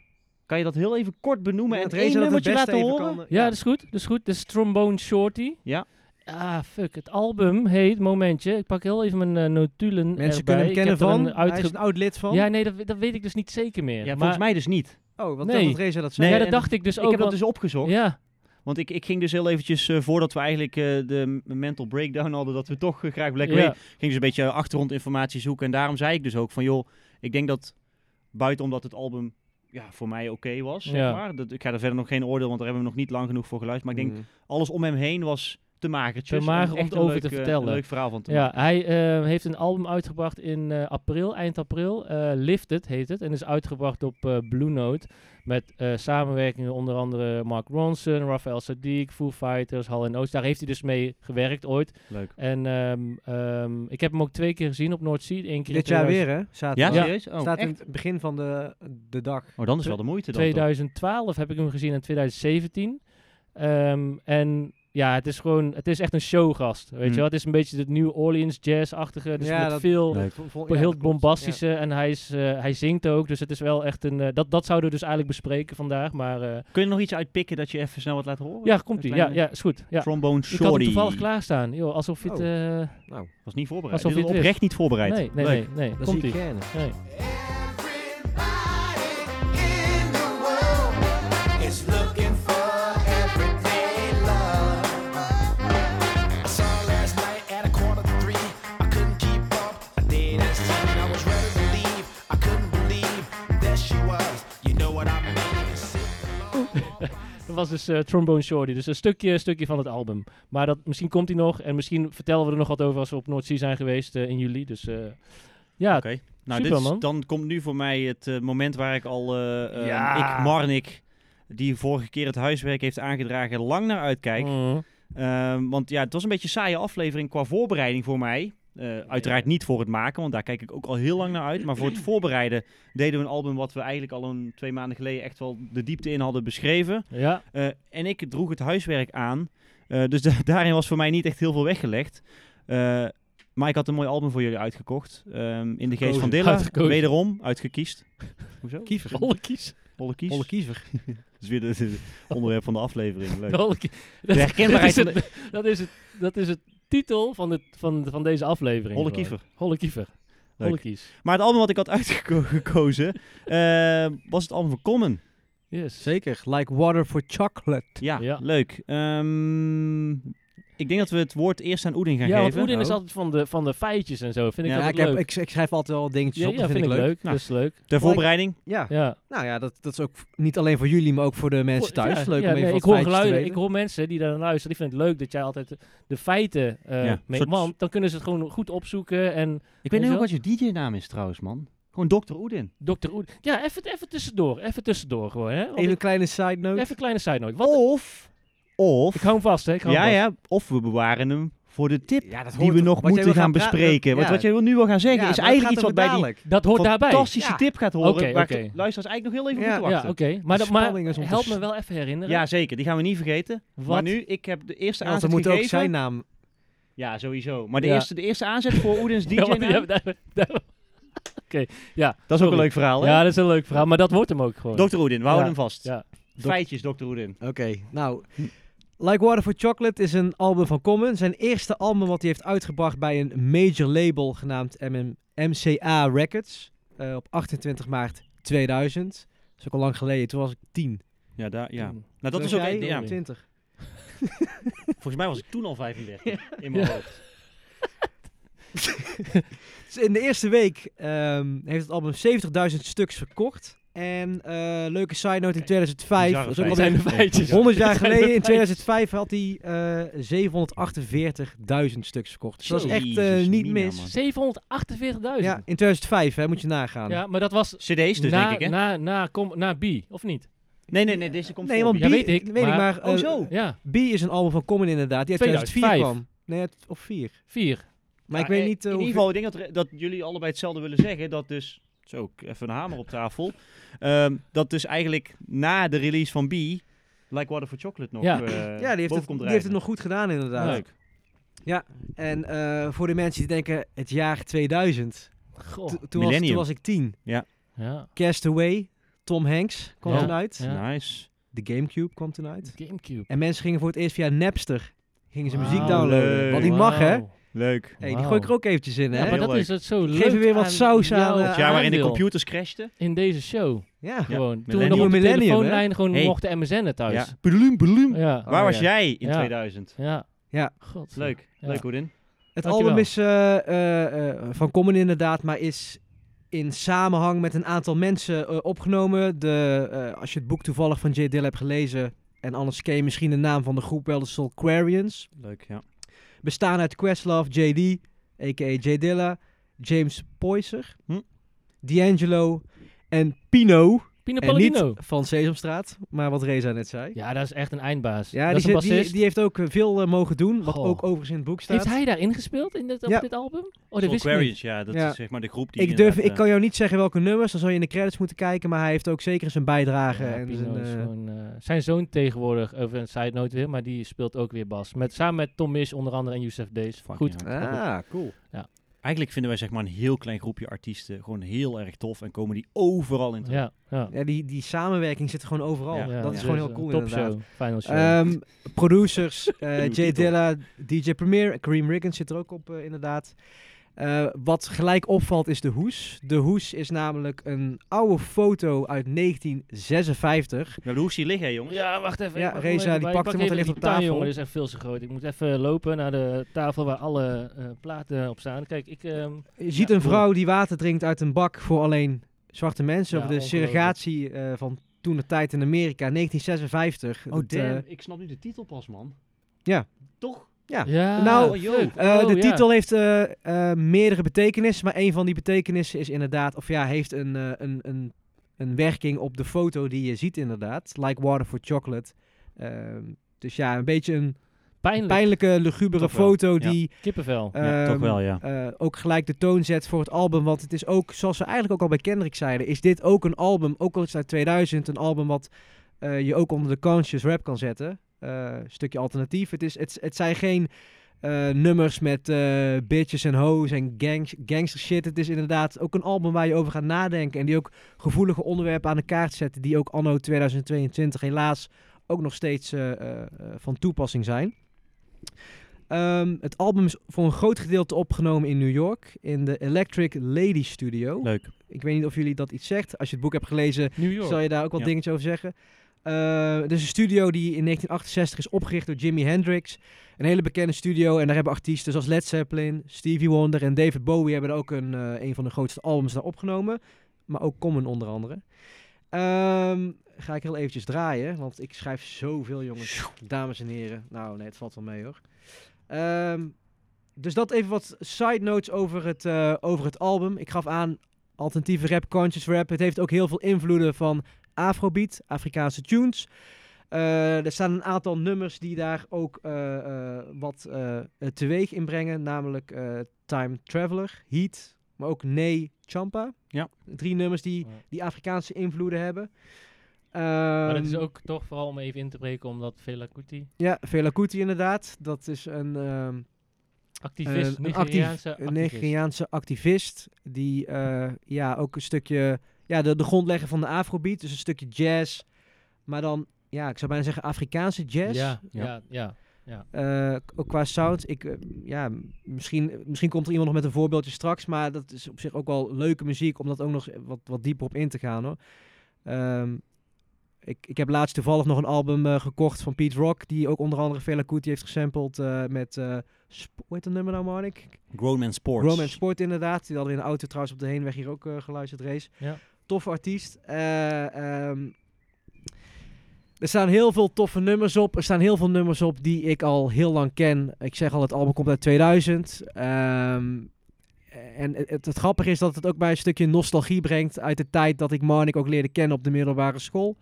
A: Kan je dat heel even kort benoemen
B: Ja,
A: en
B: het
A: één
B: race dat het
A: nummertje
B: beste
A: laten
B: even
A: horen?
B: kan, eh,
C: ja, dat is goed. Dat is goed. Dat is Trombone Shorty.
A: Ja.
C: Ah, fuck. Het album heet, momentje, ik pak heel even mijn eh, notulen
B: Mensen
C: erbij.
B: kunnen hem
C: Ik
B: kennen
C: heb er
B: van.
C: een
B: Hij is
C: uitge-
B: een oud lid van.
C: Ja, nee, dat, we- dat weet ik dus niet zeker meer.
A: Ja,
C: maar,
A: volgens mij dus niet.
B: Oh, wat
C: Nee.
B: dat Reza dat
A: Nee,
B: zei.
C: ja, dat
A: en
C: dacht ik dus
A: ik
C: ook.
A: heb dat
C: want-
A: dus opgezocht.
C: ja,
A: Want ik, ik ging dus heel eventjes, eh, voordat we eigenlijk eh, de m- mental breakdown hadden, dat we toch eh, graag Black Way
C: ja,
A: ging dus een beetje achtergrondinformatie zoeken. En daarom zei ik dus ook van, joh, ik denk dat buiten omdat het album ja, voor mij oké was, zeg
C: Ja.
A: maar. Dat, ik ga er verder nog geen oordeel, want daar hebben we nog niet lang genoeg voor geluisterd. Maar ik denk,
B: Mm.
A: alles om hem heen was te magertjes.
C: Te mager
A: en echt
C: om het
A: een
C: over
A: leuk,
C: te
A: eh,
C: vertellen.
A: Een leuk verhaal van te
C: ja, hij eh, heeft een album uitgebracht in eh, april, eind april. eh, Lifted heet het. En is uitgebracht op eh, Blue Note. Met eh, samenwerkingen onder andere Mark Ronson, Rafael Sadiq, Foo Fighters, Hall Oates. Daar heeft hij dus mee gewerkt ooit.
A: Leuk.
C: En ehm, ehm, ik heb hem ook twee keer gezien op North Sea. Eén keer
B: Dit
C: in
B: jaar weer, hè?
A: Ja,
B: Zaterdag.
A: serieus? Oh,
B: Staat in
A: echt?
B: het begin van de, de dag.
A: Oh, dan is wel de moeite dan
C: 2012 heb ik hem gezien en 2017. Ehm, en ja, het is gewoon, het is echt een showgast. Weet
A: Mm.
C: je wel, het is een beetje het New Orleans jazz-achtige. Dus
B: Ja,
C: met
B: dat-
C: veel,
A: Leuk.
B: Vo- vo-
C: heel
B: ja, dat klopt.
C: bombastische. En hij, is, eh, hij zingt ook. Dus het is wel echt een. eh, dat, dat zouden we dus eigenlijk bespreken vandaag. Maar eh,
A: Kun je er nog iets uitpikken dat je even snel wat laat horen?
C: ja, komt ie. Ja,
A: kleine
C: ja, is goed. Ja.
A: Trombone
C: Ik had hem
A: Shorty.
C: toevallig klaarstaan. Joh, alsof je het.
B: Oh.
C: eh,
B: Nou,
A: Was niet voorbereid.
C: Alsof
A: Dit is
C: je het
A: oprecht niet voorbereid.
C: nee, nee,
A: Leuk.
C: nee, nee.
B: dat
C: Komt
B: zie ik
C: ie.
B: kennen.
C: Nee. Dat Dat was dus eh, Trombone Shorty. Dus een stukje, stukje van het album. Maar dat, misschien komt hij nog. En misschien vertellen we er nog wat over als we op Noordzee zijn geweest eh, in juli. Dus eh, ja,
A: Oké. Nou,
C: super,
A: dit is-
C: man.
A: dan komt nu voor mij het eh, moment waar ik al eh, eh,
C: Ja.
A: ik Marnik, die vorige keer het huiswerk heeft aangedragen, lang naar uitkijk.
C: Mm.
A: Ehm, want ja, het was een beetje een saaie aflevering qua voorbereiding voor mij. Eh, uiteraard niet voor het maken, want daar kijk ik ook al heel lang naar uit. Maar voor het voorbereiden deden we een album wat we eigenlijk al een twee maanden geleden echt wel de diepte in hadden beschreven.
C: ja.
A: Eh, en ik droeg het huiswerk aan. Eh, dus da- daarin was voor mij niet echt heel veel weggelegd. Eh, maar ik had een mooi album voor jullie uitgekocht. Ehm, in de geest van Dilla.
C: Uitgekozen.
A: Wederom, uitgekiest. Hoezo?
B: Kiever.
C: Alle kies.
A: Holle kies.
B: Holle kiever.
A: Dat is weer het onderwerp van de aflevering. Leuk.
C: Alle kies.
A: De herkenbaarheid
C: dat
A: van
C: is het, dat is het, dat is het titel van, het, van, van deze aflevering.
A: Holle
C: gewoon.
A: kiever.
C: Holle kiever.
A: Leuk.
C: Holle kies.
A: Maar het album wat ik had uitgekozen eh, was het album van Common.
C: Yes.
B: Zeker. Like water for chocolate.
A: Ja,
C: Ja.
A: leuk. Ehm, ik denk dat we het woord eerst aan Oedin gaan
C: Ja, want
A: geven.
C: Oedin is
B: Oh.
C: altijd van de, van de feitjes en zo. Vind ik
A: Ja,
B: Ja,
C: altijd
B: ik, heb,
C: leuk.
B: ik, ik schrijf altijd wel dingetjes
C: ja,
B: op.
C: ja,
B: dat vind, ik leuk.
A: Nou.
C: Dat is leuk.
A: Ter voorbereiding.
B: Ja.
C: Ja.
B: Nou ja, dat, dat is ook niet alleen voor jullie, maar ook voor de mensen thuis.
C: Ja,
B: leuk
C: ja,
B: om even
C: nee,
B: wat
C: ik hoor
B: feitjes te
C: geluiden.
B: weten.
C: Ik hoor mensen die daar luisteren. Die vinden het leuk dat jij altijd de feiten eh
A: Ja,
C: mee...
A: soort-
C: Want dan kunnen ze het gewoon goed opzoeken. En
A: Ik
C: Weet
A: weet
C: je
A: niet
C: wel?
A: ook wat je DJ-naam is trouwens, man. Gewoon Dr. Oedin.
C: Dr. Oed... Ja, even, even tussendoor. Even tussendoor gewoon, hè. Want
B: Even een Oh.
C: ik-
B: kleine side note.
C: even een kleine side note. Wat...
A: Of,
C: Ik
A: of,
C: hou hem vast, hè. Ik hou
A: ja,
C: hem vast.
A: ja, of we bewaren hem voor de tip
B: Ja, dat
A: die
B: hoort-
A: we nog
B: wat jij
A: moeten
B: wil
A: gaan,
B: pra-
A: bespreken. Want
B: ja.
A: wat jij nu wil gaan
B: Ja,
A: zeggen is
B: maar
A: eigenlijk
B: het
A: iets
B: gaat
A: wat bij
B: over
A: die
B: dadelijk.
C: Dat hoort daarbij.
A: fantastische
B: Ja.
A: tip gaat horen.
C: Oké,
A: waar
C: oké.
A: de luisteraars eigenlijk nog heel even
B: Ja.
A: op moeten
C: Ja,
A: wachten.
C: oké. Maar, dat, maar
B: spanning is om te
C: help me
B: s-
C: wel even herinneren.
A: Ja, zeker. Die gaan we niet vergeten.
C: Wat?
A: Maar nu, ik heb de eerste
B: Ja, want
A: aanzet
B: dan moet ook
A: gegeven.
B: zijn naam.
A: Ja, sowieso. Maar de,
C: Ja.
A: eerste, de eerste aanzet voor Oedin's DJ
C: Ja, maar-
A: naam,
C: ja, daar- daar- Oké, ja.
A: dat is ook
C: sorry.
A: een leuk verhaal, hè?
C: Ja, dat is een leuk verhaal. Maar dat wordt hem ook gewoon.
A: Dr. Oedin, we houden
C: Ja.
A: hem vast.
C: Ja.
A: Dok- Feitjes, Dr. Oedin.
B: Oké, nou. Like Water for Chocolate is een album van Common. Zijn eerste album wat hij heeft uitgebracht bij een major label genaamd MM MCA Records. eh, op 28 maart 2000. Dat is ook al lang geleden. Toen was ik 10.
A: Ja, daar, ja.
C: Toen-
A: Nou, dat
B: Toen
A: is
B: was
A: ook...
B: jij
A: ja,
B: 20.
A: volgens mij was ik toen al 35 in mijn hoofd.
B: Dus in de eerste week ehm, heeft het album 70.000 stuks verkocht. En eh, leuke side note in 2005.
A: Bizarre
B: dat is
A: feiten.
B: ook alweer
C: zijn de feitjes.
B: 100 jaar
C: Dit zijn de
B: geleden, in
C: feitjes.
B: 2005, had hij eh 748.000 stuks verkocht. Dus dat is echt eh,
A: Jezus,
B: niet
A: Mina,
B: mis.
A: man.
C: 748.000.
B: Ja, in 2005, hè, moet je nagaan.
C: Ja, maar dat was
A: CD's dus,
C: na,
A: denk ik, hè?
C: na, na, kom, na B, of niet?
A: Nee, nee, nee, deze komt
B: nee,
A: voor.
B: want B,
A: Ja,
C: Ja, weet ik,
B: maar,
C: maar-
A: Oh,
B: eh,
A: zo.
C: Ja,
B: B is een album van Common inderdaad, die uit 2004 kwam.
C: 2005.
B: Nee, uit, of 4.
C: 4.
B: Maar ik
A: Ja,
B: weet
A: eh,
B: niet eh,
A: in ieder
B: hoeveel-
A: geval, ik denk dat, er- dat jullie allebei hetzelfde willen zeggen. Dat dus... Zo, ik- even een hamer op tafel. Ehm, dat dus eigenlijk na de release van B... Like Water for Chocolate nog
C: Ja.
A: eh,
B: Ja, die heeft,
A: boven
B: het,
A: komt
B: die heeft het
A: drijven.
B: nog goed gedaan inderdaad.
A: Leuk.
B: En eh, voor de mensen die denken, het jaar 2000.
C: Goh.
B: Toen- toen, was, toen
A: millennium.
B: was ik 10.
C: Ja,
B: Castaway, Tom Hanks kwam
C: Ja.
B: toen uit.
C: Ja.
A: Nice.
B: De Gamecube kwam toen uit.
C: Gamecube.
B: En mensen gingen voor het eerst via Napster gingen ze
C: Wauw.
B: muziek downloaden.
A: Leuk.
B: Want die mag, hè?
C: Wauw.
A: Leuk.
B: Hey, die
C: Wauw.
B: gooi ik er ook eventjes in,
C: Ja,
B: hè?
C: maar
A: Heel
C: dat is
A: leuk.
C: het zo leuk
B: Geef er weer wat
C: aan
B: saus aan,
C: jouw
B: eh,
A: Het jaar waarin de
C: aandeel
A: computers crashten.
C: In deze show.
B: Ja.
A: Ja,
C: gewoon. Toen we nog
A: millennium.
C: op de
B: Millennium, hè?
C: telefoonlijn gewoon
A: Hey.
C: mochten MSN'en thuis.
A: Ja. Bloem, bloem.
C: Ja.
A: Waar
B: Oh,
A: was
B: ja.
A: jij in
C: Ja.
A: 2000?
C: Ja.
B: Ja.
C: God.
A: Leuk,
C: Ja.
A: leuk Oedin.
B: Het
C: Dankjewel.
B: album is eh, eh, eh, van Common inderdaad, maar is in samenhang met een aantal mensen eh, opgenomen. De, eh, als je het boek toevallig van J. Dill hebt gelezen, en anders ken je misschien de naam van de groep wel, de Soulquarians.
A: Leuk,
B: Oh,
A: ja.
B: Bestaan uit Questlove, JD, a.k.a. J. Dilla, James Poyser,
A: Hm.
B: D'Angelo en Pino.
C: Pino
B: En niet
C: Palladino.
B: van Sesamstraat, maar wat Reza net zei.
C: Ja, dat is echt een eindbaas.
B: Ja,
C: dat
B: die,
C: is
B: zit-
C: een
B: die,
C: bassist.
B: die heeft ook eh, veel eh, mogen doen, wat
C: Goh.
B: ook overigens in het boek staat.
C: Heeft hij daarin gespeeld in dit, op
B: Ja.
C: dit album? Oh, dat
A: Soul
C: wist ik niet.
A: Aquarius, ja, dat
B: Ja.
A: is zeg maar de groep die...
B: Ik, durf,
A: inderdaad, eh,
B: ik kan jou niet zeggen welke nummers, dan zou je in de credits moeten kijken, maar hij heeft ook zeker zijn bijdrage.
C: Ja,
B: en
C: Pino
B: zijn,
C: is
B: eh,
C: gewoon, eh, zijn zoon tegenwoordig, over een side note weer, maar die speelt ook weer bas. Met, samen met Tom Misch onder andere en Youssef Days.
A: Fucking
C: eh, Goed.
A: hell.
B: ah, cool.
A: eh, Eigenlijk vinden wij zeg maar een heel klein groepje artiesten gewoon heel erg tof en komen die overal in terug.
C: Ja, ja.
B: Ja, die, die samenwerking zit er gewoon overal.
A: Ja,
B: dat
A: ja.
B: is gewoon heel
C: eh,
B: cool
C: Top
B: inderdaad.
C: show, final show.
B: Ehm, producers, eh,
A: Nieuwe
B: Jay
A: titel.
B: Dilla, DJ Premier, Kareem Riggins zit er ook op eh, inderdaad. Eh, wat gelijk opvalt is de hoes. De hoes is namelijk een oude foto uit 1956.
A: We hebben de hoes hier liggen, hè, jongens.
C: ja, wacht even.
B: ja,
C: ik pak
B: Reza,
C: even
B: die
C: bij-
B: pakt
C: ik
B: hem,
C: pak
B: want hij
C: even
B: ligt op
C: die taal,
B: tafel.
C: jongen, dit is echt veel te groot. Ik moet even lopen naar de tafel waar alle eh, platen op staan. Kijk, ik... ehm,
B: Je ziet
C: Ja,
B: een
C: cool.
B: vrouw die water drinkt uit een bak voor alleen zwarte mensen.
C: Ja,
B: over de
C: ongelooflijk.
B: segregatie eh, van toen de tijd in Amerika, 1956.
A: Oh,
B: dat, eh,
A: damn. ik snap nu de titel pas, man.
B: Ja.
A: Toch?
B: ja.
C: Ja,
B: Nou,
C: fuck.
A: eh,
B: Eh,
C: Oh,
B: de
C: ja.
B: titel heeft eh, eh, meerdere betekenissen, maar een van die betekenissen is inderdaad, of ja, heeft een, eh, een, een, een werking op de foto die je ziet inderdaad. Like water for chocolate. Ehm, dus ja, een beetje een
C: Pijnlijk.
B: pijnlijke, lugubere
A: Toch wel,
B: foto
A: ja.
B: die
C: Kippenvel.
A: Ja, toch
B: ehm,
A: wel, ja.
B: eh, ook gelijk de toon zet voor het album. Want het is ook, zoals we eigenlijk ook al bij Kendrick zeiden, is dit ook een album, ook al is het uit 2000, een album wat eh, je ook onder de conscious rap kan zetten. Eh, stukje alternatief. Het, is, het, het zijn geen eh, nummers met eh, bitches en hoes en gangs, gangster shit. Het is inderdaad ook een album waar je over gaat nadenken. En die ook gevoelige onderwerpen aan de kaart zetten. Die ook anno 2022 helaas ook nog steeds eh, eh, eh, van toepassing zijn. Ehm, het album is voor een groot gedeelte opgenomen in New York. In de Electric Lady Studio.
A: Leuk.
B: Ik weet niet of jullie dat iets zegt. Als je het boek hebt gelezen,
C: New York.
B: zal je daar ook wel
A: Ja.
B: dingetjes over zeggen. Eh, het is een studio die in 1968 is opgericht door Jimi Hendrix. Een hele bekende studio. En daar hebben artiesten zoals Led Zeppelin, Stevie Wonder en David Bowie... hebben daar ook een, eh, een van de grootste albums naar opgenomen. Maar ook Common onder andere. Ehm, ga ik heel eventjes draaien, want ik schrijf zoveel jongens. Dames en heren. Nou nee, het valt wel mee hoor. Ehm, dus dat even wat side notes over het, eh, over het album. Ik gaf aan alternatieve rap, conscious rap. Het heeft ook heel veel invloeden van Afrobeat, Afrikaanse tunes. Eh, er staan een aantal nummers die daar ook eh, eh, wat eh, eh, teweeg in brengen. Namelijk eh, Time Traveler, Heat, maar ook Nee Champa.
A: Ja.
B: Drie nummers die,
C: Ja.
B: die Afrikaanse invloeden hebben.
C: maar dat is
B: Ehm,
C: ook toch vooral om even in te breken, omdat Fela Kuti,
B: Ja, Fela Kuti inderdaad. Dat is een... ehm,
C: activist,
B: Eh, een actief-
C: Nigeriaanse
B: een
C: activist.
B: Nigeriaanse activist die eh, ja, ook een stukje ja, de, de grondlegger van de afrobeat, dus een stukje jazz, maar dan ja, ik zou bijna zeggen Afrikaanse jazz.
C: Ja,
A: Ja.
C: ja, ja.
B: Eh, k- ook qua sound, ik, eh, ja, m- misschien, misschien komt er iemand nog met een voorbeeldje straks, maar dat is op zich ook wel leuke muziek om dat ook nog wat, wat dieper op in te gaan hoor. Ehm, ik, ik heb laatst toevallig nog een album eh, gekocht van Pete Rock, die ook onder andere Fela Kuti heeft gesampled eh, met, eh sp- hoe heet dat nummer nou Marnik?
A: Grown Man Sports.
B: Roman Sport inderdaad. Die hadden we in de auto trouwens op de heenweg hier ook eh, geluisterd, race.
C: Ja.
B: Toffe artiest. Eh, ehm, er staan heel veel toffe nummers op. Er staan heel veel nummers op die ik al heel lang ken. Ik zeg al, het album komt uit 2000. Ehm, en het, het, het grappige is dat het ook mij een stukje nostalgie brengt uit de tijd dat ik Marnik ook leerde kennen op de middelbare school.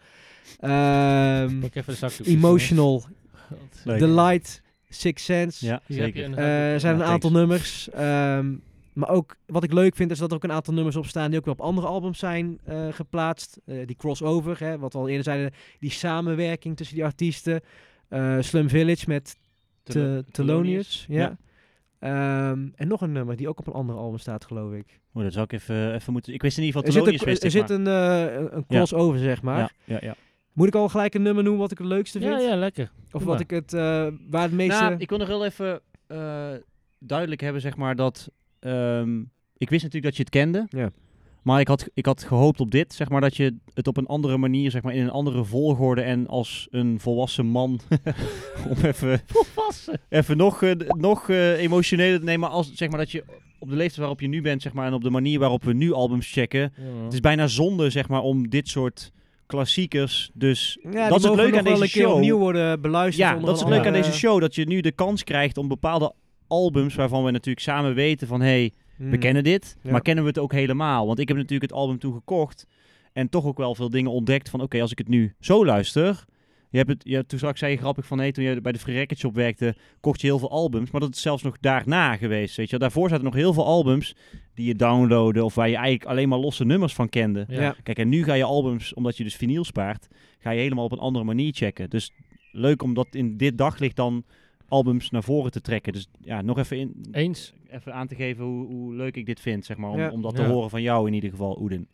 B: Ehm,
C: Pak even de zakdoek.
B: emotional,
C: Want
A: Leuk.
B: The Light, Six Sense.
A: Ja,
C: Hier heb je
A: zeker.
C: een
B: Eh,
C: zakdoek.
B: er zijn
A: Ja,
B: een aantal
A: thanks.
B: nummers. ehm, maar ook wat ik leuk vind is dat er ook een aantal nummers op staan die ook weer op andere albums zijn eh, geplaatst. Eh, die crossover, hè, wat we al eerder zeiden, die samenwerking tussen die artiesten. Eh, Slum Village met
A: Te-
B: Te- Thelonious. Ja.
A: Ja.
B: Ehm, en nog een nummer die ook op een ander album staat, geloof ik.
A: Oh, dat zou ik even, even moeten... Ik wist in ieder
B: Er
A: geval
B: zit een,
A: Thelonious,
B: er
A: wist ik
B: zit
A: maar.
B: een, eh, een- een crossover, zeg maar.
A: Ja, ja, ja.
B: Moet ik al gelijk een nummer noemen wat ik het leukste
C: ja,
B: vind?
C: ja, lekker.
B: Of
C: doe
B: wat
C: maar.
B: ik het, eh, waar het meeste...
A: Nou, ik wil nog heel even eh, duidelijk hebben, zeg maar, dat... ehm, ik wist natuurlijk dat je het kende.
B: Ja.
A: Maar ik had, ik had gehoopt op dit, zeg maar, dat je het op een andere manier, zeg maar, in een andere volgorde en als een volwassen man, om even,
C: Volwassen.
A: even nog, eh, nog eh, emotioneler te nemen, maar als, zeg maar, dat je op de leeftijd waarop je nu bent, zeg maar, en op de manier waarop we nu albums checken, het is bijna zonde, zeg maar, om dit soort klassiekers, dus
B: Ja,
A: dat is het leuke aan
B: wel
A: deze
B: een keer
A: show.
B: opnieuw worden beluisterd.
A: Ja,
B: onder
A: dat is het
B: een
A: leuke aan
B: andere- eh,
A: deze show. Dat je nu de kans krijgt om bepaalde albums waarvan we natuurlijk samen weten van... hé, hey, we
B: Hmm.
A: kennen dit,
B: Ja.
A: maar kennen we het ook helemaal? Want ik heb natuurlijk het album toen gekocht en toch ook wel veel dingen ontdekt van... oké, als ik het nu zo luister... Je hebt het, je, toen straks zei je grappig van... hé, toen je bij de Free Records Shop werkte, kocht je heel veel albums. Maar dat is zelfs nog daarna geweest, weet je. wel. Daarvoor zaten nog heel veel albums die je downloaden... of waar je eigenlijk alleen maar losse nummers van kende.
C: Ja.
B: Ja.
A: Kijk, en nu ga je albums, omdat je dus vinyl spaart, ga je helemaal op een andere manier checken. Dus leuk om dat in dit daglicht dan albums naar voren te trekken. Dus ja, nog even, in,
C: Eens.
A: even aan te geven hoe, hoe leuk ik dit vind, zeg maar. Om,
B: Ja.
A: om dat
C: Ja.
A: te horen van jou in ieder geval, Oeden.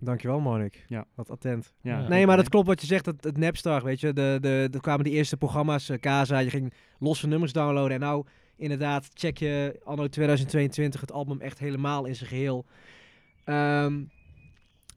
B: Dankjewel, Monik.
A: Ja.
B: Wat attent.
A: Ja.
C: Ja.
B: Nee, maar dat klopt wat je zegt, dat, het Napstar, weet je. De, de, er kwamen die eerste programma's, eh, Kaza, je ging losse nummers downloaden. En nou, inderdaad, check je anno 2022 het album echt helemaal in zijn geheel. Ehm,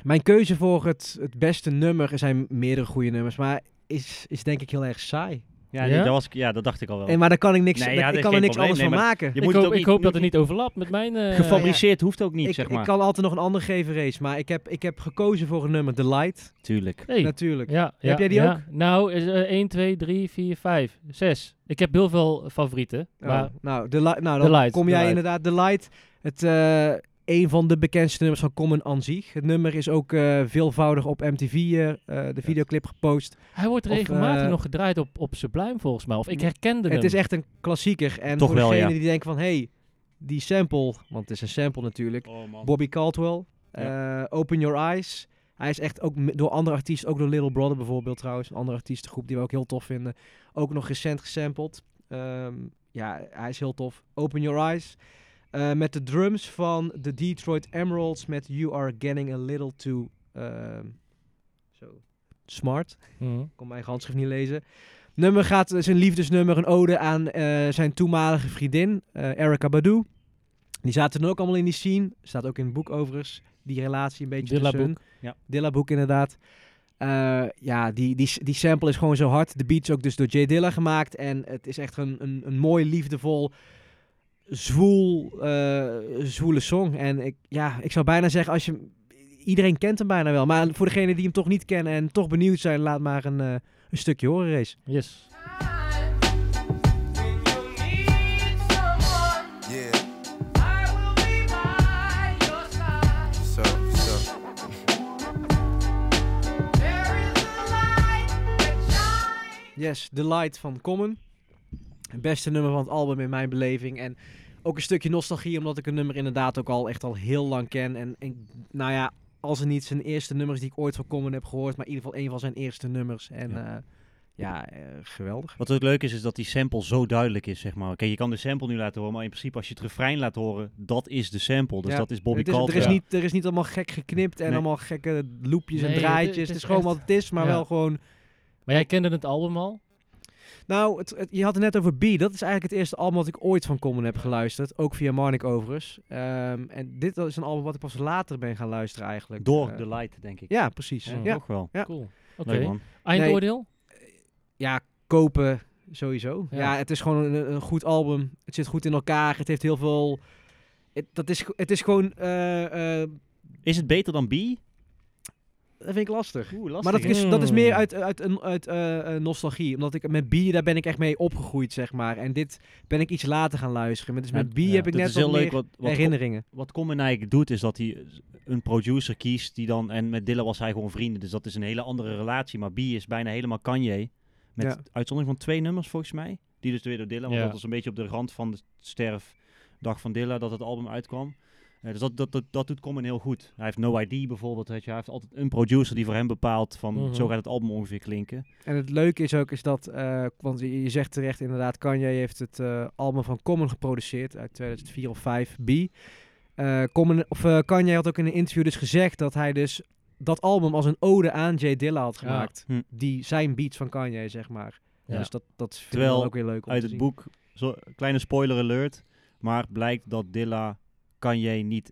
B: mijn keuze voor het, het beste nummer, er zijn meerdere goede nummers, maar is, is denk ik heel erg saai.
A: Ja, nee,
C: Ja?
A: dat, was, ik- ja dat dacht ik al wel.
B: En, maar daar kan ik, niks,
A: Nee, ja, dat
B: ik
A: is
B: kan er
A: geen
B: niks
A: probleem.
B: anders
A: Nee, maar
B: van maken.
A: Je
C: ik
A: moet
C: hoop,
A: ook
C: ik
A: niet-
C: hoop
A: moet
C: dat het niet overlapt met mijn... eh,
A: Gefabriceerd hoeft ook niet,
B: ik,
A: zeg
B: ik
A: maar.
B: kan altijd nog een ander geven race, maar ik heb, ik heb gekozen voor een nummer, The Light,
A: Tuurlijk.
C: Hey.
B: natuurlijk.
C: Ja,
B: Heb
C: ja,
B: jij die
C: ja.
B: ook?
C: Nou, is, eh, 1, 2, 3, 4, 5, 6. Ik heb heel veel favorieten.
B: Oh,
C: Maar
B: nou, The Light, nou,
C: The
B: dan
C: Light,
B: kom
C: The
B: jij
C: Light.
B: inderdaad, The Light, het, eh, een van de bekendste nummers van Common An zich. Het nummer is ook eh, veelvoudig op MTV, eh, eh, de videoclip gepost.
C: hij wordt
B: Of,
C: regelmatig
B: eh,
C: nog gedraaid op, op Sublime volgens mij. Of ik herkende hem.
B: Het is echt een klassieker. En
A: Toch
B: voor
A: wel,
B: degenen
A: ja.
B: die denken van, hé, hey, die sample, want het is een sample natuurlijk, Bobby Caldwell, eh, Open Your Eyes. Hij is echt ook m- door andere artiesten, ook door Little Brother bijvoorbeeld trouwens, een andere artiestengroep die we ook heel tof vinden. Ook nog recent gesampled. Ehm, ja, hij is heel tof. Open Your Eyes. Eh, met de drums van de Detroit Emeralds met You Are Getting A Little Too ehm, zo, Smart.
C: Mhm.
B: Ik kon mijn eigen handschrift niet lezen. Nummer gaat, is een liefdesnummer, een ode aan eh, zijn toenmalige vriendin, eh Erica Badu. Die zaten dan ook allemaal in die scene. Staat ook in het boek overigens, die relatie een beetje
C: Dilla
B: tussen hun.
A: ja.
B: Dilla boek inderdaad. Eh, ja, die, die, die sample is gewoon zo hard. De beat is ook dus door Jay Dilla gemaakt. En het is echt een, een, een mooi, liefdevol, zwoel, eh, zwoele song. En ik, ja, ik zou bijna zeggen, als je, hem- iedereen kent hem bijna wel. Maar voor degenen die hem toch niet kennen en toch benieuwd zijn, laat maar een, eh, een stukje horen, Race.
C: Yes.
I: Yeah. So, so.
B: Yes, The Light van Common. Het beste nummer van het album in mijn beleving. En ook een stukje nostalgie, omdat ik het nummer inderdaad ook al echt al heel lang ken. En, en nou ja, als het niet zijn eerste nummers die ik ooit van Common heb gehoord, maar in ieder geval een van zijn eerste nummers. En ja, ja eh, geweldig.
A: Wat ook leuk is, is dat die sample zo duidelijk is, zeg maar. Kijk, je kan de sample nu laten horen, maar in principe als je het refrein laat horen, dat is de sample. Dus
B: Ja.
A: dat is Bobby
B: Het is-
A: Caldwell.
B: er, is niet, er is niet allemaal gek geknipt en
A: Nee.
B: allemaal gekke loopjes
C: Nee,
B: en
C: het-
B: draadjes.
C: het
B: Het,
C: is
B: is gewoon
C: echt-
B: wat het is, maar
C: ja.
B: wel gewoon...
C: Maar jij kende het album al?
B: Nou, het, het- je had het net over B. Dat is eigenlijk het eerste album wat ik ooit van Common heb geluisterd. Ook via Marnik overigens. Ehm, en dit is een album wat ik pas later ben gaan luisteren eigenlijk.
A: Door
B: Eh,
A: de light, denk ik.
B: Ja, precies.
C: Ja.
B: Ja.
A: Toch wel.
B: Ja.
C: Cool. Oké.
A: Leuk, man.
C: Eindoordeel?
B: ja, kopen sowieso.
C: Ja.
B: Ja, het is gewoon een, een goed album. Het zit goed in elkaar. Het heeft heel veel... Het, dat is, het is gewoon... eh, eh,
A: Is het beter dan B?
B: dat vind ik lastig.
A: Oeh, lastig.
B: Maar dat
A: hè?
B: is, dat is
C: Mm.
B: meer uit, uit, een- uit, eh, eh, nostalgie. Omdat ik met Bie, daar ben ik echt mee opgegroeid, zeg maar. En dit ben ik iets later gaan luisteren. Maar Dus met
A: Ja,
B: Bie
A: ja.
B: heb ik
A: Dat
B: net
A: is heel
B: wat
A: leuk
B: meer
A: wat, wat,
B: herinneringen.
A: wat Common eigenlijk doet, is dat hij een producer kiest die dan... En met Dilla was hij gewoon vrienden, dus dat is een hele andere relatie. Maar B is bijna helemaal Kanye. Met
B: Ja.
A: uitzondering van twee nummers, volgens mij. Die dus weer door Dilla, want
C: Ja.
A: dat was een beetje op de rand van de sterfdag van Dilla dat het album uitkwam. Eh, dus dat, dat, dat, dat doet Common heel goed. Hij heeft No ID bijvoorbeeld, weet je. Hij heeft altijd een producer die voor hem bepaalt van...
C: Mhm.
A: Zo gaat het album ongeveer klinken.
B: En het leuke is ook is dat, eh, want je je zegt terecht inderdaad, Kanye heeft het eh, album van Common geproduceerd uit 2004 of 5, B. Eh, Common, of, eh, Kanye had ook in een interview dus gezegd dat hij dus dat album als een ode aan Jay Dilla had
C: Ja.
B: gemaakt.
A: Hm.
B: Die zijn beats van Kanye, zeg maar.
C: Ja.
B: Dus dat, dat vind ik
A: Terwijl
B: wel ook weer leuk om
A: uit
B: te
A: het
B: zien.
A: boek. Zo, kleine spoiler alert. Maar blijkt dat Dilla Kanye niet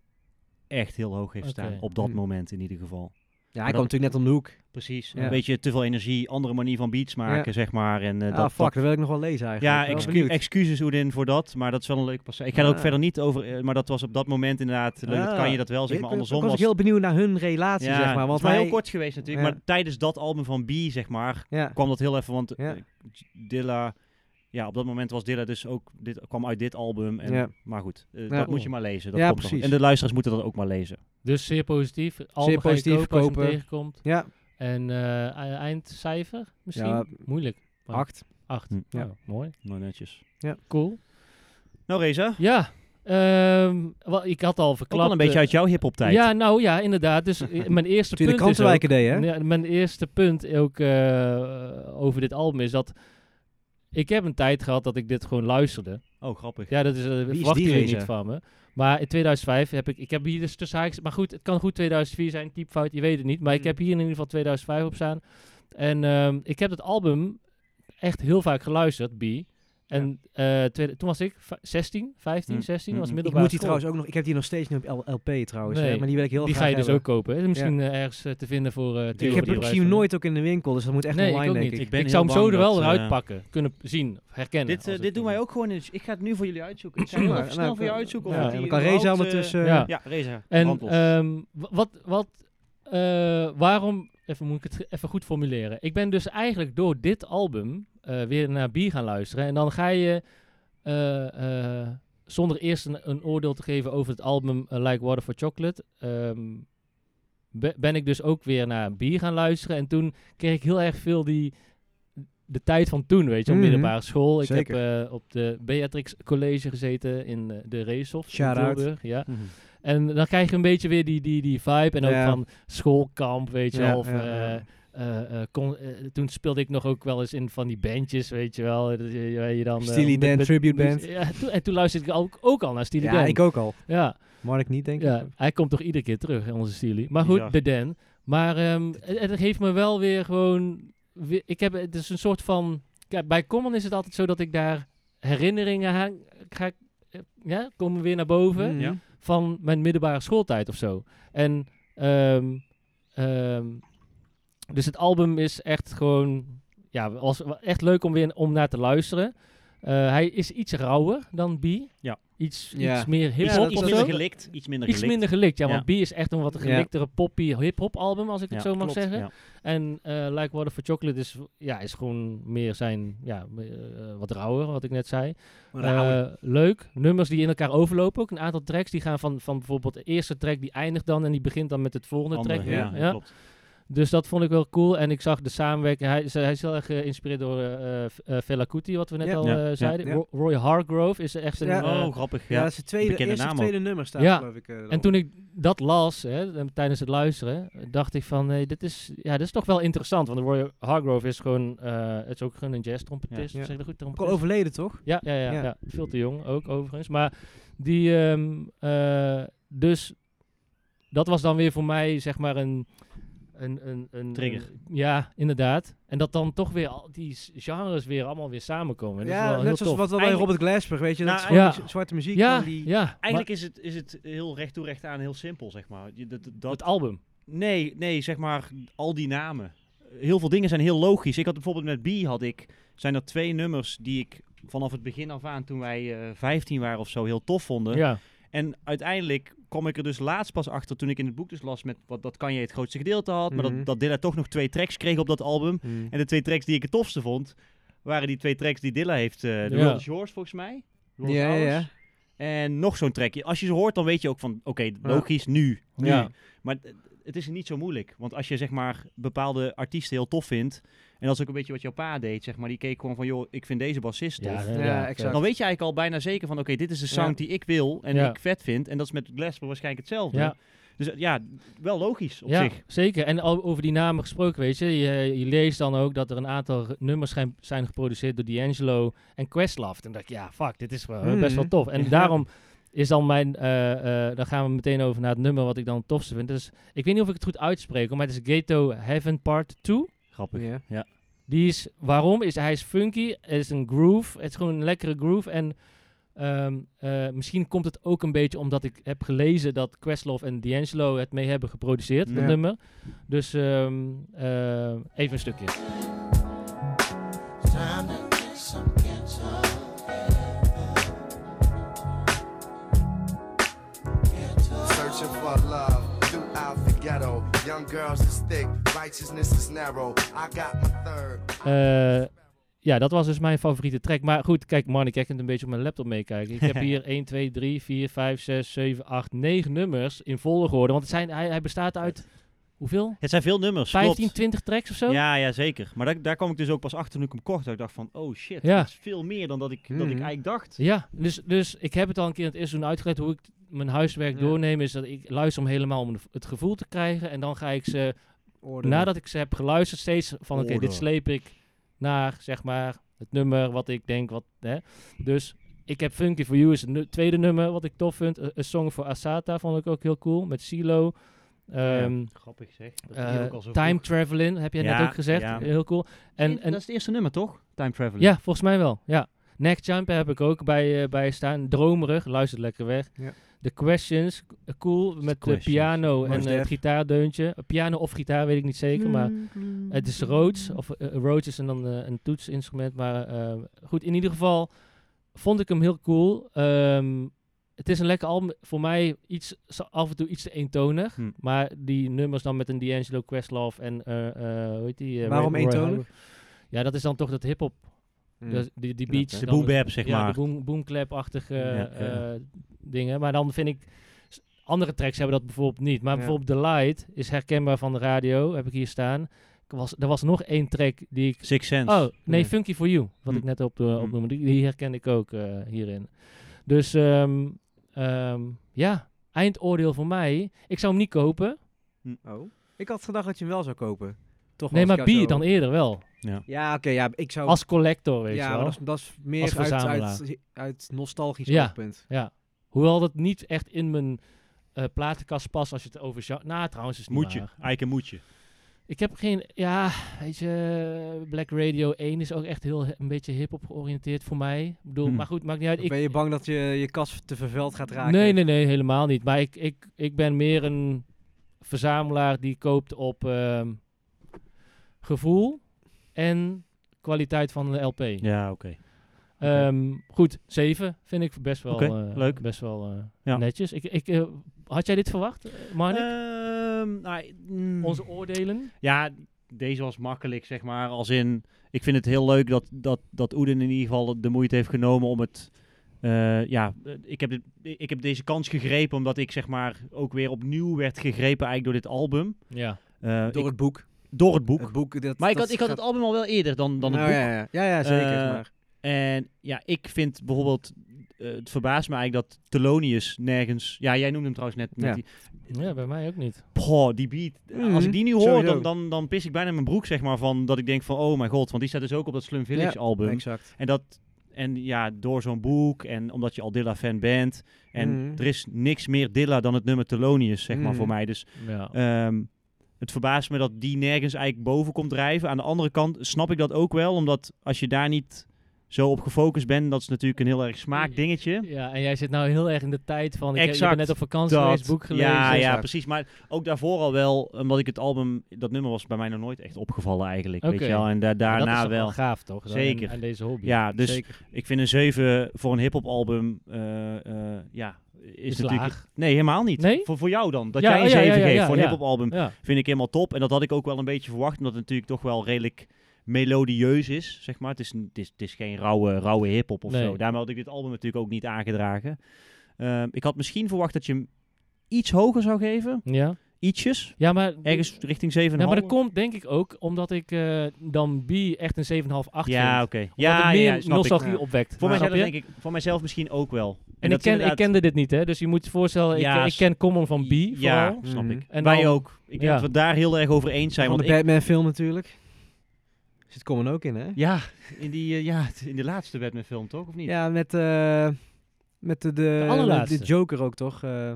A: echt heel hoog heeft
C: Oké.
A: staan. Op dat
B: Hm.
A: moment in ieder geval.
B: Ja,
A: dat-
B: hij kwam natuurlijk net om de hoek.
A: Precies.
B: Ja.
A: Een beetje te veel energie, andere manier van beats maken, zeg maar. En, eh,
B: ah,
A: dat,
B: fuck, dat wil ik nog wel lezen eigenlijk.
A: ja,
B: Ik ben wel
A: excu-
B: benieuwd.
A: excuses Oedin voor dat, maar dat is wel een leuke passage. Ik ga er ook
B: Ah.
A: verder niet over, eh, maar dat was op dat moment inderdaad, leuk dat
B: Ah.
A: kan je dat wel, zeg
B: Ik-
A: maar
B: ik
A: andersom
B: was
A: was...
B: ik heel benieuwd naar hun relatie,
A: ja,
B: zeg maar. Want
A: het is maar
B: hij,
A: heel kort geweest natuurlijk,
B: Ja.
A: maar tijdens dat album van B, zeg maar,
B: Ja,
A: kwam dat heel even, want
B: Ja.
A: eh, Dilla, ja, op dat moment was Dilla dus ook, dit kwam uit dit album, en,
B: Ja.
A: maar goed, eh,
B: Ja.
A: dat moet je maar lezen. Dat
B: Ja,
A: komt wel.
B: precies.
A: En de luisteraars moeten dat ook maar lezen.
C: Dus zeer positief. Album
B: Zeer
C: ga je
B: positief
C: kopen als je hem
B: kopen.
C: tegenkomt.
B: ja,
C: En eh, e- eindcijfer misschien?
B: Ja.
C: Moeilijk.
B: acht.
C: Acht.
A: Hm.
B: Ja.
C: Nou, mooi.
A: Nou, netjes.
C: Cool.
A: Nou, Reza,
C: Ja. ehm, wel, ik had al
A: ook
C: verklapt.
A: wel een beetje
C: eh,
A: uit jouw hip-hop tijd.
C: Ja, nou ja, inderdaad. Dus eh, mijn eerste
B: Toen je
C: punt
B: de
C: is ook,
B: krantenwijken deed, hè?
C: Ja, mijn eerste punt ook eh, over dit album is dat ik heb een tijd gehad dat ik dit gewoon luisterde.
A: Oh, grappig.
C: Ja, dat is eh,
B: is
C: verwachten
B: die
C: jullie
B: racer?
C: niet van me. Maar in 2005 heb ik, ik heb hier dus tussen haakjes, maar goed, het kan goed 2004 zijn, typfout, je weet het niet. Maar
B: Hmm.
C: ik heb hier in ieder geval 2005 op staan. En ehm, ik heb dat album echt heel vaak geluisterd, B. En eh, tweede- toen was ik v- 16, 15,
A: Mm.
C: 16, was
A: Mm.
B: Hmm. Ik
C: middelbare
B: moet die
C: school.
B: trouwens ook nog... Ik heb die nog steeds niet op L- LP trouwens,
C: Nee,
B: hè, maar die wil ik heel
C: Die
B: graag
C: ga je dus
B: hebben.
C: ook kopen. hè? Misschien eh, ergens eh, te vinden voor
B: Ik
C: eh €10
B: heb
C: die
B: hem
C: eruit
B: misschien
C: gaan.
B: nooit ook in de winkel, dus dat moet echt
C: nee,
B: online,
C: ik ook
B: denk
C: niet.
B: ik.
C: Ik,
A: ben heel
C: zou hem zo
A: bang
C: er wel
A: dat,
C: eruit
A: eh,
C: pakken, kunnen zien, herkennen.
A: Dit,
C: als
A: eh,
C: het
A: dit doen
C: een-
A: wij ook gewoon. Dus ik ga het nu voor jullie uitzoeken. Ik
B: Zeg
A: zal heel
B: maar,
A: even
B: nou,
A: snel voor je
B: kan-
A: uitzoeken.
B: Ja,
A: of
B: en
A: die
B: dan kan
A: überhaupt,
B: Reza
A: eh,
B: ondertussen...
C: ja.
B: eh,
A: Ja, Reza.
C: En
A: brandlos.
C: ehm, wa- wat, wat eh, waarom, even moet ik het even goed formuleren. Ik ben dus eigenlijk door dit album eh, weer naar bier gaan luisteren. En dan ga je, eh, eh, zonder eerst een, een oordeel te geven over het album eh, Like Water for Chocolate, ehm, be- ben ik dus ook weer naar bier gaan luisteren. En toen kreeg ik heel erg veel die. De tijd van toen, weet je, op
B: Mhm.
C: middelbare school. Ik
B: Zeker.
C: heb eh, op de Beatrix College gezeten in eh, de Reeshof. in
B: Shout-out.
C: Tilburg, Ja.
A: Mhm.
C: En dan krijg je een beetje weer die, die, die vibe. En ook
B: Ja.
C: van schoolkamp, weet je
B: Ja,
C: wel. Of,
B: ja, ja.
C: eh, eh, eh, kon- eh, toen speelde ik nog ook wel eens in van die bandjes, weet je wel. Dat je, waar je dan, eh,
B: Steely
C: met-
B: Dan
C: met-
B: tribute
C: met-
B: band.
C: Ja, toen- en toen luisterde ik ook, ook al naar Steely
B: Ja,
C: Dan.
B: ik ook al.
C: Ja,
B: Mark niet, denk ik.
C: ja, hij komt toch iedere keer terug, hè, onze Steely. Maar
A: Bizar.
C: goed, de Dan. Maar ehm, het, het geeft me wel weer gewoon... weer- ik heb, het is een soort van... Kijk, bij Common is het altijd zo dat ik daar herinneringen aan ga... eh, Ja, komen weer naar boven
B: Mhm.
A: Ja.
C: van mijn middelbare schooltijd of zo. En ehm, ehm, dus het album is echt gewoon, ja, was wa- echt leuk om weer om naar te luisteren. Eh, hij is iets rauwer dan B.
A: Ja.
C: Iets,
B: Ja.
C: iets meer hip
A: Iets,
C: hop
A: iets
C: of
A: minder
C: zo.
A: gelikt. Iets minder
C: Iets
A: gelikt.
C: minder gelikt, ja,
A: Ja.
C: want B is echt een wat
B: Ja.
C: geliktere poppy hip-hop album, als ik
A: Ja,
C: het zo mag
A: klopt,
C: zeggen.
A: ja.
C: En eh Like Water for Chocolate is, ja, is gewoon meer zijn, ja, eh, wat rauwer, wat ik net zei. Eh, leuk. Nummers die in elkaar overlopen ook. Een aantal tracks die gaan van, van bijvoorbeeld de eerste track die eindigt dan en die begint dan met het volgende
A: Andere,
C: track weer.
A: ja,
C: Ja.
A: klopt.
C: Dus dat vond ik wel cool. En ik zag de samenwerking. Hij, is- hij is heel erg geïnspireerd door eh eh, eh, Fela Kuti, wat we net
B: Ja.
C: al
A: Ja,
C: eh,
A: ja,
C: zeiden.
B: ja.
C: Ro- Roy Hargrove is echt een...
B: Ja.
C: eh,
A: oh, grappig.
B: Ja,
A: Ja.
B: dat is het tweede,
A: Bekende
B: eerste
A: naam
B: tweede nummer staat,
C: Ja.
B: geloof ik. eh,
C: En
B: erop.
C: toen ik dat las, hè, eh, tijdens het luisteren, eh, dacht ik van, hey, dit, is, ja, dit is toch wel interessant. Want Roy Hargrove is gewoon, eh, het is ook gewoon een jazz trompetist.
B: Ja. Ja.
C: Zeg ik dat goed?
B: Ook al
C: Trompetist?
B: overleden, toch?
C: Ja, ja, ja,
B: Ja.
C: ja. veel te jong ook overigens. Maar die, ehm, eh, dus dat was dan weer voor mij zeg maar een, een, een, een
A: Trigger.
C: een- ja, inderdaad. En dat dan toch weer al die s- genres weer allemaal weer samenkomen. Dat is
B: Ja,
C: wel heel
B: net zoals
C: tof.
B: wat wel bij
A: Eigenlijk-
B: Robert Glasper, weet je. Dat
A: Nou,
B: is gewoon
C: ja.
B: die z- zwarte muziek.
C: ja,
B: van die...
C: ja,
A: Eigenlijk is het, is het heel recht toe recht aan heel simpel, zeg maar. Je- Dat,
C: maar
A: dat,
C: het album.
A: nee, nee, zeg maar al die namen. Heel veel dingen zijn heel logisch. Ik had bijvoorbeeld met B had ik, zijn er twee nummers die ik vanaf het begin af aan toen wij eh, 15 waren of zo heel tof vonden.
C: Ja,
A: En uiteindelijk kwam ik er dus laatst pas achter toen ik in het boek dus las met wat dat kan je het grootste gedeelte had, maar
B: Mhm.
A: dat, dat Dilla toch nog twee tracks kreeg op dat album.
B: Hmm.
A: En de twee tracks die ik het tofste vond, waren die twee tracks die Dilla heeft. eh The
C: Ja.
A: World is Yours volgens mij. The World is
B: Ja, ja,
A: Ours.
B: ja.
A: En nog zo'n trackje. Als je ze hoort, dan weet je ook van, oké, logisch, nu. nu.
C: Ja.
A: Maar het- het is niet zo moeilijk. Want als je zeg maar bepaalde artiesten heel tof vindt, en dat is ook een beetje wat jouw pa deed, zeg maar, die keek gewoon van, joh, ik vind deze bassist tof.
B: Ja, exact.
A: Dan weet je eigenlijk al bijna zeker van, oké, dit is de
B: Ja.
A: sound die ik wil en
C: Ja.
A: die ik vet vind. En dat is met Glasper waarschijnlijk hetzelfde.
C: Ja.
A: Dus eh, ja, wel logisch op
C: ja,
A: zich.
C: zeker. En al over die namen gesproken, weet je. je. Je leest dan ook dat er een aantal ge- nummers zijn, zijn geproduceerd door D'Angelo en Questlove. En dacht ik, ja, fuck, dit is wel,
B: Mhm.
C: best wel
A: Hmm.
C: tof. En daarom is dan mijn... eh, eh, dan gaan we meteen over naar het nummer wat ik dan het tofste vind. Dus ik weet niet of ik het goed uitspreek, maar het is Gato Heaven Part 2.
A: Grappig.
B: Ja.
C: Die is, waarom? Is, hij is funky, het is een groove, het is gewoon een lekkere groove. En ehm, eh, misschien komt het ook een beetje omdat ik heb gelezen dat Questlove en D'Angelo het mee hebben geproduceerd, dat
B: Ja.
C: nummer. Dus ehm, eh, even een stukje.
J: Searching for love throughout the ghetto. Young girls is thick, righteousness is narrow. I got my third.
C: Eh, ja, dat was dus mijn favoriete track. Maar goed, kijk man, ik kan een beetje op mijn laptop meekijken. Ik heb hier 1, 2, 3, 4, 5, 6, 7, 8, 9 nummers in volgorde. Want het zijn, hij, hij bestaat uit, hoeveel?
A: Het zijn veel nummers,
C: 15,
A: klopt.
C: 20 tracks of zo?
A: Ja, ja, zeker. Maar daar, daar kwam ik dus ook pas achter toen ik hem kocht. Dat ik dacht van, oh shit,
C: Ja. Hmm.
A: dat is veel meer dan dat ik, dat
B: Mhm.
A: ik eigenlijk dacht.
C: Ja, dus, dus ik heb het al een keer in het eerste seizoen uitgelegd hoe ik t- mijn huiswerk
B: Ja.
C: doorneem. Is dat ik luister hem helemaal om de- het gevoel te krijgen. En dan ga ik ze,
B: Orde.
C: nadat ik ze heb geluisterd, steeds van oké, dit
A: Orde.
C: sleep ik naar, zeg maar, het nummer wat ik denk. Wat, hè. Dus ik heb Funky For You is het nu- tweede nummer wat ik tof vind. Een Song voor Asata vond ik ook heel cool, met Silo. Ehm,
A: Grappig zeg.
C: eh, time Traveling, heb jij
A: Ja,
C: net ook gezegd.
A: ja.
C: Heel cool. En, en,
A: dat is het eerste nummer, toch? Time Traveling.
C: ja, volgens mij wel. Ja. Neckjumper heb ik ook bij, eh, bij staan. Dromerig, luistert lekker weg.
B: Ja.
C: The Questions, eh, cool, met de
A: Questions.
C: piano
B: Mos
C: en eh,
B: Def.
C: gitaardeuntje. Eh, piano of gitaar, weet ik niet zeker,
E: Hmm.
C: maar het is Rhodes. Of eh, Rhodes is en dan eh, een toetsinstrument. Maar eh, goed, in ieder geval vond ik hem heel cool. Ehm, het is een lekker album. Voor mij iets, zo- af en toe iets te eentonig.
B: Hmm.
A: Hm.
C: Maar die nummers dan met een D'Angelo Questlove en eh eh, hoe heet die? eh, Ray-
B: Waarom
C: Roy
B: eentonig?
C: Harper. Ja, dat is dan toch dat hip-hop. Dus die, die beats.
A: Mm. de
C: dan-
A: boebab, zeg
C: ja,
A: maar.
C: de boom, boomclap-achtige eh,
A: Ja, ja.
C: eh, dingen. Maar dan vind ik... s- Andere tracks hebben dat bijvoorbeeld niet. Maar
B: Ja.
C: bijvoorbeeld The Light is herkenbaar van de radio. Heb ik hier staan. Ik was, er was nog één track die ik...
A: Six Sense.
C: Oh, nee,
A: Ja.
C: Funky For You. Wat ik
A: Hm.
C: net op, eh, opnoemde. Die, die herkende ik ook eh, hierin. Dus ehm, ehm, ja, eindoordeel voor mij. Ik zou hem niet kopen.
B: Oh. Ik had gedacht dat je hem wel zou kopen. Toch
C: Nee,
B: was
C: maar
B: ik jou
C: bier
B: zo-
C: dan eerder wel.
A: Oh.
B: Ja, oké, ja, ik zou...
C: Als collector, weet
B: ja,
C: je
B: maar
C: wel.
B: dat is, dat is
C: Als
B: meer uit,
C: verzamelaar.
B: uit, uit nostalgisch
C: Ja.
B: oogpunt.
C: Hoewel dat niet echt in mijn eh, platenkast past als je het over... genre- Nou, trouwens is het niet
A: Moet je.
C: waar.
A: Eiken moet je.
C: Ik heb geen... Ja, weet je... Black Radio 1 is ook echt heel he- een beetje hip-hop georiënteerd voor mij. Ik bedoel,
A: Hmm.
C: maar goed, maakt niet uit. Ik,
B: Hm. ben je bang dat je je kast te vervuild gaat raken?
C: Nee, nee, nee, helemaal niet. Maar ik, ik, ik ben meer een verzamelaar die koopt op ehm, gevoel en kwaliteit van de LP.
A: Ja, oké.
C: Ehm, goed, 7 vind ik best wel,
A: Oké,
C: eh,
A: leuk.
C: Best wel eh,
A: Ja.
C: netjes. Ik, ik, eh, had jij dit verwacht, eh, Marnik?
A: Ehm, nou, mm,
C: Onze oordelen?
A: Ja, deze was makkelijk, zeg maar. Als in, ik vind het heel leuk dat, dat, dat Oeden in ieder geval de moeite heeft genomen om het... eh, ja, eh, ik heb, dit, ik heb deze kans gegrepen omdat ik zeg maar ook weer opnieuw werd gegrepen eigenlijk door dit album.
C: Ja.
A: Eh, ik-
B: Door het boek.
A: door het boek.
B: Het boek dat,
A: maar ik
B: dat
A: had, ik had
B: gaat-
A: het album al wel eerder dan, dan het
B: Nou,
A: boek.
B: Ja, ja, ja, ja zeker.
A: Eh,
B: maar.
A: En ja, ik vind bijvoorbeeld... eh, het verbaast me eigenlijk dat Thelonious nergens... Ja, jij noemde hem trouwens net. Met
B: Ja.
A: die,
C: ja, bij mij ook niet.
A: Goh, die beat.
B: Mhm,
A: Als ik die nu hoor,
B: sowieso.
A: dan, dan, dan pis ik bijna mijn broek, zeg maar, van dat ik denk van, oh mijn god, want die staat dus ook op dat Slum Village
B: Ja,
A: album.
B: Exact.
A: En dat, en ja, door zo'n boek en omdat je al Dilla-fan bent. En
B: Mhm.
A: er is niks meer Dilla dan het nummer Thelonious, zeg maar,
B: Mhm.
A: voor mij. Dus
C: Ja.
A: ehm, het verbaast me dat die nergens eigenlijk boven komt drijven. Aan de andere kant snap ik dat ook wel, omdat als je daar niet zo op gefocust bent, dat is natuurlijk een heel erg smaakdingetje.
C: ja, en jij zit nou heel erg in de tijd van... Ik, heb-
A: Eh?
C: je
A: Exact
C: bent net op vakantie geweest, boek gelezen.
A: Ja, ja,
B: Exact.
A: precies. Maar ook daarvoor al wel, omdat ik het album, dat nummer was bij mij nog nooit echt opgevallen eigenlijk. Weet
C: Oké.
A: je wel? En da-
C: Maar
A: daarna
C: dat is toch
A: wel.
C: gaaf, toch? Aan-
A: Zeker.
C: Aan deze hobby.
A: Ja, dus
B: Zeker.
A: ik vind een 7 voor een hip-hop album, eh, eh, ja, is, natuurlijk.
C: laag.
A: Nee, helemaal niet.
C: Nee?
A: Voor, voor jou dan. Dat
C: Ja,
A: jij
C: oh,
A: een
C: ja,
A: 7
C: ja, ja,
A: geeft
C: ja,
A: voor een
C: ja.
A: hip-hop album,
C: Ja.
A: vind ik helemaal top. En dat had ik ook wel een beetje verwacht, omdat het natuurlijk toch wel redelijk melodieus is, zeg maar. Het is, een- het is, het is geen rauwe, rauwe hip-hop of
C: Nee.
A: zo. Daarmee had ik dit album natuurlijk ook niet aangedragen. Ehm, ik had misschien verwacht dat je hem iets hoger zou geven.
C: Ja,
A: Ietsjes.
C: ja maar...
A: Ergens richting 7,5.
C: Ja, maar dat komt denk ik ook omdat ik eh, dan B echt een 7,5 8
A: Ja,
C: vind.
A: oké.
C: Omdat
A: Ja,
C: het meer
A: ja, snap ik.
C: nostalgie
B: Ja.
C: opwekt.
A: Voor,
C: Snap
A: mijzelf
C: je?
A: denk ik, voor mijzelf misschien ook wel. En,
C: En, ik,
A: dat is
C: ken,
A: inderdaad-
C: ik kende dit niet, hè? Dus je moet je voorstellen, ik,
A: Ja,
C: ik
A: s-
C: ken Common van B
A: Ja,
C: vooral. Mm-hmm.
A: snap
B: Mhm.
A: ik.
C: En
A: Wij
C: dan-
A: ook. Ik denk
C: ja.
A: dat we het daar heel erg over eens zijn.
B: Van
A: Want
B: de
A: ik,
B: Batman film natuurlijk. Zit Common ook in, hè?
A: ja, in die, eh, ja, t- in de laatste Batman film toch? Of niet?
B: Ja, met, eh, met de, de,
C: allerlaatste.
B: de Joker ook, toch? Eh,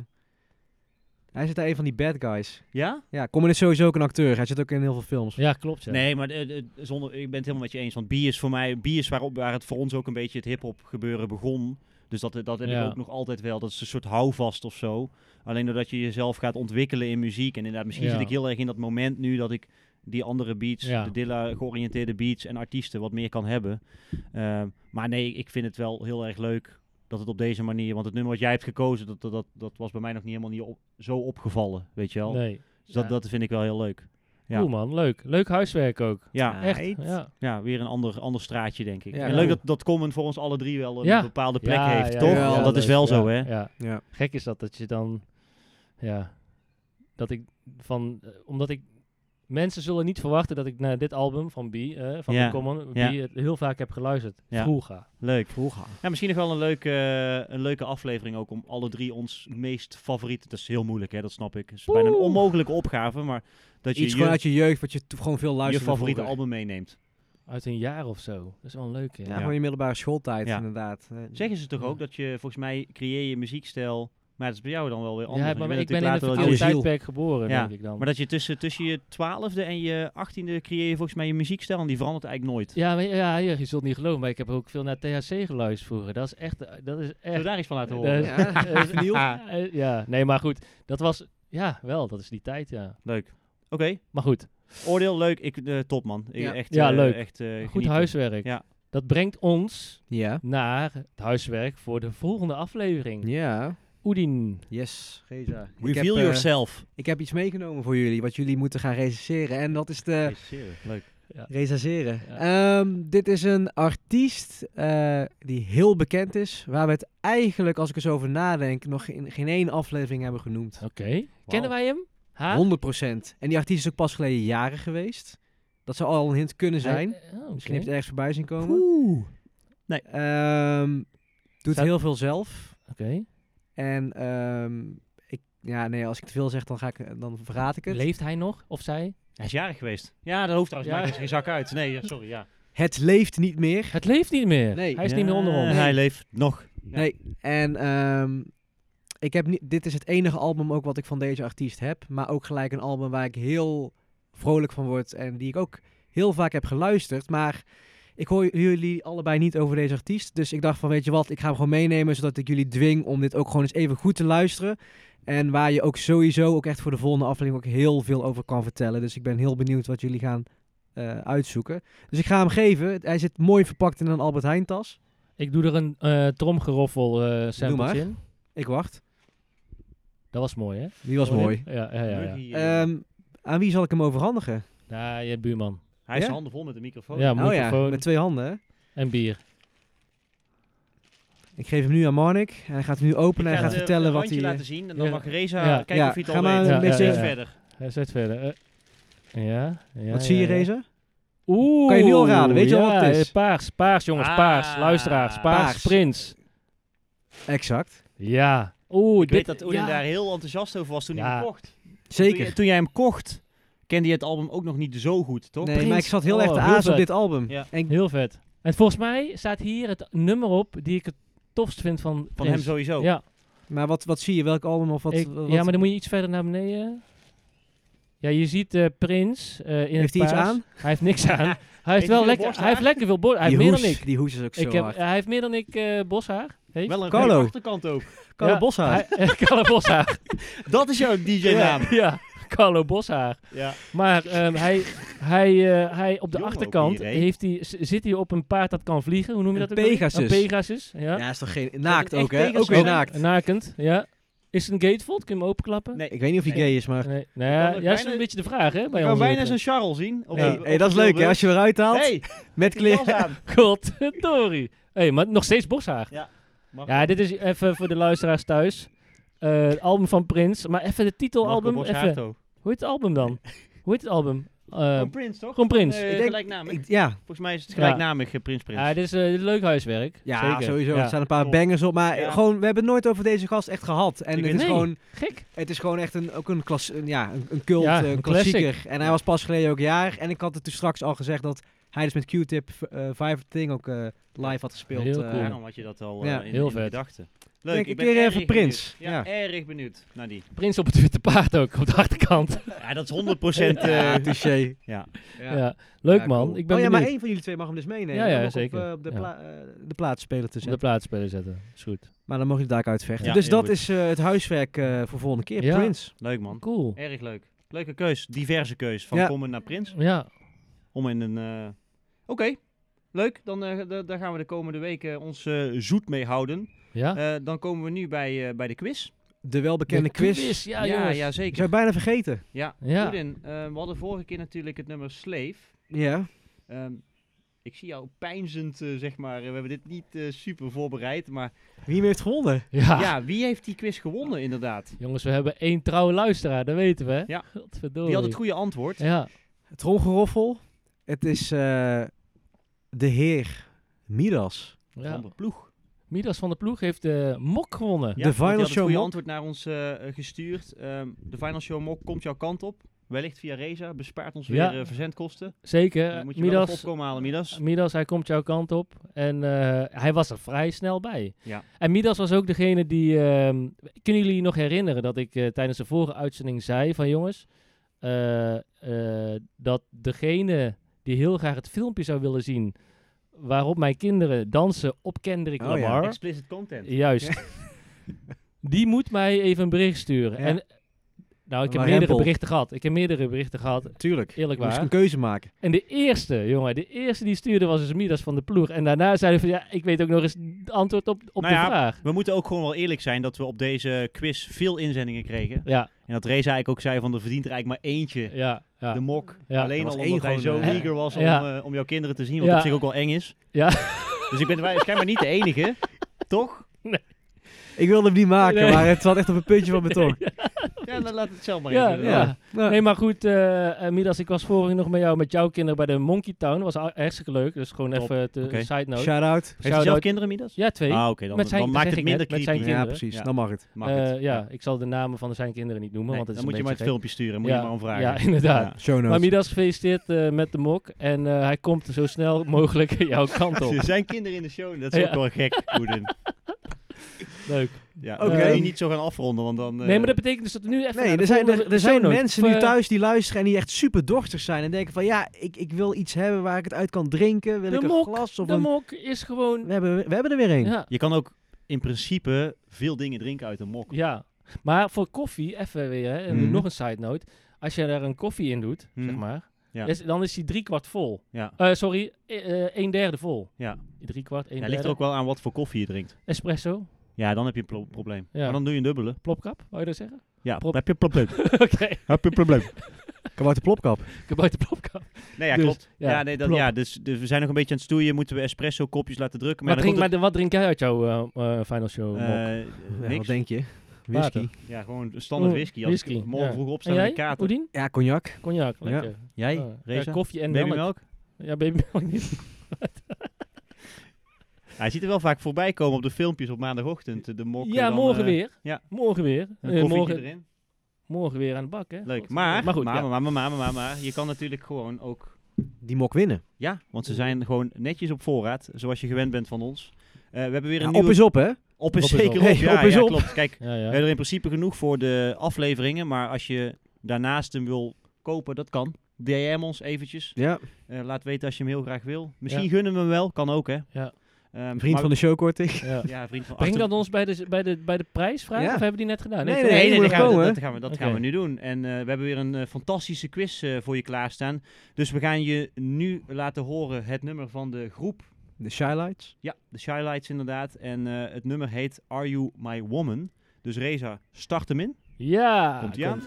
B: hij zit daar een van die bad guys.
A: Ja?
B: Ja, Common is sowieso ook een acteur. Hij zit ook in heel veel films.
C: Ja, klopt. Ja.
A: Nee, maar eh, eh, zonder, ik ben het helemaal met je eens. Want bier is voor mij, bier is waarop, waar het voor ons ook een beetje het hip-hop gebeuren begon. Dus dat, dat heb
C: Ja.
A: ik ook nog altijd wel. Dat is een soort houvast of zo. Alleen doordat je jezelf gaat ontwikkelen in muziek. En inderdaad, misschien
C: Ja.
A: zit ik heel erg in dat moment nu dat ik die andere beats,
C: Ja.
A: de Dilla georiënteerde beats en artiesten wat meer kan hebben. Ehm, maar nee, ik vind het wel heel erg leuk dat het op deze manier. Want het nummer wat jij hebt gekozen, dat, dat, dat, dat was bij mij nog niet helemaal niet op- zo opgevallen. Weet je wel.
C: Nee.
A: Dus dat,
C: Ja.
A: dat vind ik wel heel leuk. Ja.
C: Cool man, leuk. Leuk huiswerk ook.
A: Ja.
B: Ah,
C: Echt.
B: heet.
C: Ja.
A: Ja, weer een ander, ander straatje, denk ik.
B: Ja,
A: en
B: ja.
A: leuk dat, dat Common voor ons alle drie wel een
C: Ja.
A: bepaalde plek
C: Ja,
A: heeft,
C: ja,
A: toch?
C: ja,
B: Ja,
A: dat is wel
C: leuk.
A: zo,
C: Ja,
A: hè?
C: Ja.
B: Ja.
C: Gek is dat dat je dan ja dat ik van eh, omdat ik mensen zullen niet verwachten dat ik naar dit album van B eh, van
A: Ja.
C: de Common B
A: Ja.
C: het heel vaak heb geluisterd.
A: Ja.
C: Vroeger.
A: Leuk.
B: Vroeger.
A: Ja, misschien nog wel een leuke, eh, een leuke aflevering ook om alle drie ons meest favoriete... Dat is heel moeilijk, hè? Dat snap ik. Het is bijna een
C: Oeh.
A: onmogelijke opgave, maar dat je
B: Iets
A: je,
B: gewoon uit je jeugd wat je to- gewoon veel
A: je
B: luisterde
A: favoriete
B: vroeger.
A: album meeneemt.
C: Uit een jaar of zo. Dat is wel een leuke.
B: Ja,
A: Ja.
B: gewoon je middelbare schooltijd,
A: Ja.
B: inderdaad. Eh,
A: Zeggen ze toch
C: Ja.
A: ook dat je, volgens mij, creëer je muziekstijl Maar dat is bij jou dan wel weer anders.
C: Ja,
A: want
C: maar
A: je
C: ik
A: bent
C: ben in
A: natuurlijk
C: het
A: later wel
C: verkeerde
A: je-
C: tijdperk geboren,
A: Ja,
C: denk ik dan.
A: Maar dat je tussen, tussen je twaalfde en je achttiende creëer je volgens mij je muziekstijl en die verandert eigenlijk nooit.
C: Ja, maar, ja, je je zult niet geloven, maar ik heb ook veel naar THC geluisterd vroeger. Dat is echt... Dat is
A: Zullen we
C: echt
A: daar iets van laten
C: dat
A: horen?
C: is-
B: Ja,
C: dat is-
B: vinyl.
C: Ah, eh, ja, nee, maar goed. Dat was... Ja, wel, dat is die tijd, ja.
A: Leuk. Oké,
C: Maar goed,
A: oordeel leuk. Ik, eh, top man. Ik,
B: Ja.
A: echt,
C: Ja,
A: eh,
C: leuk.
A: Echt, eh,
C: goed
A: genieten.
C: huiswerk.
A: Ja.
C: Dat brengt ons
B: Ja.
C: naar het huiswerk voor de volgende aflevering.
B: Ja.
C: Oedin.
B: Yes. Geza.
A: Reveal
B: ik heb, eh,
A: yourself.
B: ik heb iets meegenomen voor jullie, wat jullie moeten gaan recenseren. En dat is de...
A: leuk.
B: Recenseren. Ehm, dit is een artiest eh, die heel bekend is. Waar we het eigenlijk, als ik er zo over nadenk, nog in geen één aflevering hebben genoemd.
C: Oké. Kennen wij hem? Haar?
B: 100%. En die artiest is ook pas geleden jaren geweest. Dat zou al een hint kunnen zijn.
C: Hij- oh, oké.
B: Misschien heb je het ergens voorbij zien komen.
A: Nee.
B: Ehm, doet
C: Zou-
B: heel veel zelf.
C: Oké.
B: En ehm, ik, ja, nee, als ik te veel zeg, dan, ga ik, dan verraad ik het.
C: Leeft hij nog? Of zij?
A: Hij is jarig geweest. Ja, dat hoeft trouwens.
C: Ja.
A: Maakt geen zak uit. Nee, ja, sorry. Ja.
B: het leeft niet meer.
C: Het leeft niet meer.
B: Nee.
C: Hij is niet meer onder ons.
A: Eh, Hij leeft nog. Ja.
B: Nee, en ehm, ik heb niet, dit is het enige album ook wat ik van deze artiest heb. Maar ook gelijk een album waar ik heel vrolijk van word. En die ik ook heel vaak heb geluisterd. Maar ik hoor jullie allebei niet over deze artiest. Dus ik dacht van, weet je wat, ik ga hem gewoon meenemen. Zodat ik jullie dwing om dit ook gewoon eens even goed te luisteren. En waar je ook sowieso ook echt voor de volgende aflevering ook heel veel over kan vertellen. Dus ik ben heel benieuwd wat jullie gaan eh, uitzoeken. Dus ik ga hem geven. Hij zit mooi verpakt in een Albert Heijn tas.
C: Ik doe er een eh tromgeroffel eh sample
B: maar.
C: in.
B: Ik wacht.
C: Dat was mooi, hè?
B: Die was
C: Hoor je
B: mooi.
C: hem? Ja, ja, ja. ja.
A: Muggy, eh,
B: Ehm, aan wie zal ik hem overhandigen?
C: Ja, je buurman.
A: hij is
B: ja?
A: handen vol met de microfoon.
C: Ja,
B: oh ja,
C: microfoon
B: met twee handen. hè?
C: en bier.
B: Ik geef hem nu aan Marnik. En hij gaat hem nu openen en
A: Ik
B: hij
A: ga
B: gaat
A: het, eh,
B: vertellen wat
A: randje
B: hij...
A: laten zien en dan
C: Ja.
A: mag Reza
C: Ja.
A: kijken
B: Ja,
A: of hij het
B: ga
A: al
B: maar
A: weet.
B: een
A: Ja,
B: beetje-
A: ja, ja.
C: Ja.
A: verder.
C: Hij zet verder. eh. ja, ja,
B: wat zie je,
C: ja, ja.
B: Reza?
C: Oeh.
B: Kan je nu al raden? Weet je al
C: ja,
B: wat het is?
C: eh, Paars, paars jongens, paars.
A: Ah,
C: Luisteraars, paars,
B: paars.
C: prins.
B: Exact.
C: Ja. Oeh,
A: Ik weet dat Odin daar heel enthousiast over was toen hij
C: Ja.
A: hem kocht. Toen,
B: Zeker.
A: je- toen jij hem kocht, kende je het album ook nog niet zo goed, toch?
B: Nee, maar
C: Prins.
B: ik zat heel
C: Oh,
B: erg te
C: heel
B: azen
C: vet.
B: op dit album.
A: Ja.
B: En ik-
C: Heel vet. En volgens mij staat hier het nummer op die ik het tofst vind van
A: Van
C: Prins.
A: hem sowieso.
C: Ja,
B: maar wat, wat zie je? Welk album of wat?
C: ik-
B: wat-
C: ja, maar dan moet je iets verder naar beneden. Ja, je ziet eh, Prins eh, in
B: Heeft
C: het
B: hij iets
C: paars.
B: aan?
C: Hij heeft niks aan. hij
A: hij
C: heeft wel
A: veel
C: lekker,
A: borsthaar?
C: hij heeft lekker veel borst. Hij
B: die
C: heeft meer dan
B: hoes-
C: ik.
B: Die hoes is ook zo
C: ik heb,
B: hard.
C: hij heeft meer dan ik eh, boshaar. Heeft.
A: Wel een
B: Carlo.
A: goede achterkant ook.
B: Carlo
C: ja,
B: Boshaar.
C: Hij, Carlo Boshaar.
A: Dat is jouw DJ-naam.
C: ja, ja, Carlo Boshaar.
A: Ja.
C: Maar ehm, hij, hij, eh, hij op de
A: Jong ook
C: achterkant
A: hier, hè?
C: heeft hij, z- zit hij op een paard dat kan vliegen. Hoe noem je
B: Een
C: dat? ook alweer?
B: Pegasus.
C: Een Pegasus. Ja.
B: ja, is toch geen... Naakt
A: echt
B: ook, hè? Ook
A: Pegasus?
B: weer naakt.
C: Nakend, ja. Is het een gatefold? Kun je hem openklappen?
A: Nee.
B: Ik weet niet of hij
A: Nee.
B: gay is, maar...
C: Nee. Nou ja,
A: kan ook
C: ja, dat is
A: bijna-
C: een beetje de vraag, hè?
A: Je
C: Bij
A: kan
C: ons
A: bijna zo'n Charles zien. Op,
B: Hey,
A: op-
B: hey,
A: op
B: dat is
A: een
B: leuk, hè?
A: voorbeeld.
B: Als je hem eruit haalt,
A: Hey,
B: met
A: die jas
B: kleren.
A: aan.
C: Godverdorie. Hé, maar nog steeds boshaar.
A: Ja, mag-
C: Ja, dit is even voor de luisteraars thuis. Eh, het album van Prins. Maar even de titelalbum.
A: Marco
C: Even.
A: Borsato.
C: Hoe heet het album dan? Hoe heet het album? Eh,
A: Gewoon Prins, toch?
C: gewoon Prins.
A: Eh,
B: Ik denk-
A: gelijknamig.
B: Ik- Ja,
A: Volgens mij is het
C: Ja.
A: gelijknamig eh, Prins Prins.
C: ja, dit is eh, dit is leuk huiswerk.
B: ja
C: Zeker.
B: sowieso.
C: Ja.
B: Er staan een paar
A: Top.
B: bangers op. Maar
A: Ja.
B: gewoon, we hebben het nooit over deze gast echt gehad.
A: Ik
B: En het
A: weet-
B: is
C: Nee.
B: gewoon...
C: Gek.
B: Het is gewoon echt een, ook een, klas, een, ja, een, een cult,
C: Ja,
B: eh,
C: een
B: klassieker.
C: classic.
B: En hij was pas geleden ook jaar. En ik had het toen straks al gezegd dat hij dus met Q-Tip eh Five Thing ook eh, live had gespeeld.
C: Heel
B: eh.
C: cool.
A: Daarom had je dat al eh,
B: Ja.
A: in,
C: Heel
A: in de
C: vet.
A: gedachten.
B: Denk
A: Leuk,
B: een
A: ik ben
B: keer
A: erg
B: even Prins.
A: Benieuwd. Ja,
B: Ja.
A: erg benieuwd naar die.
C: Prins op het witte paard ook, op de achterkant.
A: Ja, dat is 100 procent. eh,
B: Ja, eh, touché.
A: Ja.
C: Ja. Leuk
B: Ja,
C: man.
B: cool.
C: Ik ben
B: oh ja, maar
C: benieuwd.
B: één van jullie twee mag hem dus meenemen.
C: Ja, ja,
B: Om hem ook
C: zeker.
B: Op, eh, op de,
C: Ja.
B: pla eh, de plaatspeler te
C: Op de
B: zetten.
C: plaats spelen zetten. Is goed.
B: maar dan mogen jullie daar ook uitvechten.
A: Ja,
B: dus
A: heel
B: dat
A: goed.
B: is eh, het huiswerk eh, voor volgende keer.
C: Ja.
B: Prins.
A: leuk man.
C: Cool.
A: Erg leuk. Leuke keus. Diverse keus. Van
B: Ja.
A: Common naar Prins.
C: Ja.
A: Om in een... eh, Oké. Leuk. Dan eh, da- daar gaan we de komende weken ons eh, zoet mee houden.
C: Ja.
A: Eh, dan komen we nu bij, eh, bij de quiz.
B: De welbekende
C: De
B: quiz.
C: Ja,
A: ja,
C: jongens.
A: ja,
B: Ik zou
A: zeker.
B: het bijna vergeten.
A: Ja.
C: Ja.
A: Goedin, eh, we hadden vorige keer natuurlijk het nummer Slave.
B: Ja.
A: Ehm, ik zie jou pijnzend, eh, zeg maar. We hebben dit niet eh, super voorbereid, maar
B: Wie hem heeft gewonnen?
C: Ja.
A: ja, wie heeft die quiz gewonnen inderdaad?
C: Jongens, we hebben één trouwe luisteraar, dat weten we. hè?
A: Ja.
C: Godverdorie.
A: Die had het goede antwoord.
C: Ja.
B: Het tromgeroffel. Het is eh, de heer Midas.
C: ja.
A: Van de ploeg.
C: Midas van de Ploeg heeft de mok gewonnen.
A: Ja,
B: De
A: want die
B: Final
A: had het
B: Show
A: goede
B: Mock.
A: antwoord naar ons eh, eh, gestuurd. Ehm, de Final Show Mock komt jouw kant op. Wellicht via Reza bespaart ons
C: Ja.
A: weer eh, verzendkosten.
C: Zeker.
A: Dan moet je wel even
C: Midas,
A: opkomen halen, Midas.
C: Eh, Midas, hij komt jouw kant op. En eh, hij was er vrij snel bij.
A: Ja.
C: En Midas was ook degene die... ehm, kunnen jullie je nog herinneren dat ik eh, tijdens de vorige uitzending zei van jongens... eh, eh, dat degene die heel graag het filmpje zou willen zien... waarop mijn kinderen dansen op Kendrick
B: Oh ja,
C: Lamar...
A: Explicit content.
C: Juist. Die moet mij even een bericht sturen.
B: Ja.
C: En, nou, ik heb
B: Maar
C: meerdere
B: Rempel.
C: berichten gehad. Ik heb meerdere berichten gehad,
B: Tuurlijk.
C: eerlijk
B: Moest ik
C: waar.
B: een keuze maken.
C: En de eerste, jongen, de eerste die stuurde was dus Midas van de ploeg. En daarna zeiden we van, ja, ik weet ook nog eens het antwoord op, op
A: Nou
C: de
A: ja.
C: vraag.
A: We moeten ook gewoon wel eerlijk zijn dat we op deze quiz veel inzendingen kregen.
C: Ja,
A: En dat Reza eigenlijk ook zei van er verdient er eigenlijk maar eentje.
C: ja, ja.
A: De mok.
C: Ja.
A: Alleen
B: Er was
A: al
B: één
A: omdat hij zo
B: gewoon,
C: eh,
A: eager was om,
C: ja.
A: eh, om jouw kinderen te zien. Wat
C: Ja.
A: op zich ook wel eng is.
C: Ja.
A: Dus ik ben wij- schijnbaar niet de enige. Toch?
B: Ik wilde hem niet maken,
C: Nee.
B: maar het zat echt op een puntje van mijn tong.
A: Ja, dan laat het zelf maar
C: Ja,
A: even.
C: ja. Nee, maar goed, eh, eh, Midas, ik was vorige nog met jou, met jouw kinderen bij de Monkey Town. Dat was a- hartstikke leuk, dus gewoon
A: Top.
C: even de
A: Oké.
C: side note.
B: Shout-out.
A: Heeft hij zelf kinderen, Midas?
C: Ja, twee.
A: Ah, oké. dan
C: Met zijn-
A: dan
C: dat
A: maakt
C: zeg
A: het
C: ik net,
A: minder
C: met zijn
A: creepy.
B: Ja,
C: kinderen.
B: precies.
A: Ja.
B: Dan mag het.
A: Mag
C: Eh,
A: het.
C: ja, ik zal de namen van zijn kinderen niet noemen,
A: Nee,
C: want het is
A: dan moet je
C: een
A: maar het filmpje
C: beetje
A: sturen. Moet
C: Ja,
A: je maar om vragen.
C: Ja, inderdaad.
B: Show
C: Maar
B: notes.
C: Midas gefeliciteerd eh, met de mok. En eh, hij komt zo snel mogelijk jouw kant op.
A: Er zijn kinderen in de show. Dat is
C: Ja.
A: ook wel gek, Goeden.
C: Leuk.
A: Ja.
B: Oké.
A: Kun je niet zo gaan afronden, want dan... eh,
C: Nee, maar dat betekent dus dat we nu even... naar
B: Nee,
C: de
B: er zijn,
C: volgende
B: er, er zijn
C: shownote.
B: mensen
C: Of,
B: nu
C: eh,
B: thuis die luisteren en die echt super dorstig zijn. En denken van, ja, ik, ik wil iets hebben waar ik het uit kan drinken. Wil
C: De
B: ik een
C: mok,
B: glas of
C: De
B: een...
C: mok is gewoon...
B: We hebben, we hebben er weer een.
C: Ja,
A: Je kan ook in principe veel dingen drinken uit een mok.
C: ja. Maar voor koffie, even weer, hè, en
B: Mhm.
C: nog een side note. Als je daar een koffie in doet,
A: Mhm.
C: zeg maar,
A: Ja.
C: is- dan is die drie kwart vol.
A: Ja.
C: Eh, sorry, eh, eh, een derde vol.
A: Ja.
C: Drie kwart, een
A: Ja,
C: derde.
A: ligt er ook wel aan wat voor koffie je drinkt.
C: Espresso,
A: Ja, dan heb je een pro- probleem.
C: Ja.
A: Maar dan doe je een dubbele.
C: plopkap, wou je dat zeggen?
A: Ja,
C: Prop-
A: heb je een probleem.
C: Oké,
A: heb je een probleem.
B: Kabouter Plopkap.
C: ik heb uit de plopkap.
A: Nee, ja,
C: Dus,
A: klopt.
C: ja,
A: Ja, nee, dat,
C: klopt.
A: ja dus, dus we zijn nog een beetje aan het stoeien. Moeten we espresso kopjes laten drukken?
C: Maar,
A: Maar,
C: drink,
A: dan
C: maar
A: komt
C: de- wat drink jij uit jouw eh, eh, final show mok?
A: het, eh,
B: Ja, wat
A: niks.
B: denk je? Whisky.
C: Water.
A: Ja, gewoon een standaard
C: Oh,
A: whisky. Als
C: whisky,
A: ik morgen
C: ja.
A: vroeg opsta
C: En
A: met
C: jij,
A: een kaart.
C: Oedien?
B: Ja, cognac.
C: Cognac,
B: Ja.
C: lekker.
A: Jij?
C: Ah, ja,
A: Reza?
C: koffie en melk.
A: Babymelk?
C: Ja, babymelk niet.
A: Hij ziet er wel vaak voorbij komen op de filmpjes op maandagochtend. eh, De mok. en
C: ja,
A: dan,
C: morgen
A: eh,
C: weer.
A: ja.
C: Morgen weer. Eh,
A: Een koffietje
C: morgen,
A: erin.
C: morgen weer aan de bak, hè.
A: Leuk.
C: God.
A: Maar, maar,
C: goed,
A: maar,
C: ja.
A: maar, maar, maar, maar, maar, je kan natuurlijk gewoon ook...
B: Die mok winnen.
A: Ja, want ze zijn gewoon netjes op voorraad, zoals je gewend bent van ons. Eh, we hebben weer een
B: Ja,
A: nieuwe...
B: op is op, hè?
A: Op is
C: Op is
A: zeker
C: op.
A: op.
B: Hey,
A: Ja,
B: op is
A: ja,
B: op.
A: klopt. Kijk,
C: Ja,
A: we
C: ja.
A: hebben er in principe genoeg voor de afleveringen. Maar als je daarnaast hem wil kopen, dat kan. DM ons eventjes.
B: Ja.
A: Eh, laat weten als je hem heel graag wil. Misschien
C: Ja.
A: gunnen we hem wel, kan ook hè.
C: Ja.
A: Ehm,
B: Een vriend
A: maar-
B: van de show, korting.
C: Ja.
A: Ja, vriend van
C: Breng
A: achter-
C: dat ons bij de, bij de, bij de prijsvraag,
B: Ja.
C: of hebben we die net gedaan?
B: Nee,
C: toch?
A: Nee, nee,
B: moet
A: dat,
B: nog
A: gaan we,
B: komen,
A: dat,
B: hè?
A: gaan we, dat
C: Oké.
A: gaan we nu doen. En eh, we hebben weer een eh, fantastische quiz eh, voor je klaarstaan. Dus we gaan je nu laten horen het nummer van de groep.
B: De Shylights.
A: Ja, de Shylights inderdaad. En eh, het nummer heet Are You My Woman? Dus Reza, start hem in.
C: Ja.
A: Komt hij aan?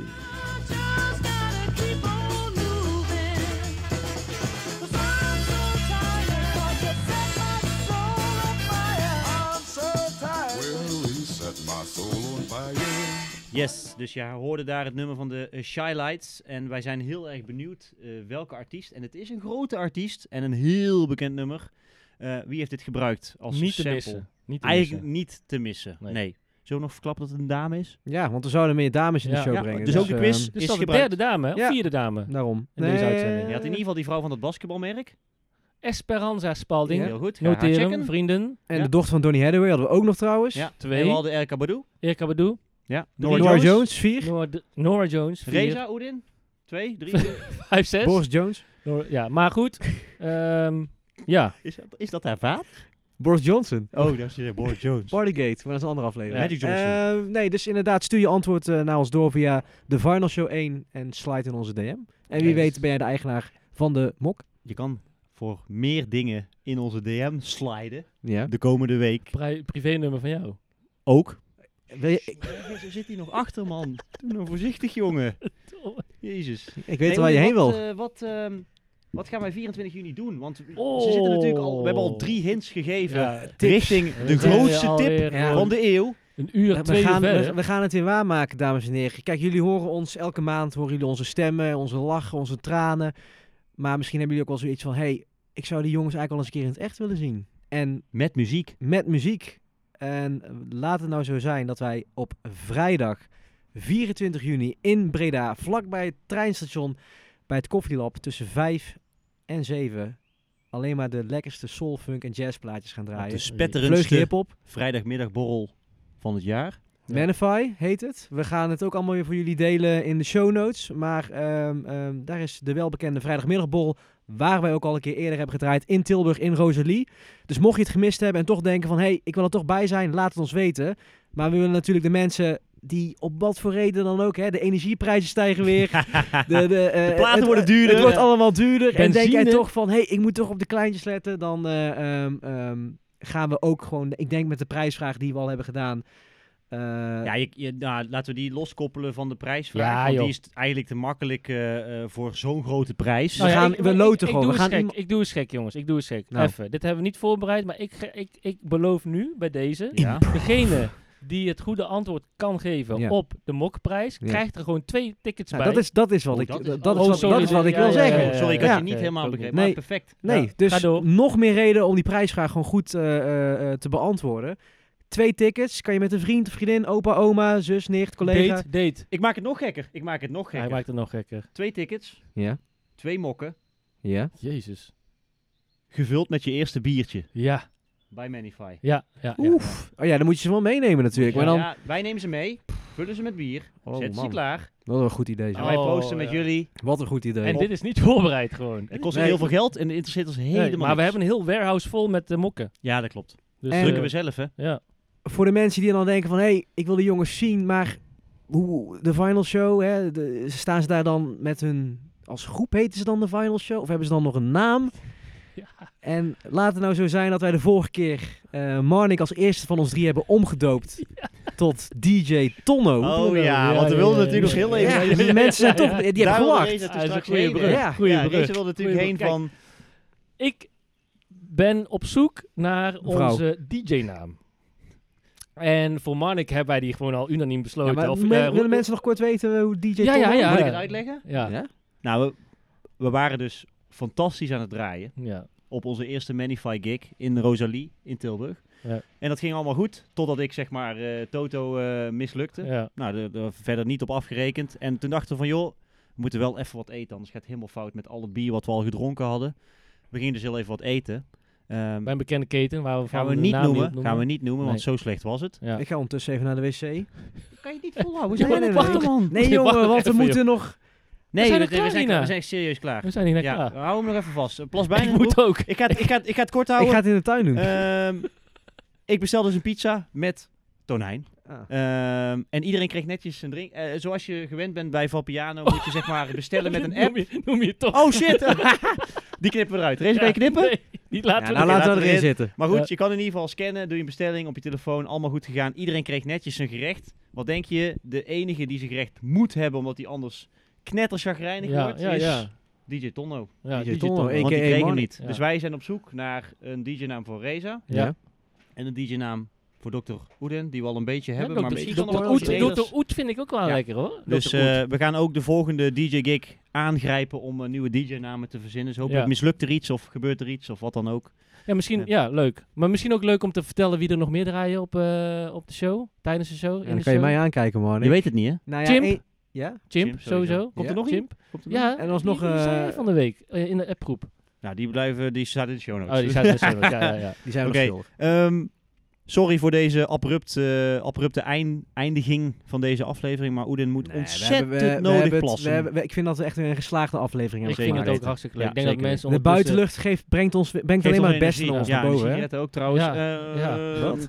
A: Yes, dus je hoorde daar het nummer van de eh, Shy Lights. En wij zijn heel erg benieuwd eh, welke artiest. En het is een grote artiest en een heel bekend nummer. Eh, wie heeft dit gebruikt als
C: Niet te
A: sample?
C: missen. Niet te
A: Eigenlijk
C: missen.
A: niet te missen, nee.
C: Nee.
A: Zullen we nog verklappen dat het een dame is?
B: Ja, want we zouden meer dames in de
C: Ja.
B: show
A: Ja,
B: brengen.
A: dus ook de quiz.
B: ehm,
C: Dus
A: Is
C: dat de
A: gebruikt.
C: derde dame, hè? of
B: Ja.
C: vierde dame.
B: daarom.
C: In deze uitzending.
A: Je had in ieder geval die vrouw van dat basketbalmerk.
C: Esperanza Spalding.
A: Heel goed. Ga haar
C: Noteer hem,
A: checken.
C: vrienden.
B: En
A: Ja.
B: de dochter van Donny Hathaway hadden we ook nog trouwens.
A: Ja.
C: Twee.
A: En we hadden Erika Badu.
C: Erika Badu.
A: Ja.
B: Nora, Jones. vier.
C: Nora, Nora Jones. vier.
A: Reza Oedin. Twee, drie. vier.
C: Vijf, zes.
B: Boris Jones.
C: Nora- Ja, maar goed. Ehm, ja.
A: is, dat, is dat haar vaat?
B: Boris Johnson.
A: Oh, dat is Boris Jones.
B: Partygate, maar dat is een andere aflevering.
A: Magic Johnson.
B: Eh, nee, dus inderdaad, stuur je antwoord eh, naar ons door via de Final Show 1 en slide in onze DM. En wie
C: Yes.
B: weet ben jij de eigenaar van de mok.
A: Je kan voor meer dingen in onze DM sliden.
B: Ja.
A: De komende week
C: Pri privé-nummer van jou.
A: ook.
B: Wil je, ik,
A: Zo zit hij nog achter, man. Doe nou voorzichtig, jongen. Jezus.
B: ik weet waar je heen wil.
A: wat, eh, wat, ehm, wat gaan wij 24 juni doen? Want ze
C: Oh.
A: zitten natuurlijk al... We hebben al drie hints gegeven richting
C: We
A: de
C: zijn
A: grootste tip
C: alweer
B: Ja.
A: van de eeuw.
C: Een uur,
B: We- we,
C: twee uur
B: gaan, we,
C: verder.
B: we gaan het weer waarmaken, dames en heren. Kijk, jullie horen ons elke maand, horen jullie onze stemmen, onze lachen, onze tranen. Maar misschien hebben jullie ook wel zoiets van, hey, ik zou die jongens eigenlijk wel eens een keer in het echt willen zien. En
A: Met muziek.
B: met muziek. En laat het nou zo zijn dat wij op vrijdag 24 juni in Breda, vlakbij het treinstation, bij het Koffielab tussen 5 en 7. Alleen maar de lekkerste soul, funk en jazzplaatjes gaan
A: Op De
B: draaien. Vleugje
A: spetterendste
B: hiphop.
A: vrijdagmiddagborrel van het jaar.
B: Ja. Manify heet het. We gaan het ook allemaal weer voor jullie delen in de show notes. Maar ehm, ehm, daar is de welbekende vrijdagmiddagborrel. Waar wij ook al een keer eerder hebben gedraaid in Tilburg in Rosalie. Dus mocht je het gemist hebben en toch denken van... hé, hey, ik wil er toch bij zijn, laat het ons weten. Maar we willen natuurlijk de mensen die op wat voor reden dan ook... Hè, de energieprijzen stijgen weer. De, de, eh,
A: De platen
B: het-
A: worden
B: het-
A: duurder.
B: Het wordt allemaal duurder. En denk jij
C: Benzine.
B: toch van, hé, hey, ik moet toch op de kleintjes letten. Dan eh, ehm, ehm, gaan we ook gewoon, ik denk met de prijsvraag die we al hebben gedaan. eh,
A: Ja, je, je- nou, laten we die loskoppelen van de prijsvraag.
C: Ja,
A: want
C: joh.
A: die is t- eigenlijk te makkelijk eh, eh, voor zo'n grote prijs.
B: Nou ja, gaan-
C: ik-
B: we
C: ik-
B: loten
C: ik-
B: gewoon.
C: Ik
B: We
C: doe,
B: gaan
C: eens gek.
B: iemand-
C: ik doe eens gek, jongens. Ik doe eens gek.
B: Nou.
C: Even. Dit hebben we niet voorbereid, maar ik, ge- ik, ik beloof nu bij deze...
A: Ja.
C: Degene die het goede antwoord kan geven
B: Ja.
C: op de mokprijs,
B: Ja.
C: krijgt er gewoon twee tickets
B: nou,
C: bij.
B: dat, is, dat is wat
A: Oh,
B: ik,
A: dat is-
B: dat, dat
A: oh,
B: is wat,
A: sorry,
B: dat is wat
A: ja,
B: ik
A: ja,
B: wil
A: ja,
B: zeggen.
A: ja, ja, Sorry, ik had
B: Ja.
A: je niet
C: Oké,
A: helemaal
C: ook niet.
A: begrepen.
B: Nee.
A: Maar perfect.
B: Nee,
C: Ja,
B: dus
C: ga door.
B: nog meer reden om die prijsvraag gewoon goed eh, eh, eh, te beantwoorden. Twee tickets, kan je met een vriend, vriendin, opa, oma, zus, nicht, collega.
C: Date, date.
A: Ik maak het nog gekker. Ik maak het nog
C: Hij
A: gekker.
C: maakt het nog gekker.
A: Twee tickets,
B: Ja,
A: twee mokken,
B: ja.
C: Jezus.
A: gevuld met je eerste biertje
C: Ja,
A: bij Manify.
C: ja, ja. ja.
B: Oef. Oh ja, dan moet je ze wel meenemen natuurlijk.
C: Ja,
B: maar dan,
A: Ja, wij nemen ze mee, vullen ze met bier,
B: Oh,
A: zetten ze
B: man.
A: klaar.
B: Wat een goed idee. zeg.
A: En wij
C: Oh,
A: posten met
C: ja.
A: jullie.
B: Wat een goed idee.
C: En dit is niet voorbereid gewoon.
A: Het kost
B: Nee.
A: heel veel geld en het interesseert ons
C: Nee,
A: helemaal
C: maar we
A: niks.
C: hebben een heel warehouse vol met eh, mokken.
A: Ja, dat klopt.
C: Dus,
B: En-
C: eh,
A: Drukken we zelf, hè?
C: ja.
B: voor de mensen die dan denken van... hé, hey, ik wil de jongens zien, maar hoe, de final show... Hè, de, staan ze daar dan met hun... als groep heten ze dan de final show? Of hebben ze dan nog een naam?
C: Ja.
B: En laat het nou zo zijn dat wij de vorige keer... eh Marnik als eerste van ons drie hebben omgedoopt... tot DJ Tonno.
A: Oh ja,
C: Ja,
A: want we
C: ja,
A: wilden
C: ja,
A: natuurlijk
C: ja,
A: nog heel
C: ja.
A: even...
B: Ja, die mensen zijn toch... die hebben gewacht.
C: Ah, dat is een
A: straks
C: goeie
A: heen, hè?
C: brug.
B: Ja.
C: Goeie
A: ja,
C: brug.
A: deze wilde natuurlijk
C: Goeie
A: heen
C: brug.
A: van...
C: Ik ben op zoek naar
B: Vrouw.
C: onze DJ-naam. En voor Marnik hebben wij die gewoon al unaniem
B: Ja,
C: besloten.
B: maar
C: of,
B: me-
C: eh,
B: willen
C: hoe-
B: mensen nog kort weten hoe DJ
C: Ja,
B: Tonno...
C: ja, ja.
A: Moet ik het uitleggen?
C: Ja, ja.
A: Nou, we, we waren dus fantastisch aan het draaien op onze eerste Manify gig in Rosalie in Tilburg.
C: Ja.
A: En dat ging allemaal goed, totdat ik zeg maar eh, Toto eh, mislukte.
C: ja.
A: Nou, daar- daar verder niet op afgerekend. En toen dachten we van, joh, we moeten wel even wat eten, anders gaat het helemaal fout met al het bier wat we al gedronken hadden. We gingen dus heel even wat eten. Ehm,
C: Bij een bekende keten waar we van
A: gaan we
C: de
A: niet
C: naam
A: noemen,
C: niet
A: gaan we niet noemen, want zo slecht was het.
C: Ja.
B: Ik ga ondertussen even naar de wc.
A: Kan je niet volhouden?
C: we zijn
B: er
A: wacht
B: nog.
A: man.
B: Nee
C: Wacht
B: jongen, want we
C: even,
B: moeten nog...
A: Nee,
C: We zijn
A: we,
C: er klaar,
A: we zijn,
C: Nina.
A: we zijn serieus klaar.
C: We zijn hier net
A: Ja, Oh.
C: klaar.
A: hou hem nog even vast. Een Plas
C: Ik
A: bijna.
C: moet ook.
A: Ik ga, het- ik, ga, het- ik ga het kort
B: Ik ga
A: houden.
B: het in de tuin doen.
A: Ehm, ik bestelde dus een pizza met tonijn.
B: Ah.
A: Ehm, en iedereen kreeg netjes een drink. eh, zoals je gewend bent bij Vapiano, moet je zeg maar bestellen met een app.
C: Noem je, noem je het toch?
A: Oh shit! Die knippen we eruit. Race, kan je
C: Ja,
A: knippen?
C: Nee, niet laten
A: Ja, nou,
C: we
A: laten we erin
B: zitten.
A: Maar goed,
C: Ja.
A: je kan in ieder geval scannen, doe je een bestelling op je telefoon, allemaal goed gegaan. Iedereen kreeg netjes een gerecht. Wat denk je, de enige die zijn gerecht moet hebben, omdat hij anders knetterchagrijnig
C: Ja,
A: wordt,
C: ja,
A: is
C: ja.
A: DJ Tonno.
C: Ja,
B: DJ
C: DJ
B: Tonno,
C: Tonno.
B: ik-
A: Want die
B: AKA
A: kreeg hem
B: Marnik.
A: niet.
C: Ja.
A: Dus wij zijn op zoek naar een DJ-naam voor Reza
C: Ja.
B: Ja.
A: en een DJ-naam voor Dr. Oeden, die we al een beetje
C: Ja,
A: hebben.
C: Dr.
A: maar misschien kan
C: Oet-
A: nog
C: Oet-
A: wat ideeën.
C: Dr. Oet vind ik ook wel
A: Ja.
C: lekker hoor.
A: Dus
C: Dr. Oet.
A: eh, we gaan ook de volgende DJ-gig aangrijpen om eh, nieuwe DJ-namen te verzinnen. Dus hopelijk
C: Ja.
A: mislukt er iets of gebeurt er iets of wat dan ook.
C: ja, misschien, ja. leuk. Maar misschien ook leuk om te vertellen wie er nog meer draaien op, eh, op de show. Tijdens de show. in
B: dan
C: de
B: kan je
C: show.
B: mij aankijken, man.
A: Je weet het niet, hè?
B: Nou
C: Chimp.
B: één- ja?
C: Chimp,
A: Chimp, sowieso.
C: sowieso.
B: Komt er
C: nog Chimp? Ja,
B: En alsnog,
C: die, die zei
B: eh,
C: hij van de week eh, in de appgroep.
A: Nou, die blijven, die staat in de show notes.
C: Oh, die staat er zo. Ja, ja, ja.
B: Die zijn we
A: Oké.
B: nog schuldig.
A: Ehm, sorry voor deze abrupt, eh, abrupte eind- eindiging van deze aflevering, maar Oedin moet
B: Nee, we
A: ontzettend
B: hebben- we- we
A: nodig
B: hebben het-
A: plassen.
B: we hebben- we- ik vind dat we echt weer een geslaagde aflevering hebben.
C: Ik
A: zeker
C: vind het ook
A: weten.
C: hartstikke leuk.
A: Ja,
C: Ik denk dat
A: zeker
C: mensen
B: De buitenlucht geeft, brengt, ons, brengt alleen maar het beste naar ons
A: ja,
B: naar
A: en de
B: boven. hè?
A: sigaretten ook trouwens.
C: Ja,
A: Eh,
C: ja.
B: Wat?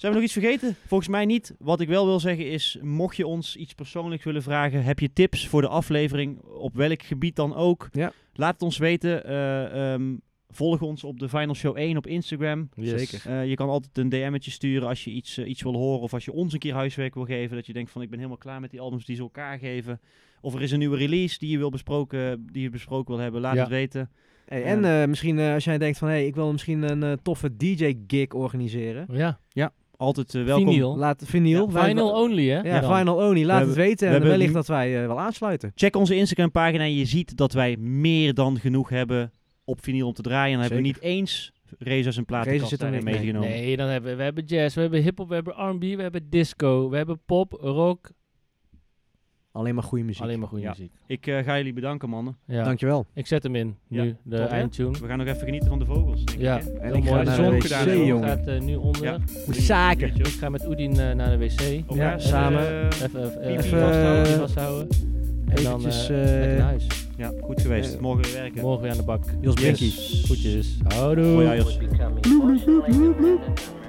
A: Zijn we nog iets vergeten? Volgens mij niet. Wat ik wel wil zeggen is, mocht je ons iets persoonlijks willen vragen, heb je tips voor de aflevering, op welk gebied dan ook,
B: Ja.
A: laat het ons weten. Eh, ehm, volg ons op de Final Show 1 op Instagram.
C: Zeker.
A: Eh, je kan altijd een DM'tje sturen als je iets, eh, iets wil horen of als je ons een keer huiswerk wil geven. Dat je denkt van ik ben helemaal klaar met die albums die ze elkaar geven. Of er is een nieuwe release die je, wil besproken, die je besproken wil hebben. Laat
C: Ja.
A: het weten.
B: Hey, en eh, misschien eh, als jij denkt van, hey, ik wil misschien een eh, toffe DJ-gig organiseren.
C: Ja,
A: Altijd eh, welkom.
C: vinyl.
B: Laat vinyl. wij-
C: Vinyl only, hè?
B: Ja,
C: Dan.
B: final only. Laat
A: We
B: het weten en
A: hebben-
B: wellicht dat wij eh, wel aansluiten.
A: Check onze Instagram pagina en je ziet dat wij meer dan genoeg hebben op vinyl om te draaien. En dan hebben we niet eens Reza zijn
B: Reza
A: platenkast
B: zit er
A: daarin
B: niet- nee,
A: meegenomen.
C: Nee, dan hebben we, we hebben jazz, we hebben hip-hop, we hebben RB, we hebben disco, we hebben pop, rock,
B: Alleen maar goede muziek.
C: Alleen maar goede
A: Ja.
C: muziek.
A: Ik eh, ga jullie bedanken, mannen.
C: Ja.
B: Dankjewel.
C: Ik zet hem in, nu,
A: Ja.
C: de
B: Top, hè?
C: eindtune.
A: We gaan nog even genieten van de vogels. Denk
C: Ja,
A: Ik, hè?
B: En
C: heel
B: ik ga
C: mooi. De
B: naar de
C: zon
A: zonk
B: wc,
A: daar nog.
B: jongen.
C: gaat eh, nu onder.
A: Ja.
B: Moet zaken.
A: Liedje.
C: Ik ga met Oedien eh, naar de wc. Even,
A: Ook
B: Ja,
A: daar,
B: samen.
A: eh,
C: even,
A: Pipi
C: even
B: vasthouden.
C: vasthouden, vasthouden. En dan
B: eh, Eventjes,
C: eh,
B: eh,
C: lekker naar huis.
A: ja, goed geweest.
B: Eh,
A: Morgen weer werken.
C: Morgen weer aan de bak.
B: Jos
A: Yes.
B: Brinkie.
C: Goedjes. Houdoe.
A: Mooi, ja, Jos.
H: become emotionally dependent on